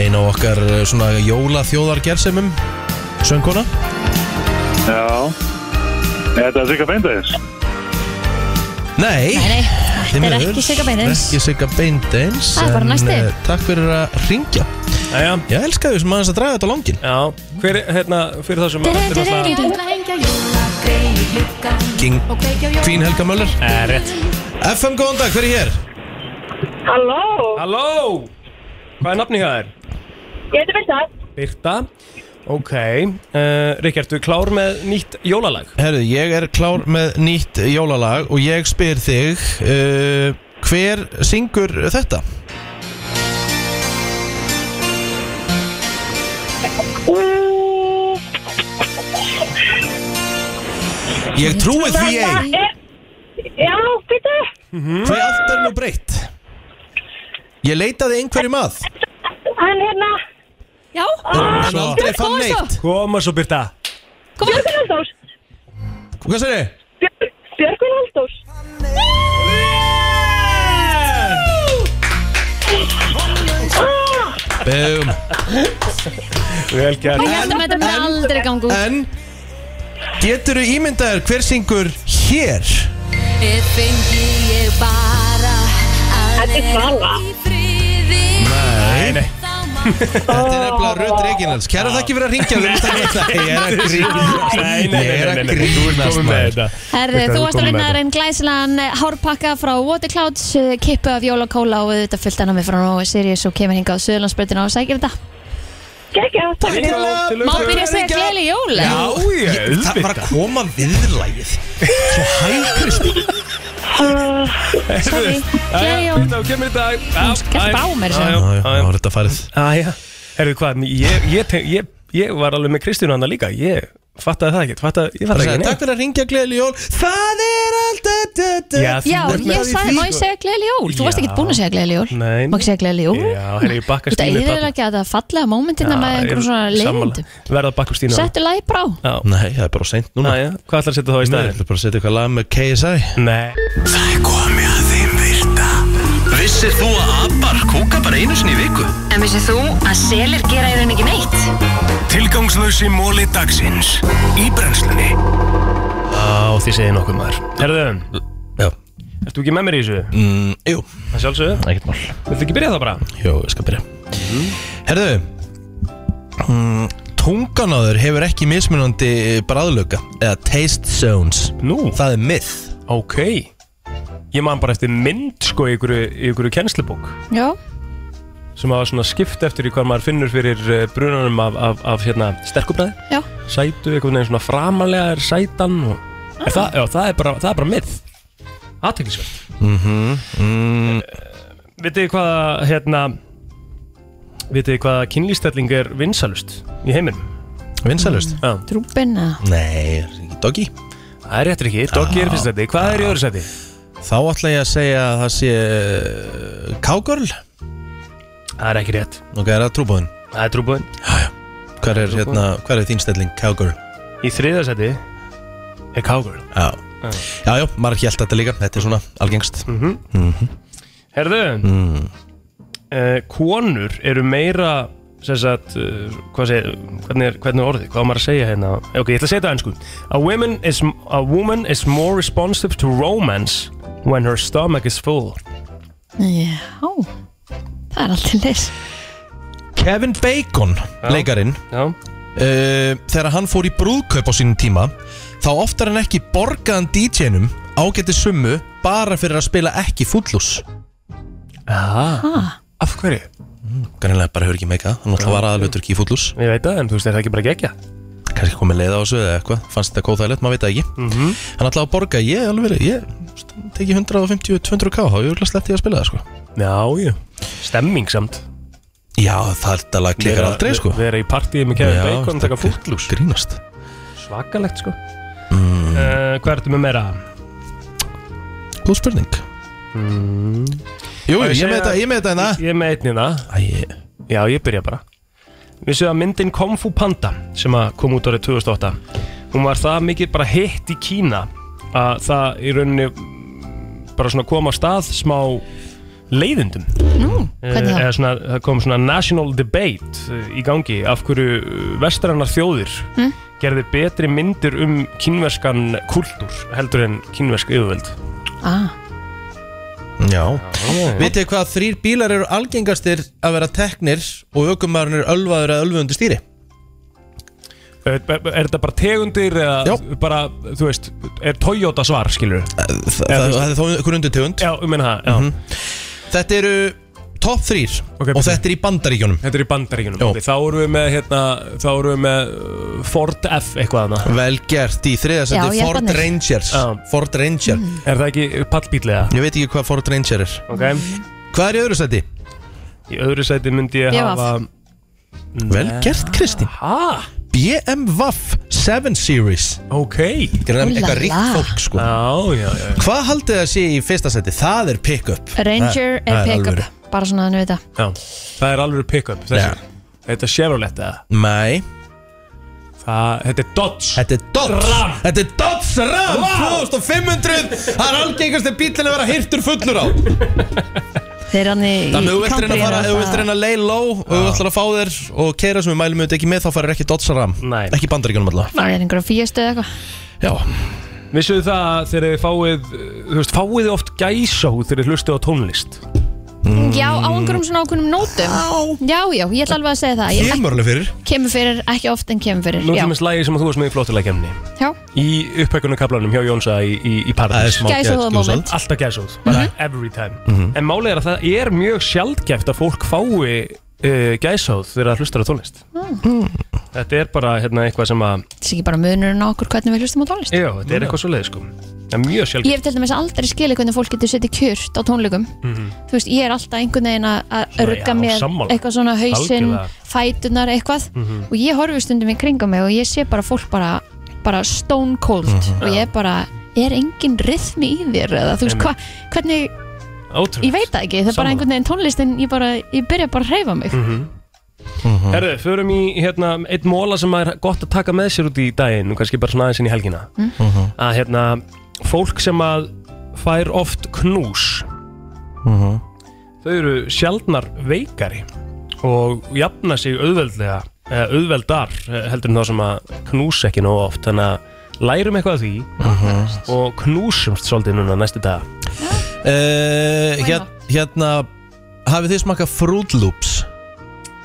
Einn á okkar eh, svona jóla þjóðargersemum Söngkona
Já Þetta er sikka beindaðis
Nei,
Nei, nei,
því
þetta er
miður.
ekki Sigga Beinins.
Ekki Sigga Beindeins
Það er bara
en,
næsti.
eh, Takk fyrir að ringja
Jæja.
Ég elska því sem aðeins að draga þetta á langin
Já, hver, er- hérna, fyrir það sem þetta er náttúrulega-
King Fín
Fín
Helga Möller
Eh, rétt
FM, góðan dag, hver er hér?
Halló,
Halló Hvað er nafni hjá þér?
ég heiti Birta
Birta Ok, uh, Ríkjart, þú klár með nýtt jólalag
Herðu, ég er klár með nýtt jólalag og ég spyr þig uh, Hver syngur þetta? Ég trúi því ei
Þetta er- Já, býttu
Hvað allt er nú breytt? Ég leitaði einhverjum að
Hann hérna
Já
En aldrei fann neitt
Koma svo Birta
Björgun Halldórs
Hvað sér þið?
Björgun Halldórs
Bum
Vel gert
Við heldum að þetta mér aldrei gangu
En Getur þú ímyndaður hver syngur hér?
fengi ég bara að vera í friði
Nei, nei Þetta er nefnilega Rödd
Ah.
Reginals Kæra þakki fyrir að ringja við erum að tala um þetta. Ég er að grínast
Nei, nei, nei,
Ég
nei,
er
nei,
að
nei, þú ert
grínast
komin með
maður.
þetta.
Herðu,
Birta,
þú varst að
komin með
vinna
þetta.
en glæsilegan eh, hárpakka frá Waterclouds, eh, kippu af jólakóla og þetta fullt annað með frá Nói Sirius og kemur hingað á Suðurlandsbreytina og sækir þetta.
Gekja Takk
Til
Má byrja að segja gleðileg jól?
Já,
ég-
ég, það var að koma viðlægið Svo hægristi
Sorry,
Jæja,
gleðileg
Birta,
jól.
hérna, þú kemur í dag Já,
skellt
já,
á
já,
mér, sem.
já, já, já.
Það var þetta farið
Æja, herru hvað, ég, ég, ég, ég var alveg með Kristínu hann líka Ég fattaði það ekki, fattaði, ég
Það
fattaði
sagði,
ekki
Takk fyrir að ringja gleðileg jól Það er alltaf
Já, þú
Já,
ert með
ég
það í
sagði,
því,
má ég
sko.
segja gleðileg jól? Þú varst
Já.
ekki búin að segja gleðileg jól.
Nei,
Má ekki segja gleðileg jól?
já, herru, ég bakka
Þú veit,
Stínu
ég er ekki að það fallega mómentina hérna með einhverjum svona leiðindum.
Verða að bakka Stínu
Settu lagi brá.
Nei, það er bara seint núna
Æja, hvað ætlar að setja þá í
Nei,
staðin?
Það er bara að setja eitthvað lag með KSI
Nei
Það er komið að þeim virta Vissir þú að abar kúka bara einu sinni í viku?
En vissið þú að selir gera í rauninni ekki neitt?
Tilgangslösi móli dagsins Í brennslunni
Á, þið segið nokkuð maður Herðu,
Já
ertu ekki með mér í þessu?
mm, Jú,
Það sjálfsögðu
ekkert mál
Viltu ekki byrja það bara?
Jó, ég skal byrja Herðu mm, Tungan á þér hefur ekki mismunandi bræðlöka Eða taste zones
Nú
Það er myth
Ok Ég man bara eftir mynd sko í ykkur, í ykkur kennslubók
Já.
sem hafa svona skipt eftir í hvað maður finnur fyrir eh, brunanum af, af, af hérna, sterkubræði
Já.
Sætu, einhvern veginn svona framalega er sætan og... ah. það, já, það er bara, það er bara mið aðteglisvert
Mhm, mm.
Eh, Vitið þið hvaða, hérna Vitið þið hvaða kynlýstelling er vinsalust í heiminum?
Vinsælust?
Já
Trúbina
Mm. Nei, er ekki doggy
Það er réttur ekki, doggy er í fyrsta sæti. Hvað er í öðru sæti?
Þá ætla ég að segja að það sé uh, Cowgirl
Það er ekki rétt
Ok, er það trúbúðin?
Það er trúbúðin
Jájá Hver er,
Trúboðin.
hérna, hver er þín stelling? Cowgirl
Í þriða sæti er Cowgirl
Já Jájá, maður held þetta líka Þetta er svona algengst
Mhm.
Mhm.
Herðu
Mm.
eh, Konur eru meira sem sagt, eh, hvað segir, hvernig, er, hvernig er orðið, hvað á maður að segja hérna ok, ég ætla að segja þetta enn sko a, women is, a woman is more responsive to romance when her stomach is full
Já, það er alltaf leys
Kevin Bacon, leikarinn
já.
Eh, Þegar hann fór í brúðkaup á sínum tíma Þá oftar hann ekki borgaðan DJ-num Ágæti summu Bara fyrir að spila ekki fullus
ah. Af hverju?
Greinlega bara hefur ekki meika það. Hann náttúrulega var aðalvöldur ekki í fullus
Ég veit það, en þú veist, er það ekki bara gegja?
Kanski komið leið á þessu eða eitthvað Fannst þetta kóþægilegt, maður veit það ekki
Mhm.
Hann ætlaði að borga, ég alveg verið Ég teki 150-200 k Þá ég er slett ég að spila það sko
Já, já Stemming samt
Já, það er alveg klikkar
Vera-
aldrei sko
vera í partíi með Kevin
Já,
Bacon, taka
þetta er Grínast
svakalegt sko mm. hvað ertu með meira?
Góð spurning
mm.
Jú, ég með þetta- ég með þetta hérna.
Ég, ég með einn hérna Já, ég byrja bara Vissu að myndin Kung Fu Panda sem að kom út árið 2008 hún var það mikið bara hitt í Kína að það í rauninni bara svona kom á stað smá leiðindum Nú,
hvernig þá?
Eða svona, það kom svona national debate eh, í gangi af hverju vestrannar þjóðir
Mm.
gerði betri myndir um kínverskan kultúr heldur en kínversk yfirvöld
ah.
Já Vitið þið hvað þrýr bílar eru algengastir að vera teknir og aukumæðurinn er ölvaður að ölvu undir stýri?
Er, Eh, er, er þetta bara tegundir eða bara, þú veist, er Toyota svar, skilur
Það, það, það er þó einhver undir tegund
Já, um minna það, já
Þetta eru topp þrýr og þetta er í bandaríkjunum
Þetta er í bandaríkjunum Ok, Þá erum við með, hérna, þá erum við með uh, Ford F eitthvað hana
Vel gert, í Mm. þriða
Já,
sendi Ford
Japanir.
Rangers Ford Ranger
Er það ekki pallbílega?
Ég veit ekki hvað Ford Ranger er
Ok
Hvað er í öðru sæti?
Í öðru sæti myndi ég
BVF.
hafa
Vel gert Kristín
ha?
BMW 7 Series
Ok
Gerðan
Úlala.
eitthvað ríkt fólk sko
Já, já, já
Hvað haldið það sé í fyrsta sæti? Það er pick-up
Ranger
Það-
er
það
pick-up
alvöru.
Bara svona að nú þetta
Já, það er alveg pick-up þessi Þetta er Chevrolet eða?
Nei
Það, þetta er Dodge
Þetta er Dodge Ram Þetta er Dodge Ram
Vá!
2500 Það er algengast að bílinn að vera hirtur fullur á
Þeir er hann í
Þannig að þú vilt reyna að
Cambrino
fara Ef þú vilt
það-
reyna að lay low Og þú ætlar að fá þér Og keira sem við mælum auðvitað ekki með Þá farir ekki Dodge Ram
Nei
Ekki bandaríkjunum alltaf
Það er einhverjum fíustu eða eitthvað
Já
Vissuðu það að þegar þið fáið uh, Þú veist, fáið þið oft gæsahú þegar þið hlustið á tónlist
Já, á einhverjum svona ákveðnum nótum Já, já, ég ætla alveg að segja það ég,
Kemur alveg fyrir
Kemur fyrir, ekki oft en kemur fyrir
Nú
Já,
til minnst lægi sem að þú varst með í flottilegkemni
já,
Í upphækkunum kaplanum hjá Jónsa í, í, í Paradís
smá Gæsahúðarmoment. gæs- Mhm.
Alltaf gæsahúð, bara every time En málið er að það er mjög sjaldgæft að fólk fái uh, gæsahúð þegar það hlustar á tónlist
Mm.
Þetta er bara hérna, eitthvað sem að
þetta er ekki bara munurinn á okkur hvernig við hlustum á tónlist
Já, þetta er eitthvað svo leið sko Það er mjög
Ég
sjaldgæft
hef til dæmis aldrei skilið hvernig fólk getur setið kjört á tónleikum
Mhm.
Þú veist, ég er alltaf einhvern veginn að- að
Svona, já,
rugga með
sammála.
eitthvað svona hausinn,
Algjörlega.
fætunar, eitthvað
Mhm.
og ég horfi stundum í kringum mig og ég sé bara fólk bara, bara stone cold
Mhm.
og ég er bara, er engin rithmi í þér eða þú veist, hva, hvernig
Ótrúlegt.
ég veit það ekki, það
Mhm.
er bara
Sammála.
einhvern veginn tónlistin ég, bara, ég byrja bara að hreyfa mig
Mhm. Herðu, förum í hérna, einn móla sem er gott að taka með sér út í daginn og kannski bara svona aðeins inn í helgina
Mhm.
að hérna, fólk sem að fær oft knús
Mhm.
þau eru sjaldnar veikari og jafna sig auðveldlega eða auðveldar eh, heldur en þá sem að knúsa ekki nóg oft þannig að lærum eitthvað af því
Mhm.
og knúsumst svolítið núna næstu dag
uh, hér, Hérna Hafið þið smakað Fruit Loops?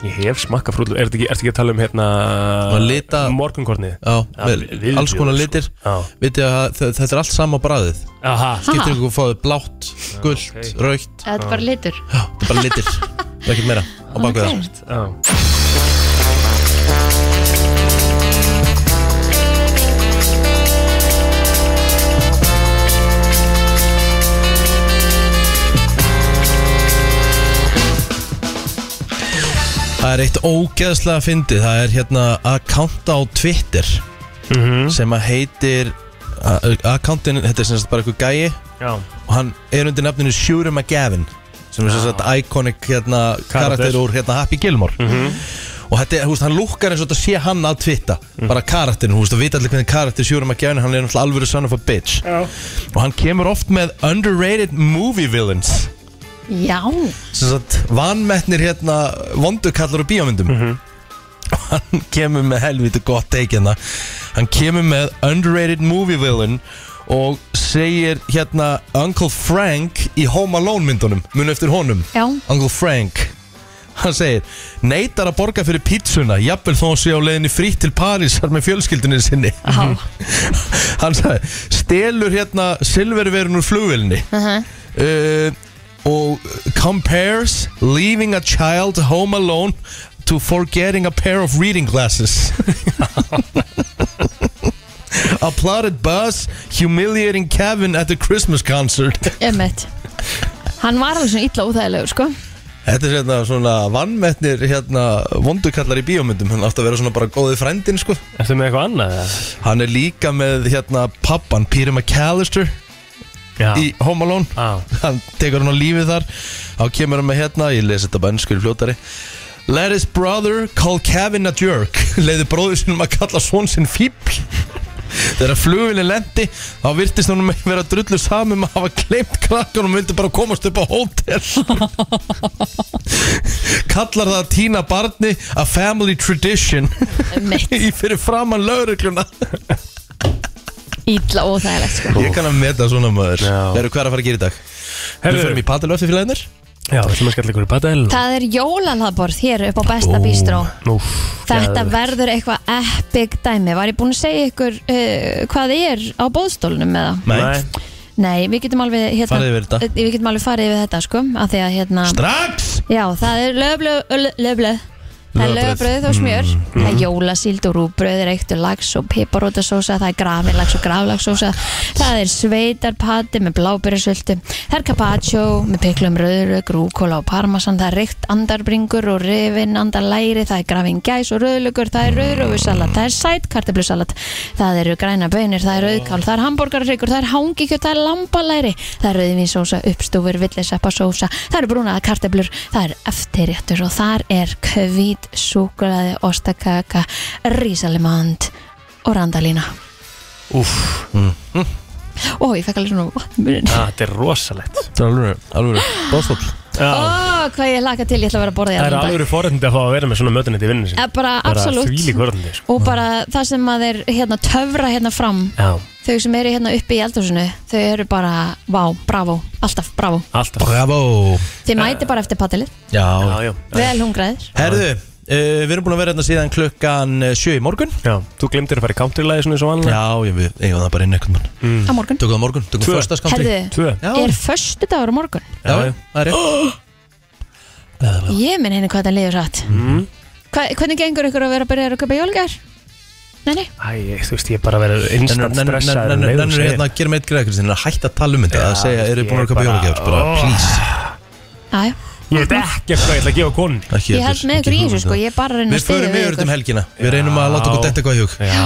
Ég hef smakka frúlu, ertu ekki, ertu ekki að tala um hérna
Og lita-
morgunkornið
Já,
Ja,
vel,
viðbjóður,
alls konar
sko.
litir
Já.
Vitið að þe- þetta er allt sama bræðið
Aha.
Skiptir
Ha.
ykkur fóðu blátt, gult,
ok.
raukt
Þetta er bara litur
Já, þetta er bara litir Það er ekkert meira á baku
Ok.
það
Ég
Það er eitt ógeðslega fyndið Það er hérna akkánta á Twitter sem að heitir akkántin, þetta er sem sagt bara einhver gæi
Já.
og hann er undir nafninu Shura McGavin sem er sem sagt iconic hérna, karakter úr hérna, Happy Gilmore og þetta er, þú veist, hann lúkkar eins og þetta sé hann að twitta bara karakterin, þú veist, það vita allir hvernig karakter Shura McGavin, hann er náttúrulega alvöru son of a bitch Já. og hann kemur oft með underrated movie villains
Já,
sem sagt vanmetnir hérna vondukallar og bíómyndum hann kemur með helviti gott take hérna hann kemur með underrated movie villain og segir hérna Uncle Frank í Home Alone myndunum munu eftir honum
Já.
Uncle Frank hann segir neitar að borga fyrir pítsuna jafnvel þó að sé á leiðinni frýtt til Parísar með fjölskyldunni sinni
Mhm.
Já.
hann sagði stelur hérna silververun úr flugvelni
Mhm.
uh, og compares leaving a child home alone to forgetting a pair of reading glasses applauded Buzz humiliating Kevin at the Christmas concert
emmett Hann var alveg svona illa óþægilegur, sko
Þetta er hérna svona vannmettnir hérna vondukallar í bíómyndum hann átti að vera svona bara góði frændin sko
Ertu með eitthvað annað?
Hann er líka með hérna pappan Peter McAllister
Já.
í Home Alone Já. hann tekur hann á lífið þar þá kemur hann með hérna, ég lesi þetta bara ennskur fljótari Let his brother call Kevin a jerk leiði bróður sinum að kalla svon sinn fíbl Þegar flugvillin lendi þá virtist hún vera drullu samum að hafa kleimt krakkan og myndi bara komast upp á hótel kallar það að týna barni a family tradition í fyrir framann laurugluna
Illa óþægilegt, sko
ég kann að meta svona maður Herru, hvað er að fara að gera í dag?
Herru.
við förum í padelöfi fyrir læðinir
Já, við ætlum að skella ykkur í padel
Það er jólalaðborð hér upp á besta bístró
Úf,
Þetta verður eitthvað epic dæmi Var ég búin að segja ykkur uh, hvað er á bóðstólunum með það?
Nei.
Nei, við getum alveg hérna,
Farið yfir þetta.
eh, Við getum alveg farið yfir þetta sko af því að hérna
Strax!
Já, það er löfblöð löfblöð Það er
Lögbrauð.
lögbröð og smjör,
Mm,
það er jólasíld og rúbröð, reyktur lags og piparótasósa, það er grafinlags og graflagsósa, það er sveitarpati með blábyrjusöldu, það er carpaccio með piklum rauðurög, rúkóla og parmesan, það er reykt andarbringur og rifin andarlæri, það er grafin gæs og rauðlugur, það er rauðröfusalat, það er sæt kartablusalat, það eru græna bönir, það er rauðkál, það er hambúrgarreikur, það er hangikjöt, það er lambalæri, það er rauðvinsósa, uppstúfur, villiseppasósa, það eru brúnaða kartablur, það er eftirréttur og þar er kvít, súkulaði, ostakaka, rísalimand og randalína.
Úf
Ó, ég fekk alveg svona vatnmurinn.
Þetta er rosalegt
Það er alveg, alveg, bóðstóll
Ó, hvað ég laka til, ég ætla að vera að borða í
Það er
allan dag.
alveg forrættandi að fá að vera með svona mötunni til vinninu sinni
Eh, bara absolutt.
Bara þvílík forrættandi sko.
Og bara það sem að þeir hérna, töfra hérna fram,
Já,
þau sem eru hérna uppi í eldhúsinu, þau eru bara, vá, bravo, alltaf bravo.
alltaf
Bravo
Þið mæti bara eftir padilið,
Já, já, já.
vel hungraðir.
Herðu, uh, við erum búin að vera hérna síðan klukkan eh, sjö í morgun
Já, þú glemtir að fara í countrylæði svona eins og vanlega
Já, ég, við eigum það bara inn einhvern mann
mm.
Á morgun.
Tökum það á morgun, tökum
Tvö.
föstas country
Herðu, er förstu dagur á morgun?
Já, já, það er rétt
Ég minn henni hvað það liður satt
mm.
Hva, Hvernig gengur ykkur að vera að byrja að kaupa jólugjær? Nei, nei,
Æ, ég- þú veist, ég er bara að vera instant stressaður um leið og
Nennur
segir.
hérna að gera meitt greið Kristín, að hætta að tala um þetta að segja, eru búin að köpa
bara-
jólagjafir bara,
Oh.
please
aðjá
Ég veit ekkert hvað ég ætla að gefa konun
Ekki
Ég held
heldur,
með ykkur í
ekki
þessu
hugmynd.
sko Ég er bara að reyna að
Við
stiðja
förum yfir þetta um helgina Við reynum að láta okkur detta hvað í hug
Já, já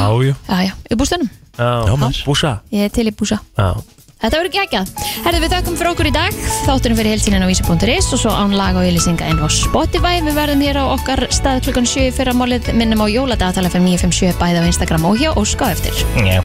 Aðjá, í bústanum
Já,
maður.
búsa
Ég er til í búsa
Já
Þetta verður geggjað. Herðu við þökkum fyrir okkur í dag. Þáttunum fyrir helsinin á vísi.is og svo án lag og ylisinga en á Spotify. Við verðum hér á okkar stað klukkan 7 fyrir að málið minnum á jóladagatala 5957 bæði á Instagram og hjá Óska á eftir.
Já